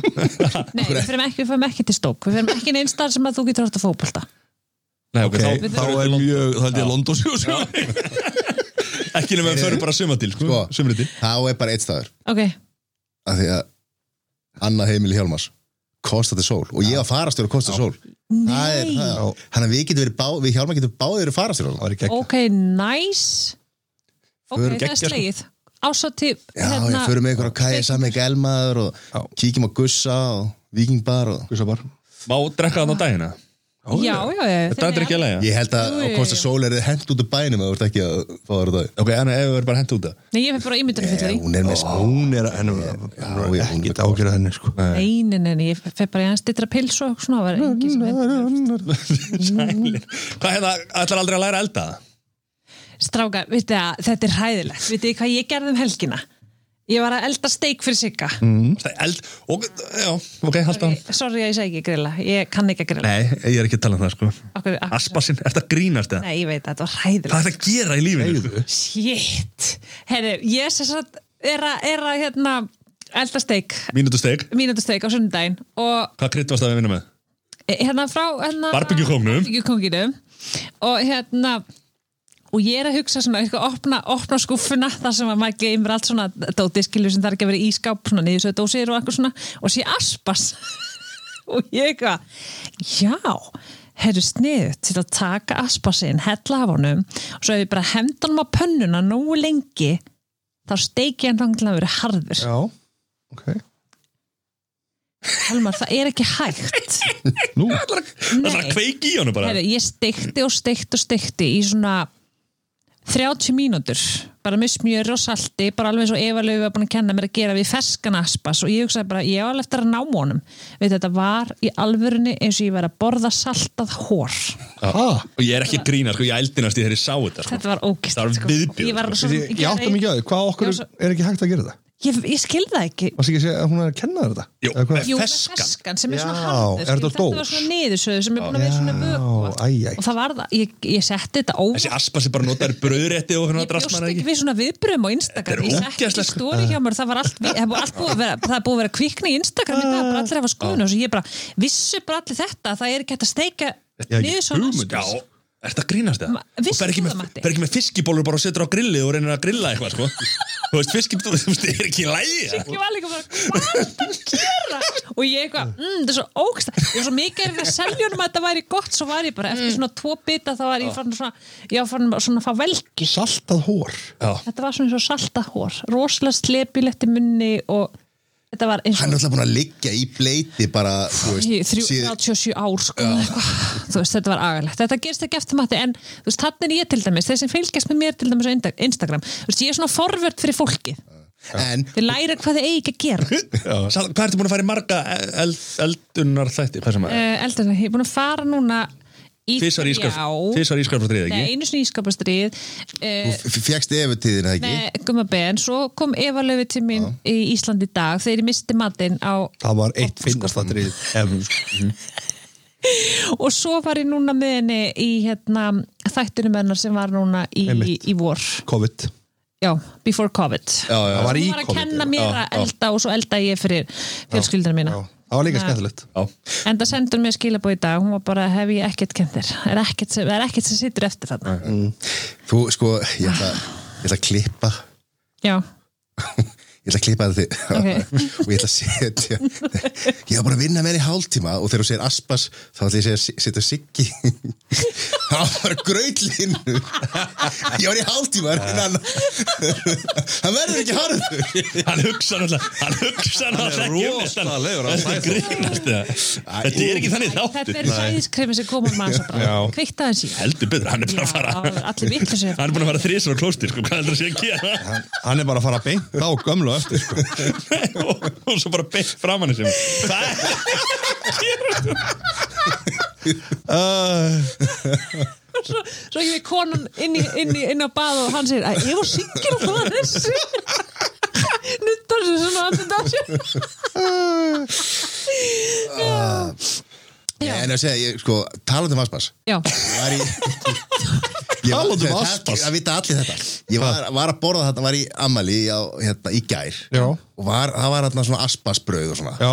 S6: Nei, við förum ekki, við förum ekki til stók. Við förum ekki neins staðar sem að þú getur átt að fótbolta.
S2: Nei, ok,
S5: okay,
S2: þá,
S5: þá er mjög, þá held ég London sjó
S2: ekki nefnum við förum bara suma til sko.
S1: Sko.
S2: sumri til
S1: þá er bara eitt staður
S6: Ok,
S1: að því að annað heimili Hjálmars Kostandi sól og ég var farastjóri á Kostandi sól það er það
S5: Já.
S1: hann að við getum verið bá, við Hjálmar getum báðið verið farastjóri
S5: það var ekki ekki
S6: ok, nice. Ok,
S1: Förum
S6: það er
S1: geggja, sko.
S6: slegið. hérna- Ásátti,
S1: já, ég förum með ykkur á kæði saman ekki elmaður og
S5: Já.
S1: kíkjum á Gussa og Vikingbar og
S5: Guðsa bara.
S2: Má drekka þannig á dagina?
S6: Já, já, já.
S2: Þetta er ekki að leiða?
S1: ég held að á
S6: Jú, jú,
S1: Kostandi
S6: jú.
S1: sól er þið hent út úr bænum að þú ert ekki að fá það á dag
S2: Ok, en ef við verðum bara hendt út það
S6: Nei, ég fyrir bara ímyndunum fyrir því.
S1: hún er með smá
S5: hún er, henni, henni
S1: já,
S5: er
S1: hún er
S5: ekkit ágjörð henni sko.
S6: Nei, nei, nei, nei, ég fer bara í hans dittra pils og svona, það var engin sem hefði.
S2: Sælir Hvað hérna, ætlar aldrei að læra að elda?
S6: Strákar, veitu að þetta er hræðilegt, veitu þið hvað ég gerði um helgina? Ég var að elda steik fyrir sigga.
S2: Mm. Eld, ok, já, ok, halda hann
S6: Sorry að ég segi ekki grilla, ég kann ekki að grilla.
S2: Nei, ég er ekki að tala um það sko
S6: Okkur, akkur,
S2: Aspasinn, ertu að grínast það?
S6: Nei, ég veit að þetta var
S2: Hvað
S6: hræðilegt.
S2: er það að gera í lífinu? sko?
S6: Shit! Herri, ég sem sagt er að, er að hérna, elda steik,
S2: Mínútu steg,
S6: mínútu steik á sunnudaginn og
S2: hvað krydd varst það að vinna með?
S6: eh, hérna frá hérna,
S2: Barbecue-kóngnum.
S6: Barbecue-kónginum. og hérna og ég er að hugsa svona, eitthvað, opna, opna skúffuna þar sem að maður gleymir allt svona dótið skilur sem það er ekki að vera í skáp svona niður svo dósir og eitthvað svona og sé aspas og ég eitthvað já, herru sniðut til að taka aspasinn, hella af honum og svo ef ég bara hemd honum á pönnuna nógu lengi þá steiki hann þannig til að vera harður
S5: já, ok
S6: Helmar, það er ekki hægt
S5: nú,
S2: Það er að kveiki í honum bara
S6: Heru, ég steikti og steikti og steikti í svona 30 mínútur bara með smjöri og salti bara alveg eins og Eva Laufi var búin að kenna mér að gera við ferskan aspas og ég hugsaði bara ég á alveg eftir að ná honum við þetta var í alvörunni eins og ég var að borða saltað hór
S5: hæ
S2: Og ég er ekki að grína, sko, ég eldinast í þeirri sá þetta sko.
S6: þetta var ógist
S2: Það var viðbjóður,
S6: ég, var
S2: sko.
S6: svo,
S5: ég áttum ekki að því, hvað okkur
S6: Já, svo-
S5: er ekki hægt að gera það?
S6: ég, ég skilði það ekki
S5: Varst ekki að segja að hún er að kenna þér þetta?
S2: Jú,
S5: Eða hvað?
S2: með
S6: Jú, með
S2: Ferskan.
S6: ferskan sem er svona
S5: Já,
S6: harður
S5: er
S6: skilur,
S5: þetta
S6: þetta
S5: dós?
S6: var svona niðursöðu sem er búin að vera svona
S5: Já, æ, æ.
S6: vöku og það var það, ég, ég setti þetta óvart
S2: Þessi aspas er bara notaður í brauðrétti og hérna
S6: ég bjóst
S2: drast maður
S6: ekki
S2: ekki
S6: við svona viðbröðum á Instagram
S2: Þetta er
S6: ég setti
S2: ógeðslegt,
S6: ekki
S2: sko.
S6: stóri hjá mér það var allt, við, það var allt búið að vera það er búið að vera kvikni í Instagram í dag bara allir hafa skoðun og svo ég bara vissu bara allir þetta það er ekki hægt að steika
S5: ég
S6: niður svona
S5: hugmynd,
S2: Já,
S6: aspas.
S2: er þetta grínast það?
S6: Ma- vissir
S2: fer ekki
S6: þú
S2: með-
S6: það, Matti?
S2: fer ekki með fiskibólur bara og setur á grillið og reynir að grilla eitthvað, sko Þú veist, fiskibólur, þú veist, er ekki í lægi
S6: ég var líka bara, hvað er þetta að gera og ég eitthvað, mm, þetta er svo ógst ég var svo mikið er að selja honum að þetta væri gott svo var ég bara, eftir svona tvo bita þá var ég fann svona, ég var fann svona að fá velgi
S5: Saltað hór
S6: þetta var svona eins og saltahór rosalega slepilegt í munni og þetta var eins og
S1: hann er alltaf búin að liggja í bleiti bara þú veist,
S6: Í þrjú-
S1: síð-
S6: 37 ár sko, eða eitthvað. þú veist, þetta var agalegt þetta gerst ekki eftir mati en þú veist, þannig er ég til dæmis, þeir sem fylgjast með mér til dæmis á Insta- Instagram, þú veist, ég er svona forvörd fyrir fólki,
S1: en
S6: þeir læra hvað þeir eigi ekki að gera
S2: Sal, hvað ertu búin að fara í marga eld, eldunar þætti? Hvað sem að?
S6: uh, eldur, ég er búin að fara núna í
S2: Tvisvar í ísköp-
S6: þrjá-
S2: tvisvar í ísköpfrastrið, ekki?
S6: Nei, einu sinni ískapastrið uh,
S1: þú fjækst efutíðin eða ekki
S6: Guma Ben, svo kom Eva Löfi til mín í Íslandi í dag þegar ég misti matinn á sko.
S5: Það var eitt finnast að drið
S6: og svo var ég núna með henni í hérna, þættunum hennar sem var núna í, í,
S5: Einmitt.
S6: vor
S5: COVID
S6: já, before COVID
S5: já, já. Það var í
S6: hún var að
S5: COVID,
S6: kenna
S5: já.
S6: mér
S5: Já,
S6: að elda og svo elda ég fyrir fjölskyldunum mína
S5: Já, Það var líka
S6: Já.
S5: skemmtilegt
S2: Já,
S6: en það sendur mér skilabóð í dag hún var bara, hef ég ekkert kennt þér er ekkert sem, er ekkert sem situr eftir þarna
S1: þú sko ég ætla, ég ætla að klippa
S6: já,
S1: ég ætla að klippa þetta
S6: Ok.
S1: þig og ég ætla að setja ég var bara að vinna með henni í hálftíma og þegar þú segir Aspas þá ætla ég að segja- setja Siggi Það var grautlinu Ég var í hálftíma að reyna hann Hann verður ekki harður
S2: hann hugsa náttúrulega hann hugsa náttúrulega
S5: er
S2: ekki um þetta.
S5: rosalegur á
S2: þetta er
S5: Sæþór.
S2: grínast það þetta er ekki þannig
S6: Þetta
S2: þáttur
S6: eru sæðiskremi sem um komum mann svo bara.
S5: Já.
S6: Kveikta þessi.
S2: heldur betur, hann er bara að fara
S6: Allir vitlu sér.
S2: hann er búin að fara þrísar á klóstir sko, hvað heldur það sé að gera
S5: Hann- Hann er bara að fara beint á gömlu á eftir sko.
S2: og, og svo bara beint fram hann sem
S6: Svo, svo ég við konan inn, í, inn, í, inn á bað og hann segir að ég var singir og það þessu. Nuttar sér svona andið af sér. Já.
S1: En að segja, ég, sko, talandi um aspas
S6: Já.
S1: Ég var í Ég var-
S5: Talandi um
S1: það-
S5: aspas.
S1: Það vita allir þetta Ég var, var að borða þetta, var í ammali á, hérna, í gær
S5: Já.
S1: Og var, það var hérna svona aspasbrauð og svona
S5: Já,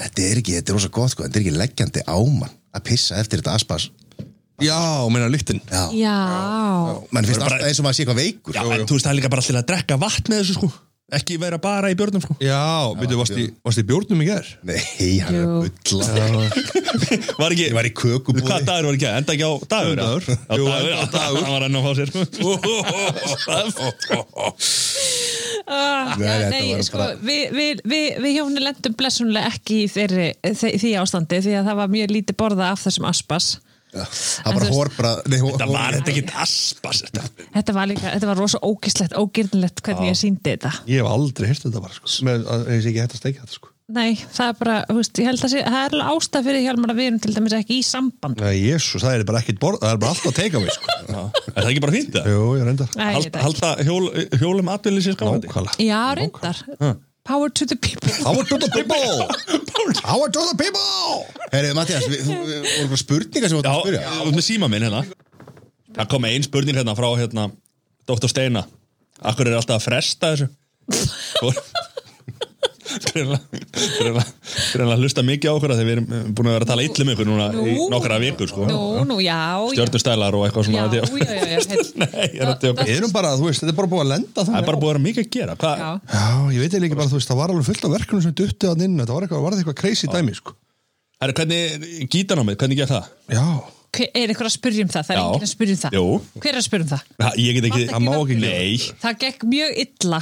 S1: Þetta er ekki, þetta er rosa gott sko Þetta er ekki leggjandi ámann að pissa eftir þetta aspas
S5: já, meina lyktin
S1: Já,
S6: Já.
S1: mann finnst
S2: Bara-
S1: alltaf eins og maður sé eitthvað veikur
S2: já, en þú veist, það er líka bara allir að drekka vatn með þessu sko ekki vera bara í björnum sko
S5: Já, veitu, varst, í- varst í bjórnum í ger?
S1: Nei, hann er
S6: Jú.
S1: að bulla
S2: var ekki,
S1: Ég var í kökubúði
S2: hvað dagur var ekki, enda ekki á dagur
S5: Dagur.
S2: já,
S5: Jú,
S2: dagur,
S5: enda á
S2: já,
S5: dagur.
S2: hann var enn að fá sér
S6: Ah,
S1: Nei, þetta
S6: Nei,
S1: var
S6: sko,
S1: bara-
S6: við, við, við, við hjóni lendum blessunlega ekki í þeirri, þe því ástandi því að það var mjög lítið borða af þessum aspas.
S1: Það
S6: En
S1: bara
S6: þú veist-
S1: hórbra Nei, hó-
S2: það var
S1: hó-
S2: þetta ekki aspas þetta
S6: Þetta var líka, þetta var rosa ógislegt, ógirnilegt hvernig ég síndi þetta.
S5: Ég hef aldrei heyrt þetta bara sko. Með, að, ég sé ekki hægt að steikja þetta sko.
S6: Nei, það er bara, þú veist, ég held að sé, það er alveg ástæð fyrir Hjálmar að við erum til dæmis ekki í samband.
S5: Nei, jésus, það er bara ekkit borð Það er bara alltaf að teika mig sko.
S2: er það ekki bara fínt það?
S5: Jú, ég reyndar
S6: Nei, ég veit
S2: Hald-
S6: ekki.
S2: halda hjól, hjólum atvinni sér skamandi
S5: Nákvæmlega
S6: Já, reyndar. Power to the people.
S5: Power to the people Power to the people
S1: Herri, Mattias, við þú- við vorum eitthvað spurningar sem við
S2: Já,
S1: áttum að spyrja
S2: út með síma minn hérna Það kom ein spurning hérna frá hérna Dr. Steina Akkur er alltaf að fresta þessu Greinlega að hlusta mikið á okkur af því við erum eh, búin að vera að tala illu með ykkur núna í
S6: Nú.
S2: nokkra vikur sko
S6: Nú, nú, já, já.
S2: Stjörnustælar og eitthvað svona
S6: Já,
S2: að því að-
S6: já, já, já, heill.
S2: Nei, ég er að tjóka
S5: Við erum bara, þú veist, þetta er bara búið að lenda
S2: Það er
S5: þannig
S2: bara búin að vera mikið að gera Hvað?
S6: Já.
S5: Já, ég veit eiginlega ekki bara, þú veist, það var alveg fullt af verkunum sem duttið að inn Þetta var eitthvað, var þetta eitthvað crazy dæmi sko.
S2: Herra, hvernig gítanámið, hvernig gerð það?
S5: Já,
S6: Hver- Er ykkur að spyrja um það? Það er
S2: Já.
S6: enginn að spyrja um það.
S2: Jú.
S6: Hver er að spyrja um það?
S2: Ha, Ég get ekki,
S6: Vantar ekki nafnið?
S2: Nei,
S6: Það gekk mjög illa,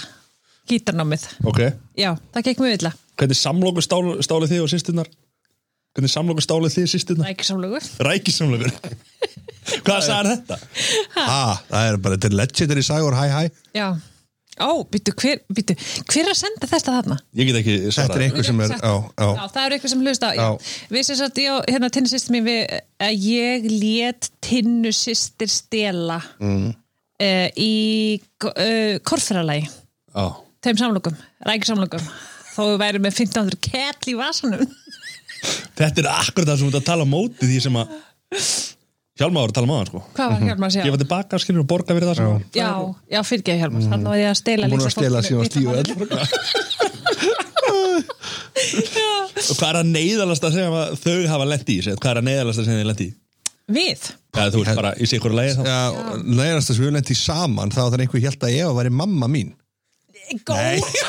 S6: gítarnámið.
S2: ok
S6: Já, það gekk mjög illa.
S2: Hvernig samlokustálið þið og sýstinnar? Hvernig samlokustálið þið sýstinnar?
S6: Það er ekki samlugur.
S2: Rækisamlegur Hvað sagði þetta?
S5: ha, það er bara, þetta er legendary sagur, hæ, hæ
S6: Já. Ó, býttu, hver, býttu, hver er að senda þetta þarna?
S2: Ég get ekki
S5: Þetta er
S2: svarað
S5: eitthvað sem er, já,
S6: Já,
S5: já
S6: það eru eitthvað sem hlusta á, já.
S5: Já.
S6: Við sem sagt, já, hérna tinnu sýstir mín við, að ég lét tinnu sýstir stela mm. í uh, korfyralagi,
S2: Já.
S6: tveim samlokum, rækisamlokum þó við værum með 1500 kell í vasanum
S2: Þetta er akkur það sem þú ert að tala á móti því sem að Hjálmar var að tala maður sko
S6: Hvað var Hjálmar að segja?
S2: Gefa tilbaka skilur og borga fyrir það sko. sem
S6: Já, já, fyrirgeðu Hjálmar, mm. þannig var ég að stela
S5: Búin að
S6: litla
S5: stela
S6: fólkinu,
S5: síðan stíu
S6: litla
S5: eldur
S2: Og hvað er að neyðalasta sem að þau hafa lent í Sett, Hvað er að neyðalasta sem þið lent í
S6: manninu. Við?
S2: Eða þú veist bara í sikur að leiði þá
S5: Já, nærast þess að við höfum lent í saman þá þannig einhver hjælt að Eva væri mamma mín
S6: Góð?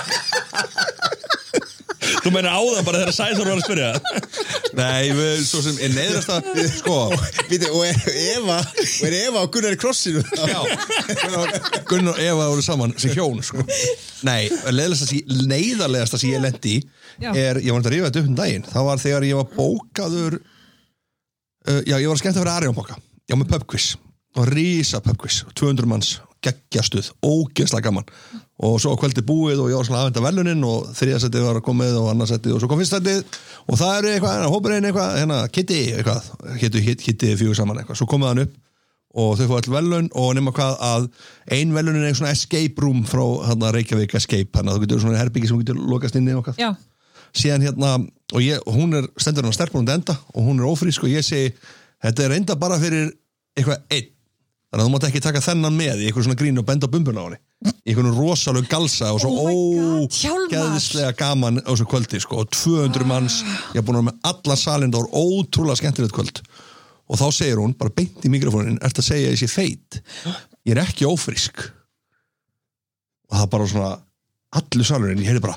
S2: Þú meina áðan bara þegar Sæþór var að spyrja
S5: Nei, við, svo sem er neðrast að sko,
S1: Býtu, og er Eva og er Eva og Gunnar í krossinu
S5: já Gunnar- Gunnar og Eva voru saman sem hjón sko. Nei, neyðarlegasta sem ég lendi í
S6: Já.
S5: er, ég var að rífa þetta upp um daginn það var þegar ég var bókaður uh, já, ég var skemmt að vera Arjónboka já, með pubquiz, og rísa pubquiz 200 manns, geggjastuð ógeðslega gaman og svo kvöldi búið og ég var svona aðvenda velunin og þriðasettið var að komið og annarsettið og svo kom fyrstsettið og það eru eitthvað, hérna, hópurinn eitthvað hérna, Kitty eitthvað, hétu Kitty fjögur saman eitthvað, svo komið hann upp og þau fóðu all velun og nema hvað að ein velunin er svona escape room frá hérna, Reykjavík escape, þannig að þú getur svona herbyggi sem þú getur lokast inn í okkar
S6: Já,
S5: síðan hérna og ég, og hún er, stendur hann að stelpa hún enda og hún er ófrísk og ég segi þetta er enda bara fyrir eitthvað einn þannig að þú mátt ekki taka þennan með í eitthvað svona grín og benda á bumbuna á henni í eitthvað rosalega galsa og svo
S6: Oh my God, Hjálmar!
S5: ógeðslega gaman á þessu kvöldi sko og 200 manns ég er búin að vera með alla salinda og ótrúlega skemmtilegt kvöld og þá segir hún bara beint í mikrofónin ert að segja að ég sé feit ég er ekki ófrísk og það bara svona allur salurinn, ég heyrði bara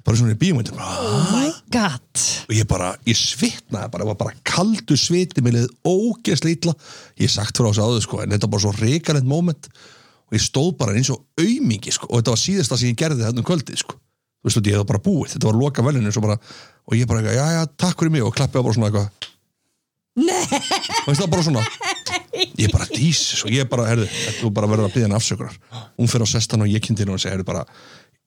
S5: bara svona í bíumöndum
S6: oh my gat
S5: og ég bara, ég svitnaði bara, ég var bara kaldu sviti, mér leðið ógeðslega illa ég hef sagt fyrir á þessu áður sko en þetta var bara svo reikalegt moment og ég stóð bara eins og aumingi sko og þetta var síðasta sem ég gerði þetta um kvöldið sko þú veist þú, ég hef bara búið, þetta var loka velinu bara, og ég bara, eitthvað, já já, takk fyrir mig og klappið bara svona eitthvað Nei Veist það bara svona Ég bara dísis og ég bara, herðu, þú bara verður að byggja henni afsökunar Hún fyrir á sestan og ég kynnti henni og segi, herðu bara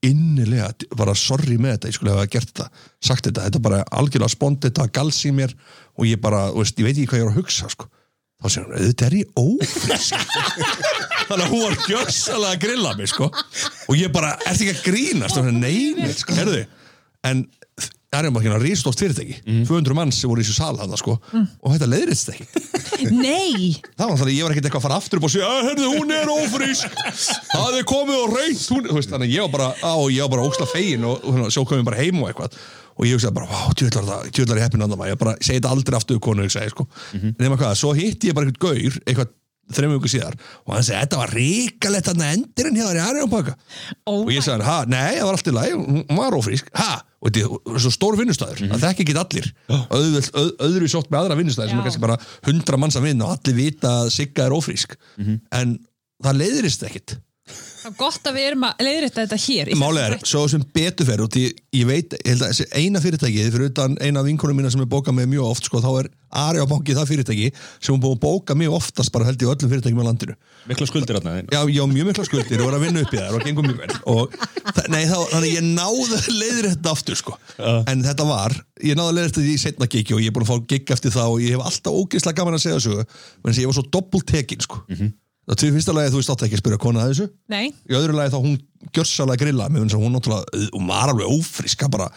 S5: innilega, bara sorry með þetta ég skulle hafa gert þetta, sagt þetta þetta er bara algjörlega spondið, þetta gals í mér og ég bara, þú veist, ég veit ekki hvað ég er að hugsa sko. þá segir hún, auðvitað er ég ófrisk þannig að hún var gjössalega að grilla mig sko. og ég bara, ertu ekki að grínast og hún, nei, nei, sko, herðu en það er maður ekki að rístótt fyrirtæki 200 manns sem voru í þessu sal hana, sko, og þetta leiðrist ekki
S6: Nei,
S5: það var þannig að ég var ekkert eitthvað að fara aftur upp og segja að herðu hún er ófrísk það er komið og reynt hún, þú veist, þannig að ég var bara á, ég var bara óksla fegin og hérna, svo kom ég bara heim og eitthvað og ég hugsaði bara, vá, djöðlar það, djöðlar ég heppin andan maður, ég bara segi þetta aldrei aftur konu, hugsaði, sko, nema hvað, svo hitti ég bara eitthvað gaur, eitthvað þreim viku síðar og hann segi, þetta var ríkalett þarna endurinn hérna í Arjónpaka
S6: Ó,
S5: og ég sagði, ha, nei, það var allt í lagi hún var ófrísk, ha, og þetta er svo stór vinnustæður, mm -hmm. það þekki ekki allir öðvöld, öð, öðru sótt með aðra vinnustæður sem
S6: Já.
S5: er kannski bara hundra manns að vinna og allir vita að Sigga er ófrísk en það leiðirist ekkit
S6: það er gott að við erum að leiðrita þetta hér í
S5: Málið er,
S6: þessum
S5: svo sem betur fer og því, ég veit, ég held að þessi eina fyrirtæki fyrir utan eina vinkonum mína sem er bókað með mjög oft sko, þá er Arja banki það fyrirtæki sem hún búið að bóka mjög oftast bara held í öllum fyrirtækjum á landinu
S2: mikla skuldir þarna þín.
S5: Já, ég á mjög mikla skuldir og var að vinna upp í þær og gengum mjög vel og þa- nei, þá, þannig að ég náði að leiðir þetta aftur sko, en þetta var ég náði að leiðir þetta í setna gigi og ég er búin að fá gig eftir það og ég hef alltaf ógeðslega gaman að segja þessu menn sem ég var svo doppult tekin sko mm -hmm. það til fyrsta lagi þú veist átt ekki að spyrja konu að þessu
S6: Nei,
S5: í öðru lagi þá hún gjörsalega grilla mér finnst að hún náttúrulega, uh, hún var alveg ófriska bara,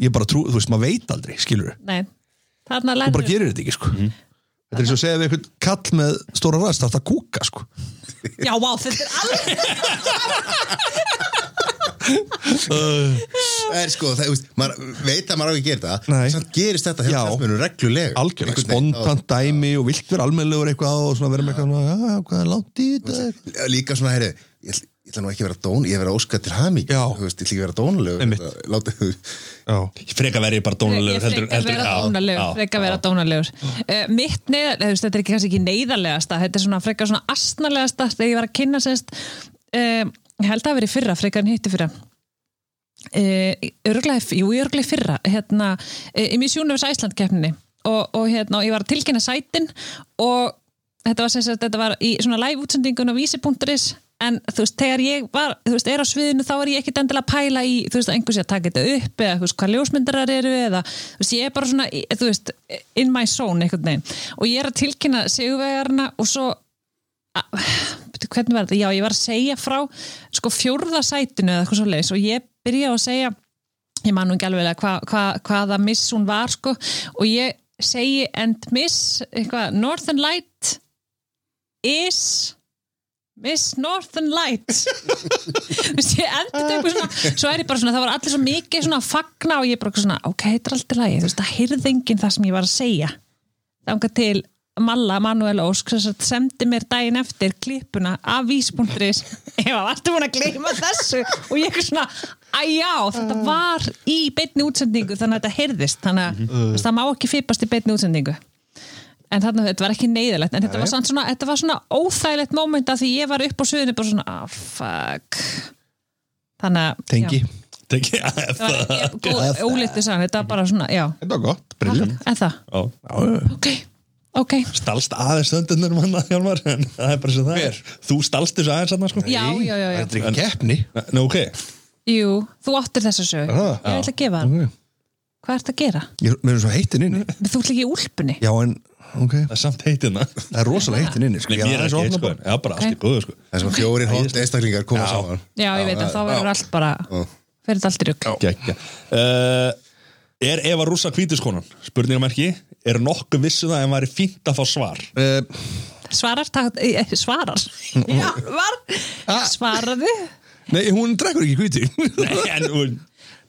S5: ég bara trú, þú veist, maður veit aldrei skilur,
S6: nei Þarna
S5: hún bara
S6: lærðu
S5: gerir þetta ekki sko Þetta er eins og að segja við einhvern kall með stóra ræðst, það er að kúka sko.
S6: Já, vá, þetta er alveg
S1: Það er sko, það, þú veist, maður veit að maður á ekki að gera það
S5: Nei.
S1: Samt gerist þetta
S5: Já.
S1: hérna kallmennum reglulega
S5: algjörlega
S1: Einhvern veginn,
S5: spontant dæmi og vilt vera almennlegur eitthvað og svona vera með eitthvað svona, já, já, hvað er langt í þetta
S1: þá- Líka svona, herri, ég, ætl- ég ætla nú ekki að vera dón Ég ætla að vera óskað til haming
S5: Já.
S1: Þú veist, ég ætla ekki að vera dónulegur
S5: Einmitt.
S1: Þetta- Láta þú
S5: já.
S2: freka verið bara
S6: Ég
S2: dónulegur heldur,
S6: freka
S2: heldur,
S6: vera
S2: já, já,
S6: dónalegur Freka vera dónalegur uh, Mitt neyðar, þetta er ekki kannski ekki neyðarlegasta Þetta er svona freka svona astnalegasta Þegar ég var að kynna semst uh, Ég held að það verið fyrra, freka en hitti fyrra uh, Örglega, jú, örglega í fyrra Hérna, uh, í misjúnu við Æsland keppninni og, og hérna, og ég var að tilkynna sætin Og þetta var sem sagt, þetta var í svona live útsendingun á vísi.is en þú veist, þegar ég var, þú veist, er á sviðinu þá er ég ekkit endilega að pæla í, þú veist, að einhversi að taka þetta upp eða, þú veist, hvað ljósmyndarar eru eða, þú veist, ég er bara svona, í- þú veist in my zone einhvern veginn og ég er að tilkynna sigurvegarna og svo a- bíddu, hvernig var þetta? Já, ég var að segja frá sko fjórða sætinu eða eitthvað svo leis og ég byrja á að segja ég man nú ekki alveg hva, hva, hvaða miss hún var sko og ég segi and miss eitthvað, Northern Light is Miss Northern Light Þú veist, ég endur þetta eitthvað svona svo er ég bara svona, það var allir svo mikið svona að fagna og ég bara eitthvað svona, ok, þetta er alltaf lagi þú veist, það heyrði enginn það sem ég var að segja þangað til Malla Manuel Ósk sem sagt sendi mér daginn eftir klippuna af vísbúndris ég var alltaf búin að gleyma þessu og ég er svona, að já, þetta var í beinni útsendingu þannig að þetta heyrðist þannig að mm -hmm. það má ekki fipast í beinni útsendingu en þarna, þetta var ekki neyðilegt en þetta var, samt svona, þetta var svona óþægilegt moment að því ég var upp á suðinu bara svona, ah, fuck þannig að
S5: tengi,
S6: já.
S2: Teki- já, ef
S6: Það
S2: það-
S6: var- ég- góð- ólítið sann, þetta var bara svona, já
S5: þetta var gott, brillant
S6: en það,
S2: já.
S6: ok, ok
S2: stalst aðeins söndunar manna Hjálmar, en það er bara sem það er þú stalst þessu aðeins aðna sko
S6: já, já, já, já,
S5: þetta er ekki keppni
S2: Nei, ok,
S6: jú, þú áttir þessa sög ég
S5: það?
S6: ætla að gefa hann,
S5: Ok.
S6: hvað ertu að gera?
S5: ég, mér er svo heitin inni
S6: Men þú ert ekki í úlpunni
S5: já, en, ok,
S2: það er samt heitina
S5: það er rosalega heitin inni sko.
S2: Nei,
S5: Ég
S2: mér er
S5: aðeins
S2: ekki
S5: að
S2: heitt
S5: opna
S2: sko
S5: bara.
S2: en- Já, bara allt í góðu sko
S1: Það er svona fjórir hótt einstaklingar koma saman
S6: já, ég veit að þá verður allt bara fyrir þetta allt í rugg
S2: Gekja uh, Er Eva Rúsa kvítiskonan? Spurningamerki Er nokkuð vissu það en væri fínt að fá svar?
S5: Eh,
S6: svarar, takt, eh, eh, svarar já, var,
S5: Ah.
S6: svaraðu
S5: nei, hún drekkur ekki kvíti
S2: Nei, en hún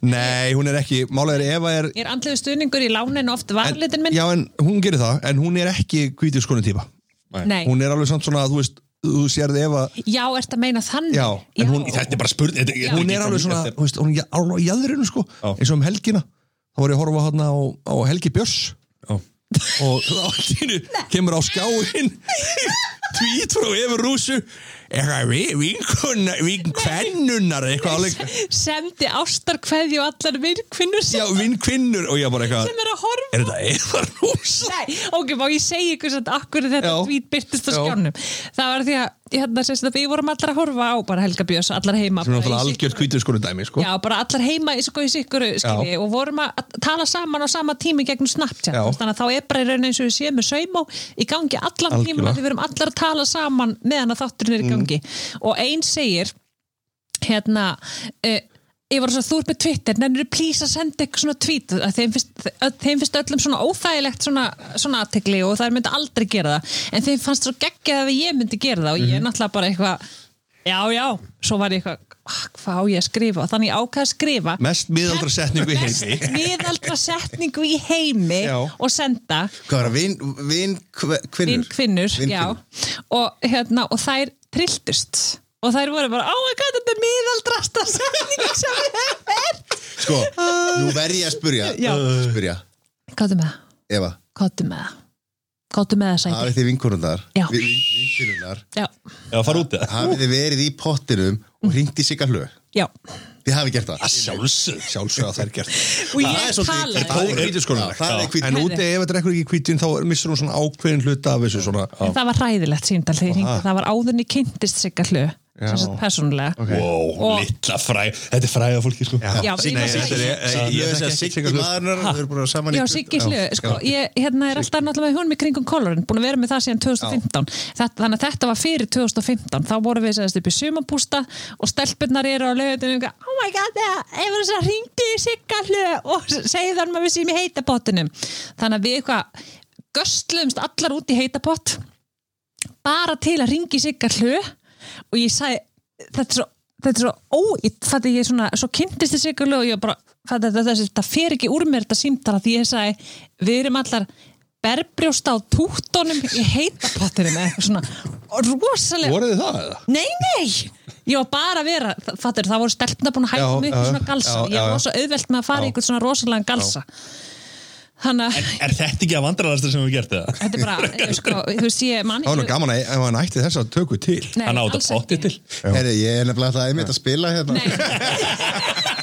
S5: nei, hún er ekki, málega er Eva er
S6: Ég er andlegu stuðningur í láninu oft varlitin minn
S5: já, en hún gerir það, en hún er ekki kvítiskonu típa,
S6: Nei.
S5: hún er alveg samt svona að þú veist, þú sérði Eva
S6: Já, ert að meina þannig
S5: Já, en hún-
S2: Þetta er bara spurning þetta- þetta
S5: hún
S2: ekki
S5: er
S2: frá
S5: alveg
S2: mér,
S5: svona,
S2: þetta er-
S5: þú veist, hún er alveg í aðrinu sko,
S2: Já.
S5: eins og um helgina þá var ég að horfa hann á, á Helgi Björs
S2: Já.
S5: og þá allt í einu kemur á skáin tvít frá Efur Rúsu eitthvað vi- vinkona vinkvennunar eitthvað áleik
S6: sendi ástarkveði og allar vinkvinnur
S5: já
S6: sem,
S5: vinkvinnur og ég bara eitthvað
S6: sem er að horfa
S5: er þetta Efur Rúsa
S6: Nei, ok, má ég segja ykkur satt akkur þetta
S5: Já.
S6: tvít byrtist á
S5: Já.
S6: skjánum það var því að hérna, sérst, að við vorum allar að horfa á bara Helga Björns, allar heima
S5: sem er
S6: bara í
S5: náttúrulega
S6: sitt-
S5: algjört kvíturskunum dæmi sko.
S6: Já, bara allar heima í, sko, í sikkuru skilji, og vorum að að tala saman á sama tími gegnum Snapchat,
S5: Já.
S6: þú veist, þannig að þá er bara í raun eins og við séum með saumó í gangi allan
S5: Algjörlega. Mm.
S6: tíma, því við erum allar að tala saman meðan að þátturinn er í gangi og einn segir hérna uh, ég var svo þú ert með Twitter, nennir þú please að senda eitthvað svona tweet, að þeim finnst, að þeim finnst öllum svona óþægilegt svona, svona aðtekli og þær myndi aldrei gera það en þeim fannst svo geggjað ef ég myndi gera það og
S5: Mhm.
S6: ég er náttúrulega bara eitthvað já, já, svo var ég eitthvað "Ah, hvað á ég að skrifa, Og þannig ég ákvað að skrifa
S5: mest miðaldra setningu í heimi
S6: mest miðaldra setningu í heimi
S5: Já.
S6: og senda
S1: Hvað var það? Vin, vin, hve-
S6: vinn
S1: kvinnur?
S6: kvinnur, já
S1: Vinkvinnur.
S6: og, hérna, og þær trilltust og þær voru bara, oh my god, þetta er miðaldrasta setningu sem við höfum heyrt."
S1: Sko, nú verð ég að spurja
S6: Já.
S1: Spurja,
S6: Káttu með það,
S1: Eva
S6: káttu með það Káttu með það sæti
S1: Hafið þið vinkonundar
S6: Já.
S1: Vinkonundar
S6: Já,
S2: Já, fara út eða
S1: Hafið þið verið í pottinum og hringt í sigga hlög
S6: já
S1: Þið hafið gert það
S5: sjálfsög sjálfsög að það er gert
S6: Og
S1: Það er
S6: ég
S1: svolítið-
S6: talaði
S5: það er kvíturskunum
S1: Já, það er hvítur-
S5: en úti ef þetta er eitthvað ekki kvítin þá missur hún svona ákveðin hluta af þessu svona
S6: En það var hræðilegt síndal þegar ég hringdi Það var áðurni kynntist sig að hlu Persónulega
S2: Wow,
S6: Og-
S2: litla fræ Þetta er fræða fólki sko
S6: Já,
S5: Nei,
S6: ég var
S5: þetta er-
S6: Siggi-
S5: eh,
S1: Ég veist að
S5: þekki ekki
S1: sigga
S5: Sigga Hlöð.
S1: maðurnar Þau eru bara saman í
S6: Já,
S1: klukku-
S6: Siggi Hlu, sko, ég hérna er alltaf náttúrulega með húnum í kringum kolorinn, búin að vera með það síðan 2015 þetta, þannig að þetta var fyrir 2015 þá vorum við sérst upp í sumabústa og stelpunnar eru á lögutinu og eitthvað, oh my god, ef það er hringdu í Sigga Hlu og segið þannig að við séum í heitabottinum þannig að við eitthvað göstluðumst allar út í heitabott bara til að ringi Sigga Hlu og ég sagði þetta er svo þetta er svo óitt þetta ég svona, svo kynntist þið Sigga Hlu og ég bara þetta, þetta, þetta, þetta fer ekki úr mér þetta símtala því ég sagði, við erum allar berbrjóst á túttunum í heitapottinum eða eitthvað svona rosalega
S5: voruð þið það eða?
S6: Nei, nei, ég var bara að vera þa- fattur, það voru stelpna búin að hætta
S5: Já,
S6: mig upp í
S5: já,
S6: svona galsa,
S5: já, já,
S6: ég
S5: já.
S6: var svo auðvelt með að fara í ykkur svona rosalega galsa þannig að
S2: Er þetta ekki að vandrarasta sem við gert það?
S6: þetta er bara, ég, sko, þú veist ég man
S5: það var nú gaman að ef hann ætti þess að tökku til
S6: Nei,
S2: Hann á þetta
S6: alls
S2: potti
S6: ekki.
S2: til
S1: Herri, ég er nefnilega alltaf einmitt að spila hérna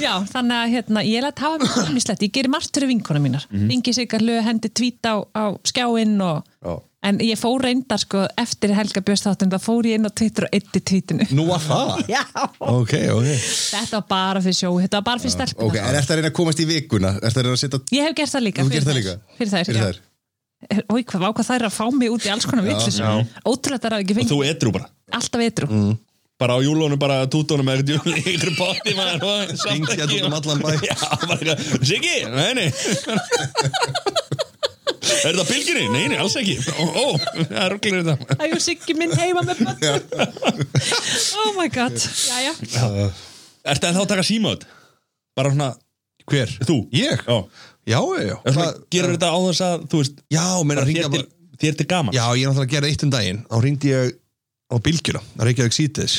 S6: Já, þannig að hérna, ég lætt hafa mér ímislegt, ég gerir margt fyrir vinkona mínar mm
S1: Mhm.
S6: -hmm. Ingi Sigarlu hendi tvít á, á skjáinn og en ég fór reyndar sko eftir Helga Björns þáttum það fór ég inn á Twitter og eitti tvítinu
S1: Mm.
S5: nú var það
S6: Já,
S5: ok, ok
S6: þetta var bara fyrir sjó, þetta var bara fyrir stelpina
S1: Ok, en ertu að reyna að komast í vikuna? Ertu að reyna að setja
S6: Ég hef gert það líka,
S1: Þú
S6: fyrir
S1: gerð það
S6: þær.
S1: líka?
S6: Fyrir þær,
S1: Fyrir
S6: já.
S1: þær.
S6: Ói, hvað ákvað þær að fá mig út í alls konar vitlis Ótrúlega þær að ekki
S2: Og
S6: fengi
S2: þú edru bara
S6: alltaf etru mm.
S2: Bara á júlónu, bara tútónum Eða eitthvað bótti maður og samt
S5: Hringt hérna
S2: ekki-
S5: út um allan bæ.
S2: Já, bara eitthvað Siggi, nei, nei Er það bylginni? Nei, nei, alls ekki Ó, ó, það er rugglir þetta
S6: Æjú, Siggi minn heima með bönnum Oh my god, jæja
S2: Ertu ennþá að taka símaut? Bara svona,
S5: hver?
S2: þú?
S5: ég?
S2: Já,
S5: já, já, já
S2: Ertu
S5: Það-
S2: að gera þetta á þess að, þú veist
S5: já, meina
S2: bara
S5: hringja
S2: Þér
S5: bara
S2: til, þér til gaman
S5: já, ég er náttúrulega að gera eitt um daginn þá ringdi ég á bylgjuna það reykjaði ekki sítiðis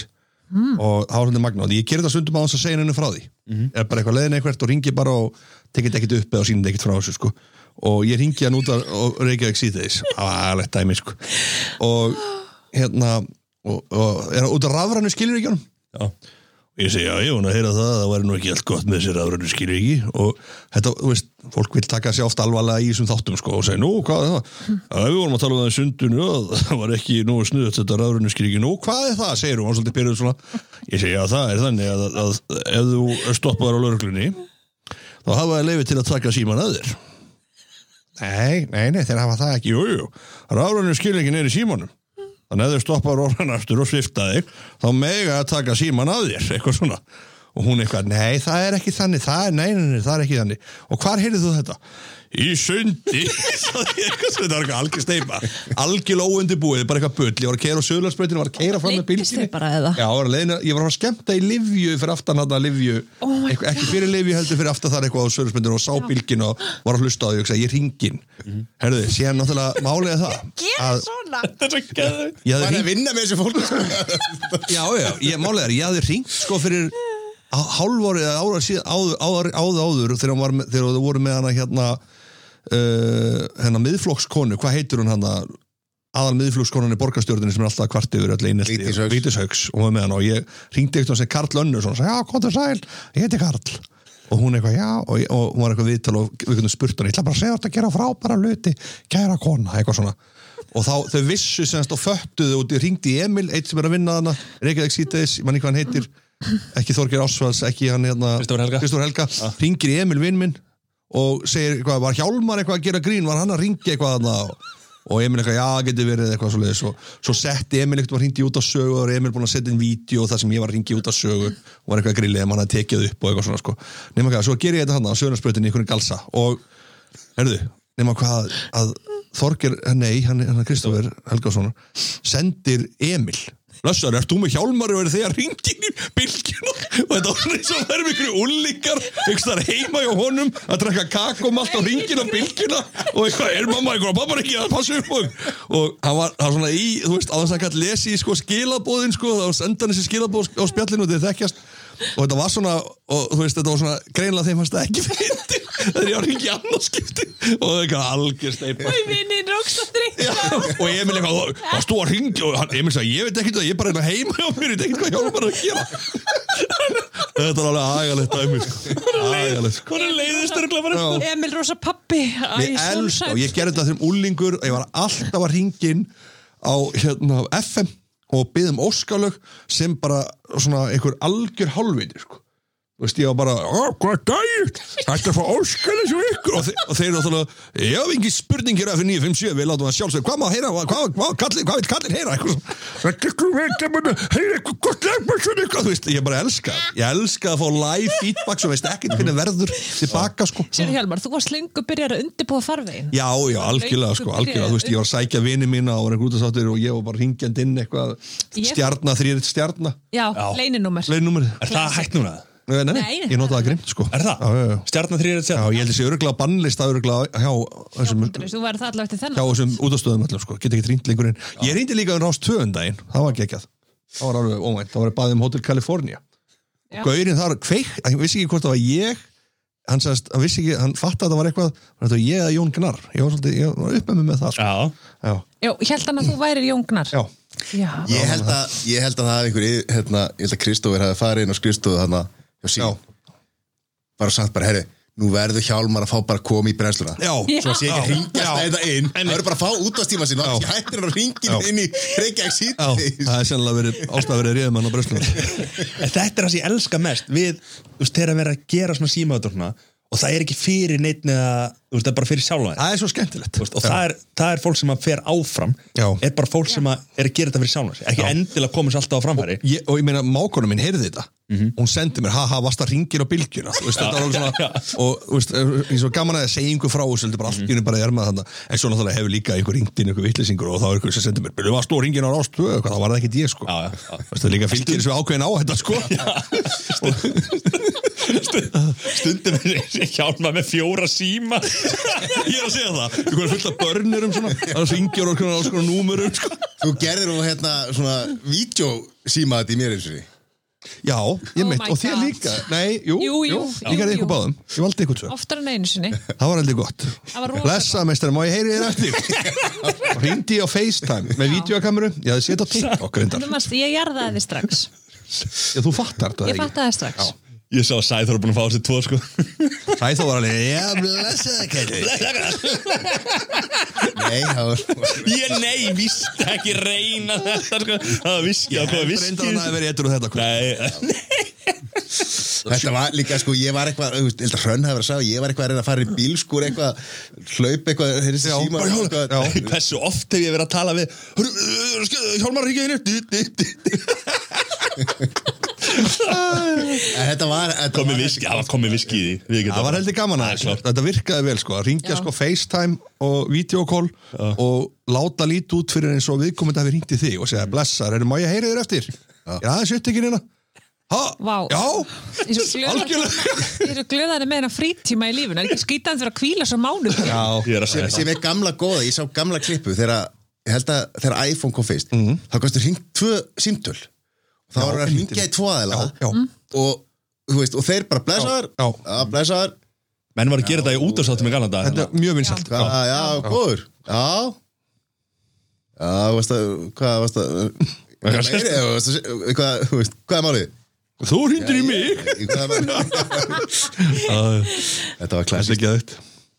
S5: og það var hundið magna og ég gerði það stundum á þess að segja henni frá því er bara eitthvað leiðin eitthvað og ringi bara og tekið ekkert upp eða sínir ekkert frá þessu sko. og ég ringi hann út af- og reykjaði ekki sítiðis það var aðalegt dæmi sko. og hérna og, og er út af rafrænu skiljuríkjónum
S2: Já.
S5: Ég segi, já, ég vona að heyra það, það væri nú ekki allt gott með þessi rafrænu skilur og þetta, þú veist, fólk vil taka sér ofta alvarlega í þessum þáttum, sko, og segja, nú, hvað er það? Það við vorum að tala um það í sundinu og það var ekki nú snuðt þetta rafrænu skilur nú, hvað er það, segir hún, og svolítið byrjuð svona Ég segi, já, það er þannig að, að, ef þú stoppaður á lauruglunni þá hafaði leifi til að taka síman að þér Nei, nei, nei, þeir hafa það ekki, jú, jú Rafrænu skilur er í símanum Þannig að ef þau stoppa rólan aftur og svifta þig þá mega að taka síman að þér eitthvað svona og hún eitthvað, nei það er ekki þannig það er, nei, nei, nei, það er ekki þannig og hvar heyrðu þú þetta? Í sundi sagði ég eitthvað sem þetta var eitthvað algjör steipa algjör óundibúið, bara eitthvað bull ég var að keira á söðlarsbreytinu, var að keira fram með bylginni
S6: Leiddist þig bara, eða?
S5: Já, var að leiðina, ég var að fara að skemmta í livju fyrir aftan hann að livju
S6: Oh my
S5: eitthvað, ekki fyrir livju heldur fyrir aftan þar eitthvað á söðlarsbreytinu og sá bylgin og var að hlusta á því og ég ringin, herðu, síðan náttúrulega málega það að
S6: svona
S2: Þetta er svo geðveikt.
S5: ég
S1: Hvað er
S5: hafði hringt
S1: að vinna með þessu fólk? sko?
S5: Já, já, ég málið er, ég hafði ringt sko fyrir hálfórið eða ára síðan áður, áður, áður, áður þegar, hún var, með- þegar þú voru með hana hérna uh, hérna miðflokkskonu, hvað heitir hún hana aðal miðflokkskonan í borgarstjórninni sem er alltaf kvart yfir öll einelti
S1: Vigdís Hauks.
S5: Vítisauks og hún var með hana og ég ringdi eitthvað sem Karl Önnur og sagði, já, kontur sæl, ég heiti Karl og hún eitthvað, já, og, ég, og hún var eitthvað viðtal og við kunnum spurt hann, ég ætla bara að segja þetta að gera frábæra hluti, kæra kona, eitthvað svona og þá, þau vissu semst og föttuðu og þau ringdi í Emil, eitt sem er að vinna þarna Reykjavík sítiðis, mann ekki hvað hann heitir ekki Þorgir Ásvalds, ekki hann hérna
S2: Kristófur Helga.
S5: Kristófur Helga, ringir í Emil vinn minn og segir eitthvað, var Hjálmar eitthvað að gera grín, var hann að ringi eitthvað þarna og, og Emil eitthvað, já, getur verið eitthvað svo leiðis og svo setti Emil eitthvað hringi út á sögu og Emil búin að setja inn vídeo þar sem ég var að ringi út á sögu og var eitthvað grillið að mann að tekið upp og eitthvað svona sko, nema hvað, svo ger ég þetta hann á sögurnarsprautinni í einhvern galsa og Herðu, nema hvað að Þorger, nei, hann, hann Kristofur Helgason, sendir Emil Lassar, ert þú með hjálmar og er þegar ringin í bylgjuna og þetta var eins og það er miklu ullikar ykkur heima hjá honum að drekka kakomalt og ringin á bylgjuna og eitthvað, er mamma eitthvað, pappa er ekki að passa upp og, og hann var, hann var svona í, þú veist, á þess að hann lesi í sko skilabóðin sko, þá senda hann þessi skilabóð á spjallinu og þið þekkjast og þetta var svona, og þú veist, þetta var svona greinlega þeim fannst það ekki fyndi þegar ég var ekki annarskipti og það er eitthvað algjör steipa
S6: Þau vinninn rókst að drikka
S5: og Emil eitthvað, það stóð að ringi og hann, Emil sagði, ég veit ekkert það, ég er bara einhver heima hjá mér, ég veit ekkert hvað hjálpar að gera þetta er alveg agalegt dæmi sko. agalegt sko
S2: Hvað er leiðist örgulega bara?
S6: Emil Rosa pappi
S5: ég elst og ég gerði þetta þeim úlingur og ég var alltaf að ringin á hérna, FM og byggðum óskalög sem bara svona einhver algjör hálfviti sko. Þú veist, ég var bara, "Ó, hvað er dægt? Þetta er að fá óskalög sem ykkur og, þe og þeir eru þá já, engin spurning hér fyrir 957, við látum það sjálfsög hvað má heyra, hvað, hvað, hvað, kallir, hvað vil kallir heyra eitthvað svona, þetta er eitthvað veit að manna heyra eitthvað gott lefnarsun eitthvað, þú veist, ég bara elska, ég elska að fá live feedback sem veist ekkert hvernig verður tilbaka sko
S6: Sér Hjalmar, þú varst lengur byrjar að undirbúa farvegin
S5: Já, já, algjörlega, sko, algjörlega, þú veist, ég var að sækja vini mína og var einhver út að sáttir og ég var bara ringjand inn eitthvað,
S6: Ég-
S5: stjarnar, þrýr stjarnar,
S6: Já, leyninúmer
S5: leinnúmerið.
S2: Er það hægt núna?
S5: Nei, nei,
S6: Nei,
S5: ég notaði það grimt, sko.
S2: Er það?
S5: Já, já, já.
S2: Stjarnan þrýr er
S5: Já,
S2: þetta
S5: ég held þessi öruglega bannlista öruglega hjá þessum,
S6: Þú væri það allavega eftir
S5: hjá
S6: þennan
S5: þessum útastöðum öllum, sko, get ekki ringt lengur inn. Ég ringdi líka um rást tvöðum daginn, það var geggjað. Það var alveg óvænt, það var baðið um Hotel California.
S6: Já.
S5: Gaurinn þar, kveik, hann vissi ekki hvort það var ég, hann, sagðist, hann vissi ekki, hann fatt að það var eitthvað, var þetta ég eða Jón Gnar, ég var svolítið, ég var uppið með það, sko.
S2: Já,
S5: Já,
S6: Já, ég held hann að þú værir jóngnar
S5: já.
S6: Já,
S1: Ég held að, ég held að það hafi einhver yfir- hérna, ég held að Kristófur hafi farið inn á skrifstofu þarna hjá sín
S5: Já.
S1: bara sagt bara, herri, nú verður Hjálmar að fá bara að koma í brennsluna
S5: Já,
S1: svo að sé ekki að ringja stæða hérna inn það verður bara að fá útastíma sín og
S5: Já.
S1: ekki hættir hérna að ringja inn í Reykjavík
S5: Já,
S1: síðan
S5: það er sennilega verið ástæða verið reyðumann á bröslunum
S2: En þetta er það sem ég elska mest við, þú veist, þegar að vera að gera svona símaður svona, og það er ekki fyrir neitt eða, þú veist, það er bara fyrir sjálfa þér
S5: Það er svo skemmtilegt
S2: Þú veist, og það er, það er fólk sem að fer áfram
S5: Já.
S2: er bara fólk sem að er að gera þetta fyrir sjálfa sér ekki
S5: Já.
S2: endilega komast alltaf á framfæri
S5: ég, Og ég meina, mákona minn heyrði þetta Hún sendi mér, haha, varst það ringin á bylgjuna Þú veist, þetta var alveg svona Og þú veist, ég er svo gaman að segja einhver frá Þessu heldur bara allt í henni bara er maður þannig En svo náttúrulega hefur líka einhver ringt inn einhver vitlýsingur Og þá er einhver sem sendir mér, byrjuðu að stó ringin á rást tvö, eitthvað, Það var það ekki ég, sko
S2: Já, já, já.
S5: Þú veist, það líka fylgir þessu ákveðin á þetta, sko
S2: stundum hjálpa með fjóra síma
S5: Ég er að segja það, einhver er fullt af börnurum svona Það ringir og alls konar númurum, sko
S1: þú gerðir nú hérna svona vídjósíma þetta í mér eins og því
S5: Já, ég
S6: Oh
S5: mitt,
S6: my
S5: og þér
S6: God.
S5: líka Nei, jú,
S6: Jú, jú,
S5: ég
S6: jú,
S5: gerði
S6: jú.
S5: ykkur báðum Ég valdi ykkur tvö,
S6: oftar en einu sinni
S5: það var heldur gott
S6: Það var rosa
S5: Blessa, meistari, má ég heyri þér eftir Hrindi á FaceTime með videokameru Ég hafði setið á TikTok reyndar
S6: Þú manst, Ég jarðaði þið strax
S5: Já, Þú fattar þetta
S6: Ég fattaði það strax
S2: ég sá að Sæþór er búin að fá sér tvo sko
S5: Sæ þá var alveg, já, blessa það, kæli
S1: nei, það var
S2: ég nei, víst ekki reyna þetta sko það var viski, það var
S5: Reyndar hann að
S2: viski
S5: vera eitthvað þetta sko.
S2: nei,
S1: Þetta var líka, sko, ég var eitthvað, þú veist, eitthvað hrönn hafi verið að sagja, ég var eitthvað að reyna að fara í bílskur eitthvað, hlaup eitthvað, heyrðist
S5: Já,
S1: síma,
S5: bara hjóla,
S1: eitthvað,
S5: já.
S2: hversu oft hef ég verið að tala við "Hörru, uh, sk- Hjálmar ríkja henni
S1: en þetta var, þetta
S2: komið
S1: var,
S2: viski, það var komið viski í því Við getum-
S5: Það var heldur gaman
S2: Það
S5: að
S2: er
S5: þessu.
S2: klárt.
S5: þetta virkaði vel sko, að ringja
S6: Já.
S5: sko FaceTime og videokól og láta lít út fyrir eins og viðkomandi hafi ringt í þig og segja blessar, erum má ég heyri þér eftir? Já, það er sjöttekinn hérna. Ha?
S6: Vá.
S5: Já,
S6: Ég er svo glöð-
S5: Algjörlega.
S6: ég er svo glöðaði með hennar frítíma í lífun Er ekki skýtan fyrir að kvíla svo mánu
S2: Ég er að segja
S1: sem er gamla góða, ég sá gamla klippu þegar, ég held að, þegar iPhone kom fyrst,
S2: Mhm.
S6: Mm.
S1: þá kostu hringt tvö símtöl, þá var að hringja í tvo aðeila
S5: Já, já.
S1: og þú veist, og þeir bara blessaður
S5: Já, já.
S1: já blessaður,
S2: menn var að gera þetta í útastáttum í galanda
S5: Þetta er mjög vinsælt
S1: já, já, góður já já, veist að, hvað varst að
S2: Hvað
S1: meiri,
S2: varstu að-
S1: þú veist að- hvað, þú veist, hvað er málið
S5: Þú hrindir í mig
S1: Í hvað er málið? þetta var
S5: Þetta er
S1: klassik
S5: ekki aðeitt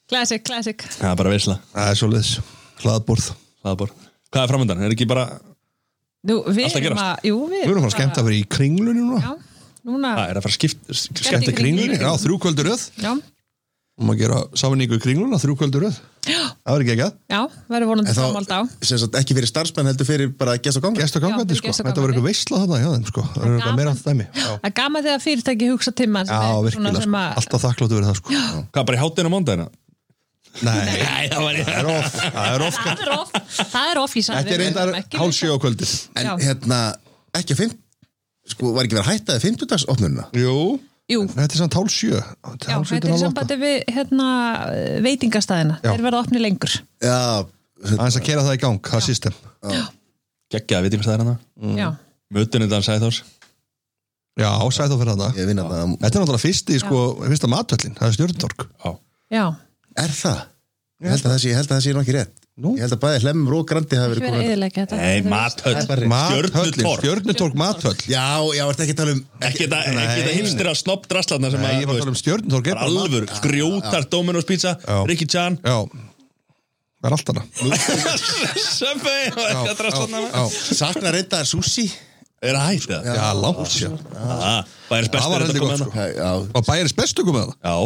S6: Classic, classic
S2: það er bara veisla
S5: Það er svoleiðis Hlaðborð
S2: Það er bara- hvað er framöndan, er ekki bara
S6: Nú, við
S2: Allt að
S6: erum
S2: gerast.
S6: að, jú, við
S5: Við erum að fara skemmt að vera í kringlunni núna
S6: Já, núna
S2: það er að fara að skipta skipta
S6: Skemmti
S5: Skemmti kringlunni
S6: Kringlunni.
S5: Já, þrjú kvöldur öð
S6: Já,
S5: Og maður gera samanningu í kringluna Þrjú kvöldur öð Það verður ekki ekki að
S6: já, verður vonandi
S1: En þá-
S6: framald á
S1: sem sagt ekki fyrir starfsmenn heldur fyrir bara gæst og ganga
S5: Gæst og gangandi
S6: fyrir
S5: sko
S6: gesti og
S5: Þetta var
S6: gangandi.
S5: eitthvað veisla þarna hjá þeim sko Það er eitthvað
S6: Gaman.
S5: meira að dæmi Já,
S6: Það er gaman þegar fyrirtæki hugsa til mann
S5: virkilega sko Alltaf þakkláttu verið það sko
S2: hvað bara í hátinn á mándagina
S5: Nei,
S2: Nei, það var
S5: það er off Það er off
S6: Það er off, það er off í sann
S5: Þetta er reyndar hálsjó á
S6: sko.
S5: kvöldin
S1: en
S6: Já.
S1: hérna, ekki að fimm sko, var ekki verið að hætta þið fimmtudagsopnunina
S5: Jú
S6: Jú,
S5: Þetta er samt hálsjö
S6: já, þetta er í sambandi við hérna, veitingastæðina
S5: Já.
S6: Þeir verða opni lengur
S1: já,
S5: Það að kera það í gang, það er system
S2: geggjaði vitingastæðir
S5: Mm.
S6: Já,
S2: mötunundan Sæþórs
S5: Já, sæð þá fyrir þarna
S1: ég vinna það
S5: Þetta er náttúrulega fyrsti, sko, fyrsta matvöllin, það er stjórntork.
S2: Já.
S6: já
S1: er það? Ég held að það sé, ég held að það sé nú ekki rétt
S5: Nú?
S1: Ég held að bæði hlemmur og grandi hafi
S6: Ekki
S1: verið
S6: verið
S1: komið
S6: eðilegja þetta
S2: Nei,
S6: Þetta er-
S2: mathöll,
S1: bara-
S5: Mathöllin,
S2: stjörnutorg
S5: stjórntork matvöll.
S1: Já, já, ertu ekki að tala um
S2: ekki þetta-
S5: Nei.
S2: ekki þetta hipstir að snopp draslarna sem
S5: Nei, ég var að tala um stjórntork.
S2: bara alvöru, grjótar, Dominos pizza
S5: Já.
S2: Ricky Chan
S5: Já, það er allt hana.
S2: Subway og eitthvað draslarna
S5: Já, já.
S1: Sakna reynda sushi
S2: er það hægt það?
S5: Já, langt sér.
S2: Já, það er
S5: Það
S2: best að
S5: var heldur
S2: koma
S5: gott,
S2: hérna
S5: sko.
S1: Já, já,
S5: Og bæjarins bestu komið það.
S2: Já,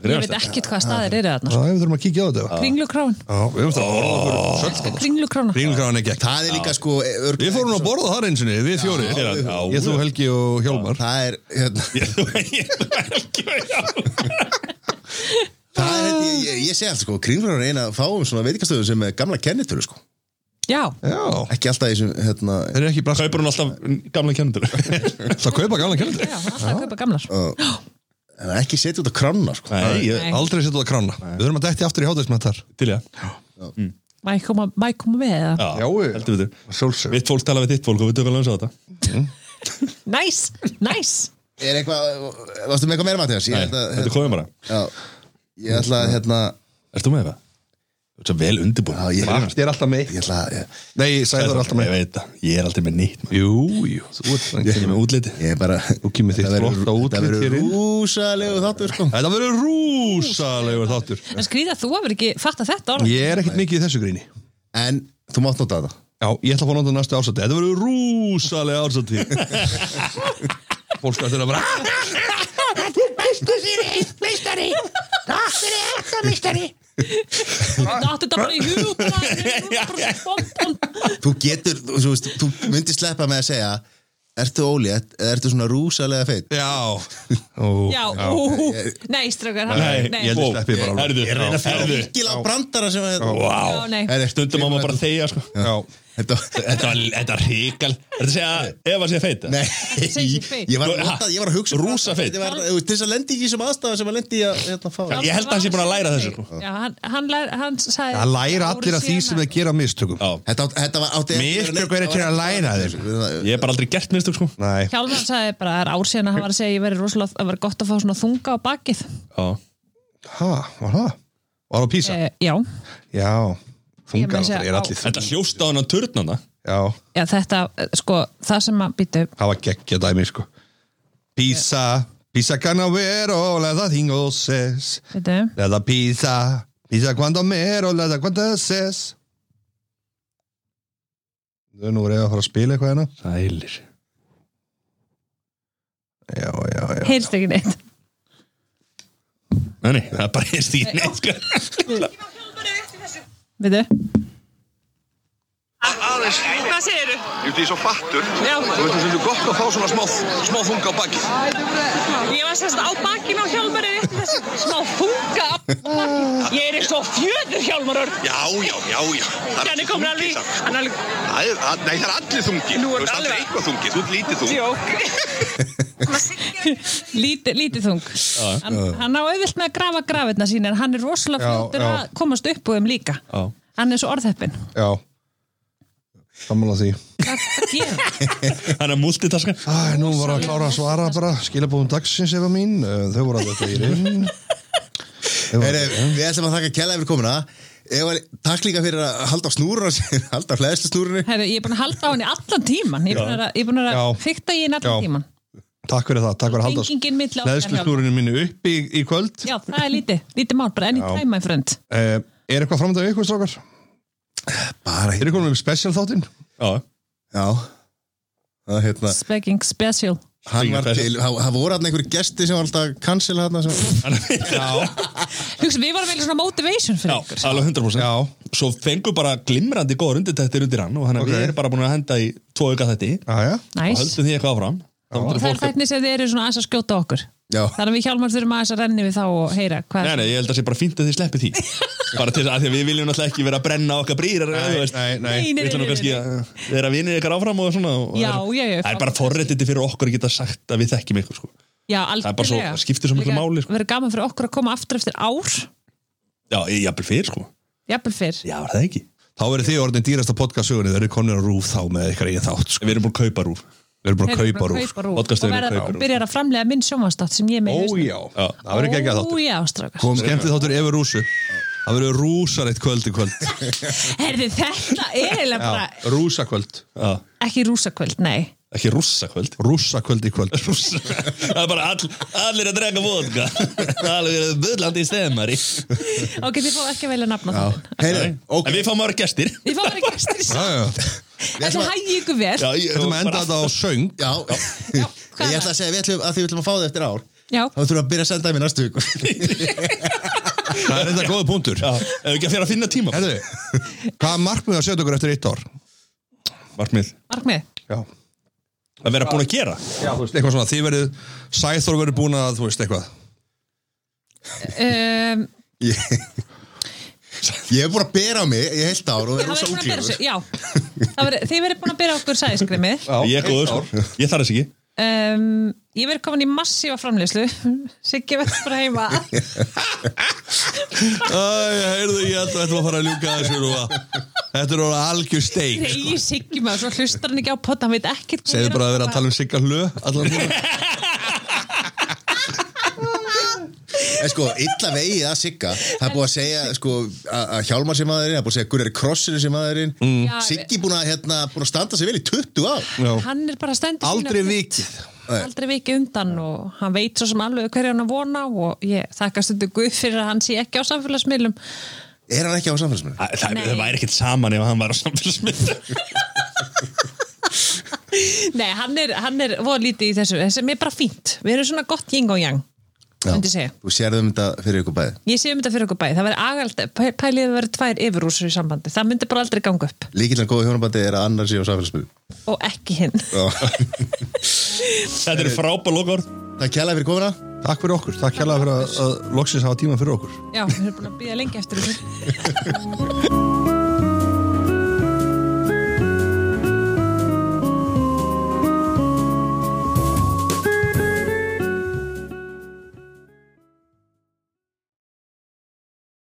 S6: Ég veit ekkit
S5: Ah.
S6: hvað staðir eru þarna sko.
S5: Já, við þurfum að kíkja á þetta.
S6: Kringlukrán,
S5: Já, við höfum það að borða okkur söldstáð.
S6: kringlukrána
S5: Ringurgráðan er gegn.
S1: Það er líka sko örg,
S5: Við fórum að borða það eins og niður, við fjóri.
S2: Já, já.
S5: Ég, þú, Helgi og Hjálmar.
S1: Það er, hérna, það er ég, ég, ég segi allt sko Kringlurinn er eina af fáum svona veitikastöðu sem er gamla kennitölu sko
S6: Já,
S5: Já,
S1: Ekki alltaf í þessum, hérna
S5: þeir eru ekki brast.
S2: Kaupur hún alltaf gamla kendur
S5: Það kaupa gamla kjöldur.
S6: já, alltaf að kaupa gamlar
S5: Ah.
S1: en Ekki setja út að kranna sko
S2: Nei, ég,
S6: Nei.
S5: Aldrei setja það krána. Við þurfum að detti aftur í hátægismættar.
S2: til ég
S6: Mæ koma, mæ koma við eða
S2: Já,
S5: Já, ég-
S2: heldur við þér
S5: Sjálfsög.
S2: Vitt fólk tala við þitt fólk og við tökum alveg eins á þetta
S6: Næs, næs
S1: Er eitthvað, varstu með eitthvað meira matið
S2: Nei,
S1: þess?
S2: þetta komið bara
S1: Já, hérna, ég ætla að, hérna
S2: Erst þú með eitthvað? Þú ert svo vel undirbúin
S1: Já, ég-
S2: Vakast.
S5: Ég er alltaf með.
S1: Ég ætla að, ég,
S5: Nei, Sæður er alltaf
S2: Ég
S5: með.
S2: veit það, ég er alltaf með nýtt maður.
S5: Jú, jú. Þú ert
S2: Ég er með útliti
S1: ég er bara
S5: Þú kemur þitt
S1: Þetta verður-
S5: flotta
S1: Þetta
S5: útlit hér
S1: verður
S5: inn
S1: rúsalegu þáttur sko
S5: Þetta verður rúsalegur þáttur
S6: En skrýða þú hefur ekki fatta þetta orð
S5: Ég er ekkert mikið í þessu gríni Já,
S1: En þú mátt nota þetta
S5: ég ætla að fá náttu næstu ársati Þetta verður rúsalega ársati Fólk að þetta bara
S6: Þú átti þetta bara í hug bara- bara- bom, bom.
S1: Þú getur, þú, þú, veist, þú myndir sleppa með að segja Ertu ólétt eða ertu svona rúsalega feitt
S5: Já Ó,
S6: Já, ú, nei, strókar
S2: Nei,
S6: nei,
S5: ég held
S2: ó,
S5: að sleppi bara alveg.
S2: Herðu,
S1: Ég reyna að fyrir
S2: herðu
S1: virkilega á brandara sem að
S6: Já, nei.
S2: Vá, stundum á maður bara að þegja sko.
S5: Já
S1: Þetta
S2: Þetta var- þetta var ríkal Þetta að segja að Eva sé feit eða?
S1: Nei,
S6: segir sig feit.
S1: ég var,
S2: Ha,
S1: notað, ég var að hugsa um
S2: rúsa
S1: þetta.
S2: feit.
S1: Þetta var- Þú veist, Til þess að lendi ekki sem aðstafa sem að lendi í að hérna, fá
S2: Ég held að hann sé búin að læra þessu sko.
S6: Já, hann, hann, lær, hann sagði
S5: Það læra allir að því sem þeir gera mistökum
S2: Já,
S1: Þetta, átt- þetta var átti
S5: Mistök verið til að læra þér
S2: ég hef bara aldrei gert minnstug sko.
S5: Nei
S6: Hjálmar sagði bara, það er ár síðan að hann var að segja ég verið rosalega, það var gott að fá svona þunga á bakið
S2: Já,
S5: Ha, var það? Var það písa?
S6: e, Já,
S5: Já
S6: Ég meina
S5: Þungar
S6: segja,
S5: það er
S6: á-
S5: allir
S2: þetta hljósta á hann að turnana
S5: Já
S6: já, þetta, eh, sko, það sem að býtu
S5: Það var geggja dæmi sko Písa Písa canavero La það hingoses
S6: Býtu,
S5: Le da pizza, pizza cuando mero, le da cuantas es. Þau nú reyða að fara að spila eitthvað hérna.
S2: Sælir
S5: Já, já, já.
S6: heyrst ekki neitt
S2: Nei, nei, það er bara heyrst í neitt sko.
S6: Býtu,
S7: Hvað segirðu?
S8: Ég er svo fattur.
S7: Já.
S8: Þú veist, það er gott að fá svona smá, smá þunga á bakið.
S7: Ég var sérst á bakinu á hjálmari smá þunga á bakinu. Ég er eins og fjöður hjálmarur
S8: Já, já, já, já. Það
S7: hann er komin alveg í- hann er alveg
S8: Það er, það, nei, það er allir þungi.
S7: Nú er
S8: Þú veist, það er
S7: alveg-
S8: eitthvað þungi. Þú ert lítið þungi.
S7: djók
S6: lítið líti þung hann, hann á auðvilt með að grafa grafirna sín en hann er rosalega
S5: Já,
S6: fljótur
S5: já.
S6: að komast upp úr þeim líka
S2: Já.
S6: hann er svo orðheppin
S5: Já. sammála því
S6: Hvað gera?
S2: Þannig að multitaska
S5: Æ, nú var að klára að svara bara skilabóðum dagsins efa mín, Eh, þau voru að þetta í rinn
S1: Heri, við ætlum að þakka kella yfir komuna Eva, takk líka fyrir að halda á snúruna sinni, halda á fleðslu snúrunni
S6: Herru, ég er búin að halda á henni allan tíman Ég er búin að, ég er búin að
S5: Já.
S6: fykta í henni allan
S5: Já.
S6: tíman
S5: Takk fyrir það, takk fyrir að halda
S6: Tengingin milli okkar hjá-
S5: Leðsluslúrinu mínu upp í, í kvöld
S6: Já, það er lítið, lítið mál, bara enni tæma í frönd
S5: uh, Er eitthvað framöndaðu ykkur strákar?
S1: Bara
S5: Er
S1: hér
S5: eitthvað með special þáttinn?
S2: Já,
S1: Já Það, hérna,
S6: Speaking special
S1: hann var til, það það voru hann einhverju gesti sem var alltaf cancel hann sem,
S6: Hugsa, við varum vel svona motivation
S2: já,
S6: fyrir ykkur
S2: alveg 100%
S5: Já.
S2: Svo fengur bara glimrandi góður undirtættir undir hann og þannig að
S5: Ok.
S2: við erum bara búin að henda í tvo auka þetta
S5: Jæja,
S2: og
S6: Næs
S2: höldum því eitthvað áfram
S6: Og það er þætni sem þið eru svona aðeins að skjóta á okkur
S1: Já,
S6: Þannig að við hjálmar þurfum aðeins að renni við þá og heyra hvað
S2: Nei, nei, ég held að sé bara fínt að þið sleppi því bara til þess að því að við viljum náttúrulega ekki vera að brenna okkar brýrar þú veist.
S5: nei, nei
S6: Nei, nei,
S2: Við
S6: nei,
S2: ætlum nú
S6: nei,
S2: kannski
S6: nei.
S2: að vera vinir ykkar áfram og svona og
S6: Já,
S2: það er-
S6: já, já,
S2: Það er bara forréttindi fyrir okkur að geta sagt að við þekkjum ykkur sko
S6: Já,
S2: er bara svo-
S6: algjörlega.
S2: skiptir svo miklu
S6: Líka
S2: máli, sko.
S6: Verður gaman fyrir okkur að koma aftur eftir ár
S2: Já, ég jafnvel fyrir sko
S6: Jafnvel fyrr
S2: Já, var það ekki
S5: Þá verður þið orðin dýrasta podcast-sögunni Þeir eru konir á rúf þá með ykkar eigin þátt sko.
S2: Við erum búin að kaupa rúf
S5: Við erum bara að
S6: Heyrðu,
S5: kaupa rúf
S6: kaupa rúf. Og
S2: Podcasturinn er
S6: verða-
S2: kaupa
S6: og
S2: rúf.
S6: byrjar að framlega minn sjónvastátt sem ég er með í hausnum.
S5: Ójá, það verður ekki ekki að
S6: Ó
S5: þáttur
S6: já, strákar
S5: Skemmtið þáttur yfir rúsu Það verður rúsareitt kvöld í kvöld
S6: Herði, þetta er eiginlega bara
S5: Já, rúsakvöld
S2: Já,
S6: ekki rúsakvöld, nei
S2: ekki rússakvöld
S5: Rúsakvöld í kvöld
S2: Rússa. Það er bara all, allir að drega vodka Allir bullandi í stemmari
S6: Ok, þið fá ekki að velja nafna
S1: já
S6: það
S1: Heyri,
S2: En við fáum ára gestir
S6: Þið fá bara gestir
S5: Já, já.
S6: Þetta hægi ykkur vel
S2: Já, ég
S5: Við ætlum að enda þetta á söng
S1: Já,
S6: hvað
S1: ég ætla að segja, við ætlum að því við ætlum að fá það eftir ár
S6: Já,
S1: þá þurfum við að byrja að senda það mér næstu viku
S5: Það er enda góða punktur
S2: Já, ef við ekki að fyrir að finna tíma
S5: Herðu, hvað markmið að setja okkur eftir eitt ár?
S2: Markmið
S6: markmið
S5: Já
S2: Að vera búin að gera
S5: Já, þú veist, eitthvað svona, þið verið Sæþór verið búin að, þú veist, eitthvað
S6: um,
S1: ég, ég hef búin að bera á mig í heilt ár og
S6: það
S1: vera
S6: verður
S1: rosa
S6: búin að bera
S1: útlífur
S6: sig- Já, Það verður- Þið verður búin að bera okkur sæðiskrimi
S2: Ég er góður sko Ég þarf þess ekki
S6: um, Ég verður komin í massífa framleyslu Siggi verður bara heima
S5: Æ, heyrðu, ég held að þetta var að fara að ljúka þessu rúa Þetta er orða algjör steik
S6: Nei, Siggi maður, svo hlustar hann ekki á pott Hann veit ekkert hvað
S5: Segðu
S6: er
S5: bara að vera að tala um sigga hlö Allan tíma
S1: en sko, illa vegið að sigga það er búið að segja, sko, að að Hjálmar sem aðeirinn, það er búið að segja Gurri Krossinu sem aðeirinn
S6: Já, við-
S1: Siggi búin að, hérna, búin að standa sig vel í 20 ár
S6: um. Hann er bara stendur
S5: Aldrei vikið
S6: aldrei vikið undan og hann veit svo sem alveg hverja hann að vona og ég þakka stundu guð fyrir að hann sé ekki á samfélagsmiðlum
S1: er hann ekki á samfélagsmynd?
S2: Það, það,
S6: Nei.
S2: það væri ekkert saman ef hann var á samfélagsmynda
S6: Nei, hann er, hann er voða lítið í þessu sem er bara fínt, við erum svona gott jing og jang Ah, myndi ég segja
S1: Þú sérðum þetta fyrir ykkur bæði
S6: Ég sé um þetta fyrir okkur bæði, það væri agald pælið að vera tvær yfirrúsur í sambandi, það myndi bara aldrei ganga upp
S1: Líkilega góða hjónabandi er að annar sé á samfélagsmynd
S6: og ekki hinn
S2: Þetta er frábæð lokaord
S1: Það er kjæla fyrir komuna
S5: Takk fyrir okkur, takk hérlega fyrir að, að loksins hafa tíma fyrir okkur
S6: Já, við erum búin að býða lengi eftir þessu